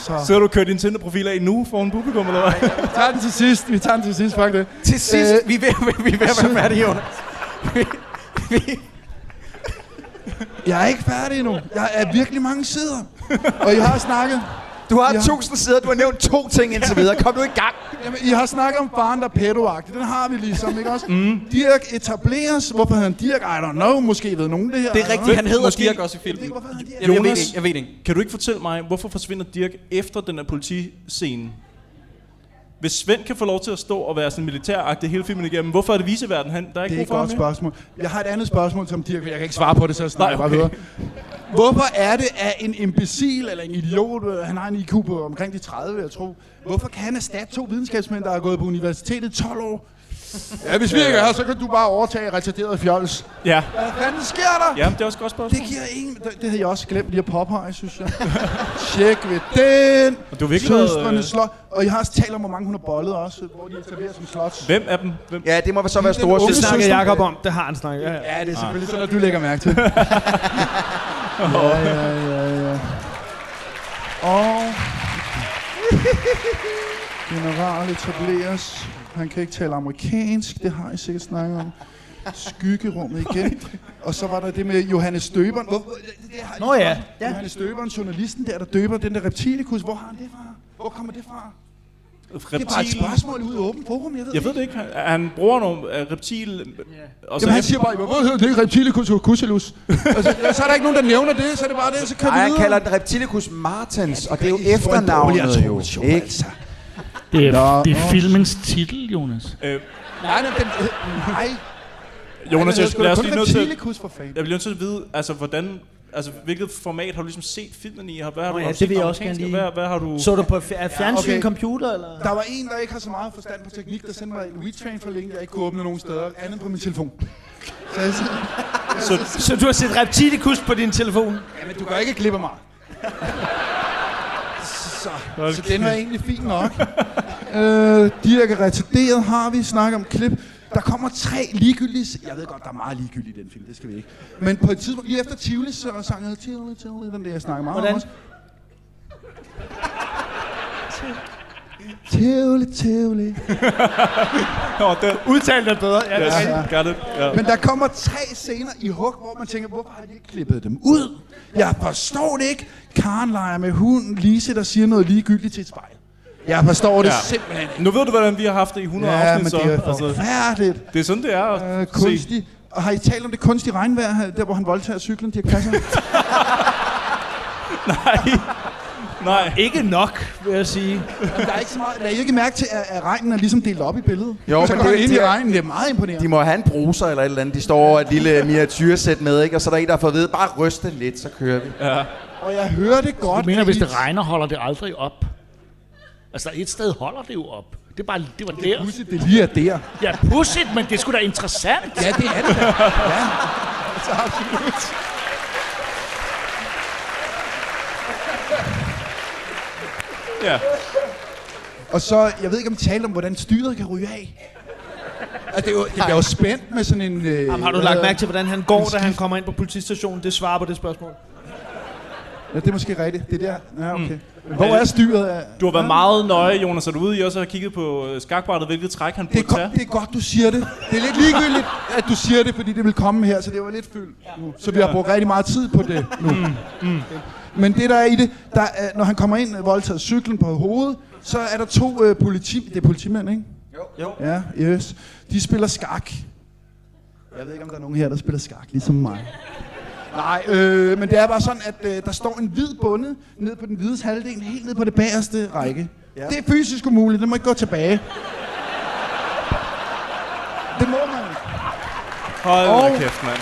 S13: så...
S3: Så har du kørt din Tinder-profil af nu foran publikum, eller hvad?
S13: Vi tager den til sidst. Vi tager den til sidst, fuck det. Øh,
S5: Til sidst, Øh, vi er ved, vi er ved at være færdige, Jonas.
S13: Jeg er ikke færdig endnu. Jeg er virkelig mange sider. Og I har snakket.
S4: Du har
S13: Ja.
S4: tusind sider, du har nævnt to ting indtil videre. Kom nu i gang.
S13: Jamen, I har snakket om faren, der er pædoagtig. Den har vi ligesom, ikke også? Mm. Dirk etableres. Hvorfor hedder han Dirk? I don't know. Måske ved nogen det her.
S5: Det er
S13: I don't
S5: rigtigt, han hedder
S3: Måske-
S5: Dirk også i filmen. Jeg, jeg, ved det
S3: Jonas,
S5: ikke, jeg ved det ikke.
S3: kan du ikke fortælle mig, hvorfor forsvinder Dirk efter den her politiscene? Hvis Svend kan få lov til at stå og være sådan militæragtig hele filmen igennem, hvorfor er det viseverden? Han, der er ikke
S13: Det er et
S3: brug for
S13: godt
S3: ham mere?
S13: spørgsmål. Jeg har et andet spørgsmål, som Dirk, jeg kan ikke svare på det, så jeg snakker
S3: Nej,
S13: bare
S3: okay.
S13: videre. Hvorfor er det, at en imbecil eller en idiot, øh, han har en IQ på omkring de 30, vil jeg tro, hvorfor kan han erstatte to videnskabsmænd, der har gået på universitetet i 12 år? Ja, hvis vi ikke er her, så kan du bare overtage retarderet fjols.
S3: Ja,
S13: Hvad fanden sker der?
S3: Jamen, det er også et godt spørgsmål.
S13: Det giver ingen... Det, det havde jeg også glemt lige at påpege, synes jeg. Tjek ved den.
S3: Og du har virkelig været,
S13: Søstrene
S3: øh,
S13: slot. Og jeg har også talt om, hvor mange hun har bollet også, hvor de etablerer som slots.
S3: Hvem af dem? Hvem?
S4: Ja, det må så være
S13: Den
S4: store
S13: unge
S7: Det
S4: søster.
S7: snakker
S13: søster.
S7: Jacob om. Det har han snakket. Ja, ja.
S13: Ja, det er selvfølgelig sådan noget, du lægger mærke til. ja, ja, ja, ja. Og... General etableres. Han kan ikke tale amerikansk, det har I sikkert snakket om. Skyggerummet igen. Og så var der det med Johannes Støberen. Hvor, hvor- det, det har I
S7: Nå ja,
S13: snakket om.
S7: ja.
S13: Johannes Støberen, journalisten der, der døber den der reptilikus. Hvor har han det fra? Hvor kommer det fra? Det er bare et
S3: Reptil.
S13: spørgsmål ud i åben forum, jeg ved
S3: Jeg ved det ikke. Han- Han bruger nogle uh, reptil... Og så
S13: Jamen, han siger bare, hvorfor hedder det ikke reptilikus kuselus? altså, så er der ikke nogen, der nævner det, så er det bare det, så kører
S4: Nej,
S13: vi
S4: han
S13: videre.
S4: kalder den Reptilicus martens, og det er jo
S13: I får en dårlig
S4: efternavnet jo.
S13: attribut,
S4: Ikke?
S6: Det er,
S4: Nå.
S6: det er filmens titel, Jonas.
S13: Nej, nej, den, nej.
S3: Jonas,
S13: den
S3: jeg, lad os
S13: kun
S3: lige nødt til...
S13: reptilikus for fanden.
S3: Jeg bliver nødt til at vide, altså hvordan... Altså, hvilket format har du ligesom set filmen i? Har- Hvad har
S7: Nå
S3: du
S7: ja,
S3: har du
S7: det
S3: set
S7: vil jeg
S3: den
S7: også gerne
S3: amerikanske?
S7: lige-
S3: Hvad, hvad har du...
S7: Så du på f- er fjernsyn,
S13: okay.
S7: computer, eller?
S13: Der var en, der ikke har så meget forstand på teknik, der sendte mig en Wii Train for link, jeg ikke kunne åbne nogen steder, andet på min telefon. Så jeg siger,
S7: Så du har set Reptilicus på din telefon?
S13: jamen du kan ikke klippe mig. Så, så den var egentlig fin nok. øh, Dirk er retarderet, har vi snakket om klip. Der kommer tre ligegyldige... s- Jeg ved godt, der er meget ligegyldigt i den film, det skal vi ikke. Men på et tidspunkt, lige efter Tivoli, så sang jeg Tivoli, Tivoli, den der, jeg snakker meget om
S7: Hvordan?
S13: også. Tivoli, Tivoli.
S3: Nå, det
S13: udtalte det bedre. Ja, det er
S3: Got it. Ja.
S13: Men der kommer tre scener i hug, hvor man tænker, hvorfor har de ikke klippet dem ud? Jeg forstår det ikke. Karen leger med hunden, Lise, der siger noget ligegyldigt til et spejl. Jeg forstår det simpelthen
S3: ikke. Nu ved du, hvordan vi har haft det i 100
S13: Ja,
S3: afsnit,
S13: men
S3: så. altså,
S13: det er
S4: altså-
S13: forfærdeligt.
S3: det er sådan, det er at
S13: Øh,
S3: se.
S13: kunstig. Og har I talt om det kunstige regnvejr, her, der hvor han voldtager cyklen, Dirk Passer?
S3: Nej.
S7: Ikke nok, vil jeg sige.
S13: der er ikke så meget. Lad I ikke mærke til, at, at regnen er ligesom delt op i billedet?
S4: Jo,
S13: så
S4: men
S13: går
S4: det-
S13: han ind
S4: det
S13: i
S4: er-
S13: regnen. Det er meget imponerende.
S4: De må have en bruser eller et eller andet. De står over et lille miniatyrsæt med, ikke? Og så er der en, der har fået at vide, bare ryste lidt, så kører vi.
S3: Ja.
S13: Og jeg hører det godt.
S6: Du mener, hvis
S13: fordi-
S6: det regner, holder det aldrig op. Altså, et sted holder det jo op. Det, er bare, det var der.
S13: Pudsigt, det lige er der.
S6: Ja, pudsigt, men det er sgu da interessant.
S13: Ja, det er det da. Ja. Altså, absolut.
S3: Ja.
S13: Og så, jeg ved ikke, om I talte om, hvordan styret kan ryge af. Altså, det, er jo, det bliver jo spændt med sådan en... Øh,
S7: Jamen, har du
S13: hvad
S7: lagt
S13: hedder-
S7: mærke til, hvordan han går, da han kommer ind på politistationen? Det svarer på det spørgsmål.
S13: Ja, det er måske rigtigt. Det er der. Ja, okay. Mm. Hvor er styret?
S3: Du har været meget nøje, Jonas, og du er ude i også har kigget på øh, skakbrættet, hvilket træk han burde tage.
S13: Det er godt, du siger det. Det er lidt ligegyldigt, at du siger det, fordi det vil komme her, så det var lidt fyldt nu. Så vi har brugt rigtig meget tid på det nu. Men det, der er i det, der er, når han kommer ind og voldtager cyklen på hovedet, så er der to øh, politi... Det er politimænd, ikke?
S7: Jo.
S13: Ja, yes. De spiller skak. Jeg ved ikke, om der er nogen her, der spiller skak, ligesom mig. Nej, øh, men det er bare sådan, at øh, der står en hvid bunde ned på den hvides halvdel, helt ned på det bagerste række. Ja. Det er fysisk umuligt, det må ikke gå tilbage. Det må man ikke.
S3: Hold da
S13: Og-
S3: kæft, mand.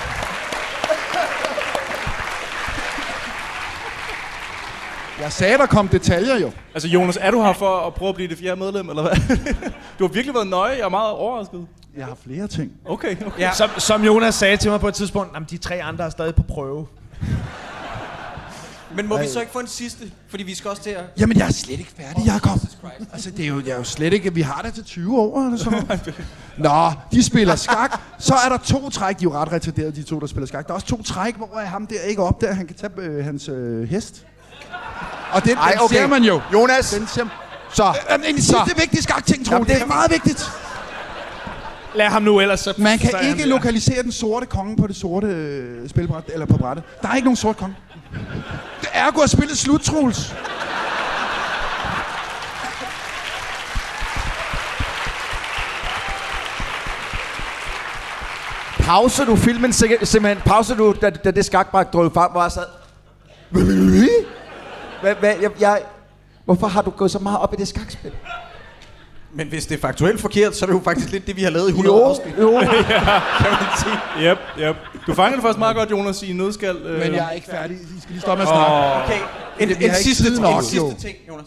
S13: Jeg sagde, der kom detaljer jo.
S3: Altså, Jonas, er du her for at prøve at blive det fjerde medlem, eller hvad? du har virkelig været nøje, jeg er meget overrasket.
S13: Jeg har flere ting.
S3: Okay, okay.
S7: Ja. Som, som Jonas sagde til mig på et tidspunkt, at de tre andre er stadig på prøve.
S5: Men må vi så ikke få en sidste? Fordi vi skal også til at...
S13: Jamen, jeg er slet ikke færdig, Jacob. Altså, det er jo, jeg er jo slet ikke... Vi har det til 20 år, eller sådan noget. Nå, de spiller skak. Så er der to træk. De er jo ret retarderede, de to, der spiller skak. Der er også to træk, hvor ham der ikke opdager, at han kan tage øh, hans øh, hest. Og den,
S4: Ej,
S13: den
S4: okay.
S13: ser man jo.
S4: Jonas!
S13: Den ser...
S4: Så.
S13: Jamen, det er Øh, en sidste vigtige skak-ting, Troel.
S4: Jamen,
S13: Det er meget vigtigt.
S7: Lad ham nu ellers. Så
S13: Man kan
S7: så er han
S13: ikke
S7: der.
S13: lokalisere den sorte konge på det sorte øh, spilbræt, eller på brættet. Der er ikke nogen sort konge. Det er gået spillet slut, Troels.
S4: Pauser du filmen sikkert- simpelthen? Pauser du, da, da det skakbræk drøb frem, hvor jeg sad? Hvad, hvad, jeg, jeg, hvorfor har du gået så meget op i det skakspil?
S5: Men hvis det er faktuelt forkert, så er det jo faktisk lidt det, vi har lavet i 100 afsnit.
S4: jo.
S5: Kan man sige.
S3: Yep, yep. Du fangede det faktisk meget godt, Jonas, i en nødskal. Øh.
S13: Men jeg er ikke færdig. I skal lige stoppe med at snakke.
S3: Åh.
S5: Okay, en,
S13: vi
S5: en,
S13: har ikke
S5: sidste,
S13: tid
S5: ting,
S13: nok,
S5: en
S13: jo.
S5: sidste ting, Jonas.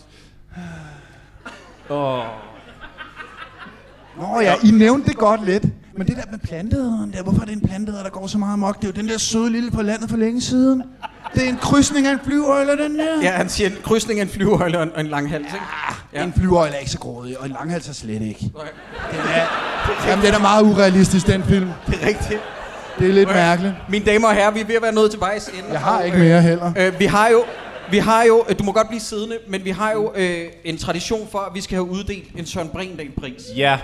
S3: Åh.
S13: Nå ja, I nævnte det godt lidt. Men det der med plantederen der, hvorfor er det en planteder, der går så meget amok? Det er jo den der søde lille på landet for længe siden. Det er en krydsning af en flyvøjle, den der.
S5: Ja, han siger en krydsning af en flyvehøjle og en, og en lang hals, ikke?
S13: Ja. En flyvøjle er ikke så grådig, og en langhals er slet ikke.
S5: Okay.
S13: Den er, jamen, den er meget urealistisk, den film.
S5: Det er rigtigt.
S13: Det er lidt
S5: Okay.
S13: mærkeligt.
S5: Mine damer og herrer, vi er ved at være nået til vejs ende.
S13: Jeg har
S5: Og,
S13: ikke
S5: øh,
S13: mere heller.
S5: Øh, vi har jo, vi har jo, øh, du må godt blive siddende, men vi har jo øh, en tradition for, at vi skal have uddelt en Søren Brindal-pris.
S3: Ja.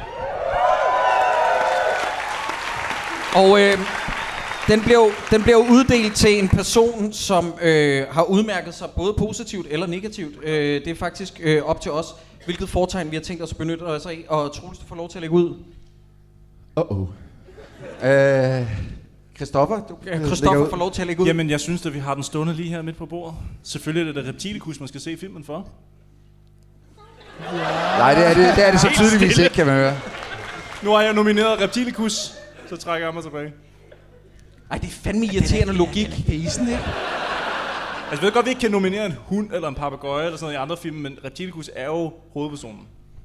S5: Og øh, den, bliver jo, den bliver jo uddelt til en person, som øh, har udmærket sig både positivt eller negativt. Øh, det er faktisk øh, op til os, hvilket foretegn vi har tænkt os at benytte os af. Og Troels, du får lov til at lægge ud.
S4: Uh-oh. Øh, Christoffer, du
S5: Ja, Christoffer får
S4: ud.
S5: lov til at lægge ud.
S3: Jamen, jeg synes at vi har den stående lige her midt på bordet. Selvfølgelig er det da reptilikus, man skal se filmen for.
S4: Nej, det er det, det er det så
S3: Helt
S4: tydeligvis
S3: stille.
S4: ikke, kan man høre.
S3: Nu har jeg nomineret reptilikus, så trækker jeg mig tilbage.
S5: Ej, det er fandme irriterende logik.
S13: Isen, ikke?
S3: Altså, jeg ved godt, vi ikke kan nominere en hund eller en papegøje eller sådan noget i andre film, men reptilikus er jo hovedpersonen.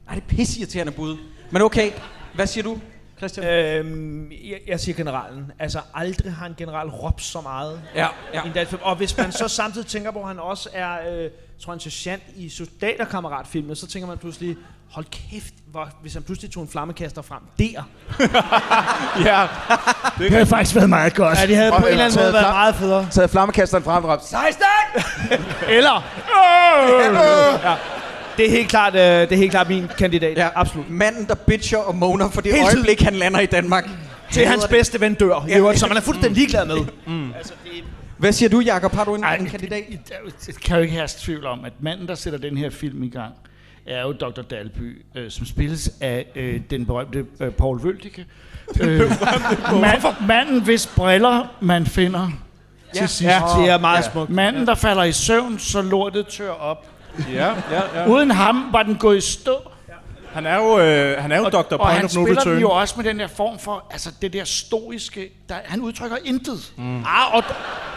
S5: Ej, det er pisseirriterende bud. Men okay, hvad siger du, Christian?
S7: Øhm, jeg, jeg siger generalen. Altså, aldrig har en general råbt så meget.
S5: Ja,
S7: i en dansk film. Og hvis man så samtidig tænker på, at han også er, øh, tror jeg, en sergeant i soldaterkammeratfilmen, så tænker man pludselig, hold kæft, hvor, hvis han pludselig tog en flammekaster frem der.
S3: Ja.
S6: Det havde faktisk været meget godt.
S7: Ja, det havde
S4: Og
S7: på en eller anden måde
S4: taget
S7: været
S4: flam-
S7: meget federe.
S4: Taget flammekasteren frem og råbt,
S5: 16!
S7: Eller,
S3: Øh! ja.
S7: Det er helt klart, øh, det er helt klart min kandidat. Ja. Absolut.
S5: Manden, der bitcher og moaner for det
S7: Hele tiden.
S5: øjeblik, han lander i Danmark.
S7: Til hans bedste ven dør, ja. øvrigt, som han er fuldstændig ligeglad med.
S5: Mm. Hvad siger du, Jacob? Har du en, en kandidat?
S6: Det kan jo ikke have tvivl om, at manden, der sætter den her film i gang, er jo Dr. Dalby, øh, som spilles af øh, den berømte øh, Paul Vøltike. Øh, mand, manden, hvis briller man finder
S7: Ja.
S6: til sidst.
S7: Ja, det er meget smukt.
S6: Manden, der falder i søvn, så lortet tør op.
S3: Ja, ja, ja.
S6: Uden ham var den gået i stå.
S3: Han er jo, øh, han er jo og, Dr. Point
S6: og han
S3: of No
S6: spiller den
S3: Return.
S6: jo også med den der form for, altså det der stoiske, der, han udtrykker intet.
S3: Mm.
S7: Ah, og,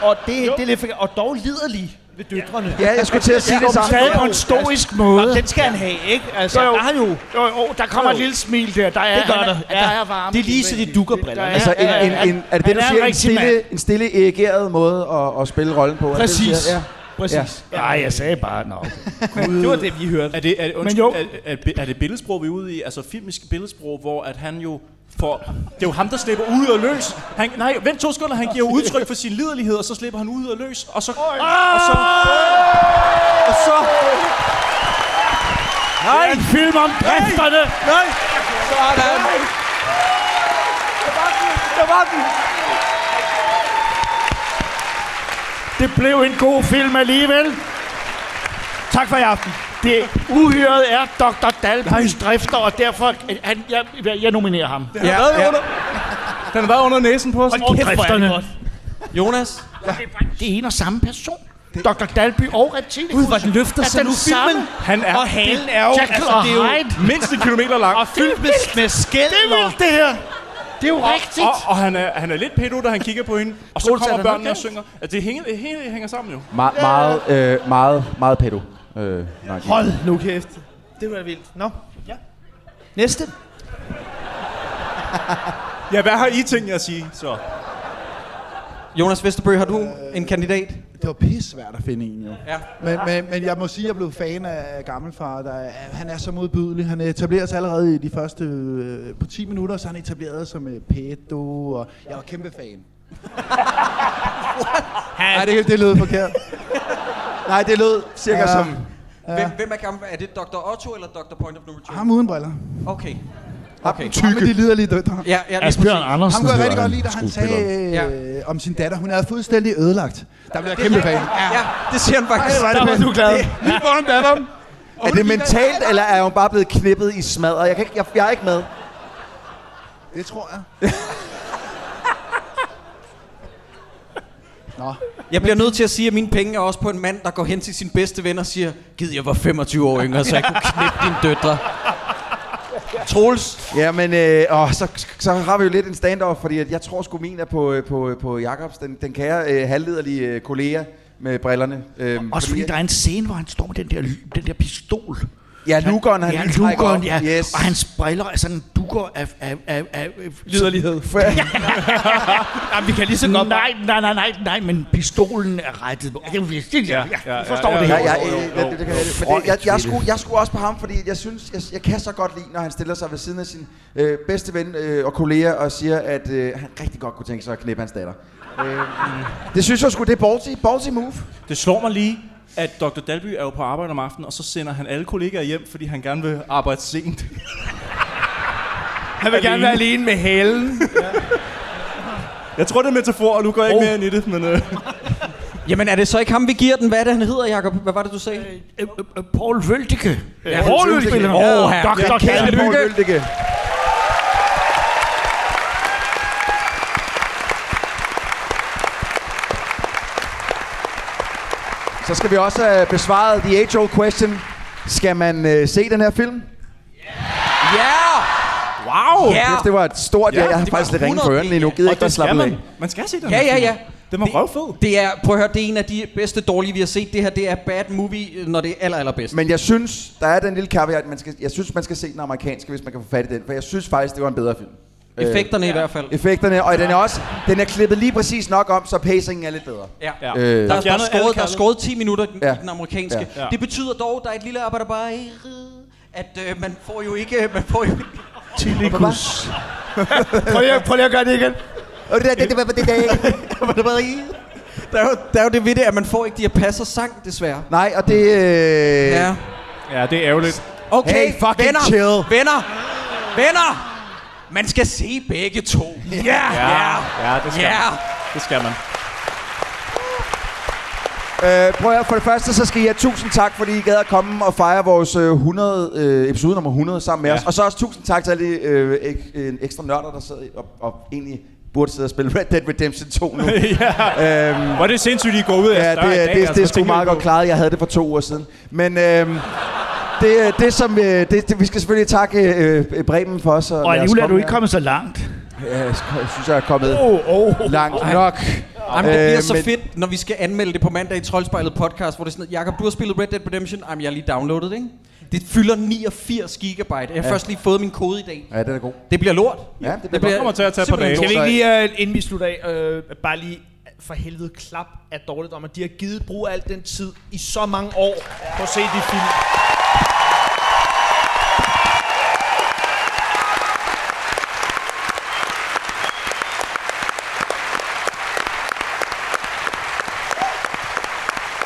S7: og det, det er lidt for, Og dog liderlig ved døtrene.
S6: Ja, jeg skulle til at sige det samme. Stadig på en stoisk måde.
S7: Nå, den skal han have, ikke? Altså,
S6: Jo, jo.
S7: Der, er han jo,
S6: jo, jo, der kommer et lille smil der. Der er-
S7: det gør
S6: han er-
S7: der.
S6: der er varme
S7: Det er lige så de dukker brillerne.
S4: Altså, en, en, en, er det det,
S6: Han
S4: du
S6: er en
S4: siger? En
S6: rigtig
S4: stille, en stille erigeret måde at, at spille rollen på? Er det det, du siger?
S6: Præcis.
S4: Ja.
S6: Præcis.
S4: Ja.
S6: Nej, jeg sagde bare, nå.
S3: det var det,
S7: vi hørte.
S3: Er det, er, det-
S6: Men
S3: undskyld,
S6: jo.
S3: er, er, er det billedsprog, vi er ude i? Altså filmisk billedsprog, hvor at han jo får... Det er jo ham, der slipper ud og løs. Han, nej, vent to sekunder. Han giver jo udtryk for sin liderlighed, og så slipper han ud og løs. Og så... Og så... Og så...
S6: Nej! En film om drifterne!
S7: Nej!
S5: Sådan!
S7: Der var den!
S6: Det blev en god film alligevel.
S7: Tak for i aften.
S6: Det uhyret er Dr. Dalbys drifter, og derfor... øh, Han, jeg, jeg nominerer ham.
S3: Den har været under- Den har været under næsen på os.
S6: Hold kæft, hvor er det godt.
S5: Jonas?
S6: Det er en og samme person. Dr. Dalby og Reptilicus.
S7: Gud, hvor den løfter
S6: er
S7: sig
S6: den
S7: nu,
S6: samme.
S7: filmen.
S3: Han er...
S7: Og halen er jo,
S6: Jekyll
S7: altså,
S6: og
S7: det er jo
S6: Hyde.
S3: mindst en kilometer lang.
S7: Og fyldt med, med skæld.
S6: Det er vildt, det her. Det er jo rigtigt.
S3: Og, og han, er, han er lidt pedo, da han kigger på hende. Og så
S6: Troels, er
S3: kommer
S6: der noget
S3: børnene og
S6: galt?
S3: synger. At det hænger, det hele hænger sammen jo.
S4: Me- meget, øh, meget, meget pedo. Øh, nej,
S7: Hold nu kæft. Det var vildt. Nå. Ja. Næste.
S3: Ja, hvad har I tænkt jer at sige så?
S5: Jonas Vesterbø, har du en kandidat?
S4: øh.
S13: Det var pisse svært at finde en, jo.
S5: Ja.
S13: Men, men, men jeg må sige, at jeg blev fan af gammelfar. Der, er- han er så modbydelig. Han etablerer sig allerede i de første øh, på 10 minutter, så er han etableret som øh, pedo. Og jeg var kæmpe fan. Nej, det, det lød forkert. Nej, det lød cirka ja. som... Ja.
S5: Hvem, hvem er gammel? Er det Dr. Otto eller Dr. Point of No Return?
S13: Ham uden briller.
S5: Okay.
S13: Okay. Ham med de liderlige døtre.
S5: Ja, ja, lige
S6: Asbjørn
S5: præcis.
S6: Andersen
S13: Ham kunne jeg
S6: hedder
S13: rigtig godt
S6: han,
S13: lide, da han sagde
S6: skuespilleren.
S13: øh, om sin datter. Hun havde fuldstændig ødelagt. Der blev jeg kæmpe fan.
S5: Ja, det siger han faktisk.
S13: Ej, hvor er det du glad. Lige foran datteren.
S4: Er det mentalt, eller er hun bare blevet knippet i smadret? Jeg, kan ikke, jeg, jeg er ikke med.
S13: Det tror jeg. Nå.
S5: Jeg bliver nødt til at sige, at mine penge er også på en mand, der går hen til sin bedste ven og siger, Gid, jeg var 25 år yngre, så jeg kunne knippe dine døtre. Troels,
S4: Ja, men øh, åh, så, så har vi jo lidt en standoff, fordi at jeg tror sgu min er på, øh, på, øh, på Jacobs, den, den kære øh, halvlederlige øh, kollega med brillerne. Øh,
S6: Også fordi der er en scene, hvor han står med den der, den der pistol.
S4: Ja, Lugon, han
S6: ja,
S4: lige trækker
S6: Lugon,
S4: op.
S6: ja.
S4: Yes.
S6: Yes. Og hans briller er sådan dukker af... af, af, af
S7: Liderlighed. Jamen, vi kan lige så godt...
S6: Nej, nej, nej, nej, nej, men pistolen er rettet. Ja, ja, ja, jeg forstår
S3: ja,
S6: det
S4: Ja,
S6: her.
S4: ja,
S3: Jo, jo,
S4: øh,
S3: jo,
S4: det- det- det
S3: jo.
S4: kan jeg- men det- jeg- Jeg skulle jeg skulle også på ham, fordi jeg synes, jeg, jeg kan så godt lide, når han stiller sig ved siden af sin øh, bedste ven øh, og kollega og siger, at øh, han rigtig godt kunne tænke sig at knippe hans datter. Øh, det synes jeg sgu, det er ballsy, ballsy move.
S3: Det slår mig lige, at Dr. Dalby er jo på arbejde om aftenen, og så sender han alle kollegaer hjem, fordi han gerne vil arbejde sent.
S7: Han vil gerne være alene med halen.
S3: Jeg tror, det er en metafor, og nu går jeg ikke
S5: Oh.
S3: mere ind i det, men... Øh.
S5: jamen er det så ikke ham, vi giver den? Hvad er det, han hedder, Jacob? Hvad var det, du sagde?
S6: Øh, øh, øh, Paul Vøltike.
S4: Ja,
S6: Paul
S4: Vøltike.
S6: Vøltike.
S4: Åh,
S6: Åh,
S5: herre.
S6: Dr.
S4: Kære Poul
S6: Dalby.
S4: Vøltke. Så skal vi også have besvaret the age old question. Skal man øh, se den her film?
S5: Ja!
S3: Wow!
S5: Ja!
S4: Kæft, det var et stort ja.
S5: Ja,
S4: Jeg har
S5: det var
S4: faktisk lidt ringe på
S5: 100
S4: ørerne lige nu. Gider
S3: Og
S4: ikke bare
S3: det skal
S4: slappe af.
S3: man. Man skal se den
S5: Ja,
S3: her
S5: ja,
S3: film.
S5: ja.
S3: Den var
S5: Det-
S3: røvfed.
S5: Det er, prøv at høre, det er en af de bedste dårlige, vi har set. Det her, det er bad movie, når det er aller, allerbedst.
S4: Men jeg synes, der er den lille kaviar, at man skal, jeg synes, man skal se den amerikanske, hvis man kan få fat i den. For jeg synes faktisk, det var en bedre film. Øh,
S5: Effekterne i hvert fald.
S4: Effekterne, og den er også, den er klippet lige præcis nok om, så pacingen er lidt bedre.
S5: Ja.
S3: Ja.
S4: Øh,
S5: Der er, der, er
S3: fjernet alle
S5: skåret, der er
S3: kaldet.
S5: skåret 10 minutter i
S4: Ja.
S5: den amerikanske.
S3: Ja. Ja.
S5: Det betyder dog, der er et lille arbejde bare at øh, man får jo ikke... Man får jo ikke
S6: Tilikus.
S7: prøv, lige, at- prøv lige at gøre det igen.
S4: Og det, der- det, det, var- det, det,
S5: der, er jo, der er jo det ved det, at man får ikke de her passer sang, desværre.
S4: Nej, og det... Øh,
S5: Ja.
S4: ja.
S14: Ja, det er ærgerligt.
S5: Okay, venner, chill. venner, venner. Man skal se begge to. Ja, ja,
S14: ja, det skal
S5: ja.
S14: man. Det skal man.
S4: Øh, prøv at høre, for det første, så skal I have tusind tak, fordi I gad at komme og fejre vores øh, 100, øh, episode nummer 100 sammen med
S14: Ja.
S4: ja. os. Og så også tusind tak til alle de øh, ek, øh, ekstra nørder, der sidder og, og egentlig burde sidde og spille Red Dead Redemption 2 nu. ja. øhm,
S14: Hvor er det sindssygt, I går ud af
S4: Ja,
S14: døren i
S4: det,
S14: dag,
S4: er- det,
S14: altså.
S4: det, det er
S14: Hvad
S4: sgu
S14: tænker I
S4: meget
S14: på?
S4: godt klaret. Jeg havde det for to år siden. Men øhm, det, øh, det som... Øh, det, det, vi skal selvfølgelig takke øh, øh, Bremen for os.
S6: Og alligevel er du ikke kommet
S4: så langt. Ja, jeg sk- jeg synes, jeg er kommet oh, oh, langt
S5: Ej.
S4: nok.
S5: Jamen, det bliver
S4: Øh,
S5: så
S4: men-
S5: fedt, når vi skal anmelde det på mandag i Troldspejlet podcast, hvor det er sådan, Jakob, du har spillet Red Dead Redemption. Jamen, jeg har lige downloadet det, ikke? Det fylder 89 gigabyte. Jeg har
S4: Ja.
S5: først lige fået min kode i dag.
S4: Ja, den er god.
S5: Det bliver lort.
S4: Ja, det
S5: bliver- Det kommer til at tage et par dage.
S7: Kan vi
S5: Så-
S7: ikke
S6: øh,
S7: lige, uh, inden vi slutter af, uh, bare lige for helvede klap af dårligt om, at de har givet brug af al den tid i så mange år på at se de film.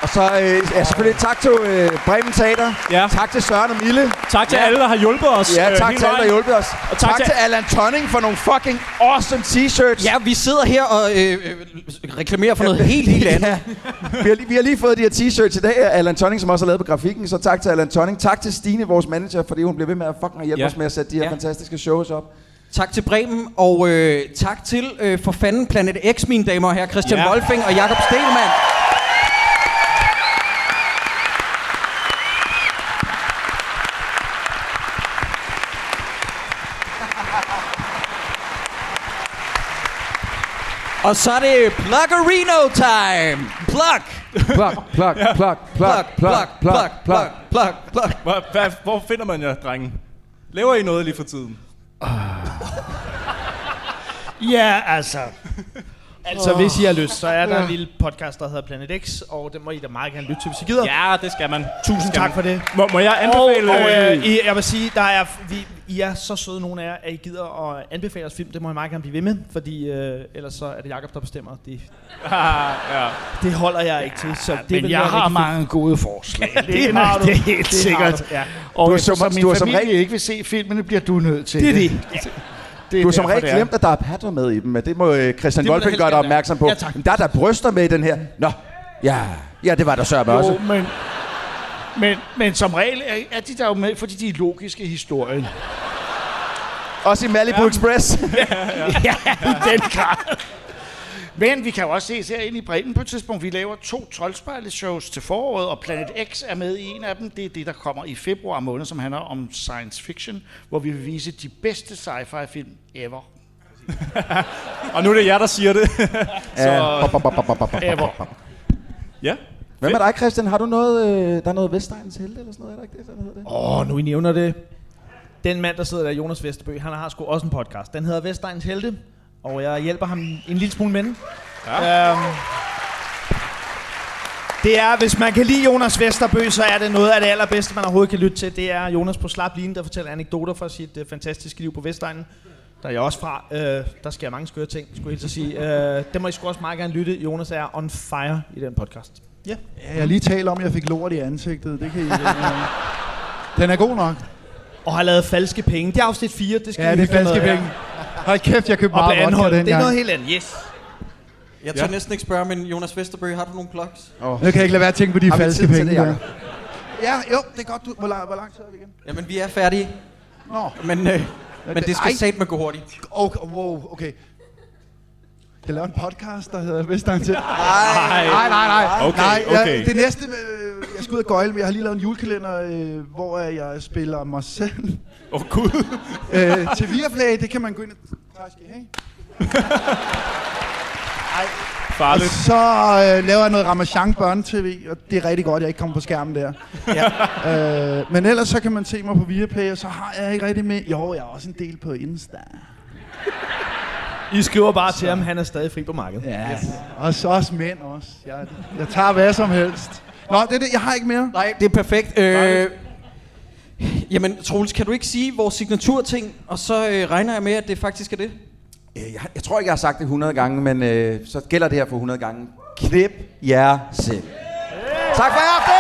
S4: Og så øh, ja, selvfølgelig tak til øh, Bremen Teater. Ja. Tak til Søren og Mille.
S14: Tak til alle, der har hjulpet os,
S4: Ja,
S14: øh,
S4: tak
S14: hele
S4: til alle, der har
S14: vejen.
S4: hjulpet os.
S14: Og
S4: Og
S14: tak
S4: tak,
S14: til-
S4: tak til Allan Tonning for nogle fucking awesome t-shirts.
S5: Ja, vi sidder her og øh, øh, reklamerer for noget helt, helt andet.
S4: vi, har lige, vi har lige fået de her t-shirts i dag af Allan Tonning, som også har lavet på grafikken. Så tak til Allan Tonning. Tak til Stine, vores manager, fordi hun bliver ved med at fucking hjælpe
S5: Ja.
S4: ja. os med at sætte de her
S5: Ja.
S4: ja. fantastiske shows op.
S5: Tak til Bremen, og øh, tak til øh, for fanden Planet X, mine damer og herrer, Christian
S4: Ja.
S5: ja. Wolfing og Jakob Stelmann. Og så er det Pluggerino time! Plug!
S4: Plug, plug, plug,
S5: plug, plug, plug, plug, plug, plug.
S3: Hvor, hvad, hvor finder man jer, drenge? Laver I noget lige for tiden?
S7: Ja, altså. Altså,
S3: Åh.
S7: hvis I har lyst, så er der
S3: Ja.
S7: en lille podcast, der hedder Planet X, og den må I da meget gerne lytte til, hvis I gider.
S14: Ja, det skal man.
S7: Tusind
S14: skal
S7: tak
S14: man.
S7: for det.
S14: Må, må jeg anbefale...
S7: Og, øh,
S14: øh,
S7: I, jeg vil sige, der er, vi, I er så søde nogle af jer, at I gider at anbefale os film. Det må I meget gerne blive ved med, fordi øh, ellers så er det Jakob der bestemmer. Det,
S14: ja.
S7: det holder jeg ikke til. Så det
S6: Men
S7: vil
S6: jeg
S7: være
S6: har
S7: rigtig
S6: mange gode forslag.
S7: Ja, det
S6: er-
S7: har du.
S6: Det er helt
S7: Det har
S6: sikkert.
S7: du, ja.
S6: Og
S4: Du er
S6: eftersom
S4: som-
S6: min
S4: du er som
S6: familie
S4: regel-
S6: ikke vil se filmene, bliver du nødt til
S4: Det er
S6: det.
S4: det.
S6: Det er
S4: du har som
S6: derfor,
S4: regel
S6: det er.
S4: glemt, at der er patter med i dem, men det må øh, Christian
S6: Det må der
S4: Wolfen
S6: helst
S4: gøre
S6: gerne
S4: dig
S6: være.
S4: opmærksom på.
S6: Ja,
S4: men der er der bryster med i den her. Nå, ja, ja det var der sørme også.
S6: Jo, men, men, men som regel er, er de der jo med, fordi de er logiske i historien.
S4: Også i Malibu ja. Express.
S6: ja, i den grad. Men vi kan jo også ses herinde i bredden på et tidspunkt. Vi laver to troldspejleshows til foråret, og Planet X er med i en af dem. Det er det, der kommer i februar måned, som handler om science fiction, hvor vi vil vise de bedste sci-fi film ever.
S3: Og nu er det jer, der siger det. så,
S4: Ja. Bop, bop, bop, bop, bop, bop, bop,
S6: Ever.
S4: bop.
S3: Ja.
S4: Hvad med dig, Christian? Har du noget, øh, der er noget Vestegnens helte eller sådan noget? Er der ikke det, der hedder det?
S7: Åh, oh, nu I nævner det. Den mand, der sidder der, Jonas Vesterbø, han har sgu også en podcast. Den hedder Vestegns Helte, og jeg hjælper ham en lille smule med den. Ja. Øhm, det er, hvis man kan lide Jonas Vesterbø, så er det noget af det allerbedste, man overhovedet kan lytte til. Det er Jonas på slap line, der fortæller anekdoter fra sit øh, fantastiske liv på Vestegnen. Der er jeg også fra. Øh, der sker mange skøre ting, skulle jeg helt så sige. Øh, det må I sgu også meget gerne lytte. Jonas er on fire i den podcast. Ja.
S13: Ja, jeg har lige talt om, at jeg fik lort i ansigtet. Det kan I... øh, Den er god nok.
S7: Og har lavet falske penge. Det er afsnit 4, det skal
S13: Ja,
S7: I
S13: det er
S7: hygge jer med,
S13: falske penge. Hold kæft, jeg købte
S7: Og blev
S13: meget vodka
S7: anholdt.
S13: dengang.
S7: Det er noget helt andet, yes.
S5: Jeg tør
S13: Ja.
S5: næsten ikke spørge, men Jonas Vesterbø, har du nogle plugs?
S13: Nu kan jeg ikke lade være at tænke på de
S5: Har vi
S13: falske
S5: tid til
S13: penge.
S5: det,
S13: der.
S5: Jacob?
S13: Ja, jo, det er godt. Du, hvor, lang, hvor lang tid er vi igen?
S5: Jamen, vi er færdige.
S13: Nå.
S5: Men, øh, men det skal
S13: Ej.
S5: satme gå hurtigt.
S13: Okay, wow, okay. Jeg laver en podcast, der hedder Vestegn til. Nej,
S5: Nej.
S13: nej, nej, nej.
S5: Okay,
S13: nej
S5: okay.
S13: Jeg, det næste, øh, jeg skal ud og gøjle, men jeg har lige lavet en julekalender, øh, hvor øh, jeg spiller mig selv.
S3: Åh, oh, gud.
S13: øh, til Viaplay, det kan man gå ind og... Tak skal I have.
S3: Farligt.
S13: Og så øh, laver jeg noget Ramachan børne-tv, og det er rigtig godt, at jeg ikke kommer på skærmen der. Ja. øh, men ellers så kan man se mig på Viaplay, og så har jeg ikke rigtig med... Jo, jeg har også en del på Insta.
S7: I skriver bare til ham, han er stadig fri på markedet.
S13: Ja. Yes. Og så også mænd også. Jeg, jeg tager hvad som helst. Nå, det er det. Jeg har ikke mere.
S5: Nej, det er perfekt. Øh, jamen, Troels, kan du ikke sige vores signaturting, og så øh, regner jeg med, at det faktisk er det?
S4: Øh, Jeg, jeg tror ikke, jeg har sagt det 100 gange, men øh, så gælder det her for 100 gange. Knip jer selv. Tak for i aften!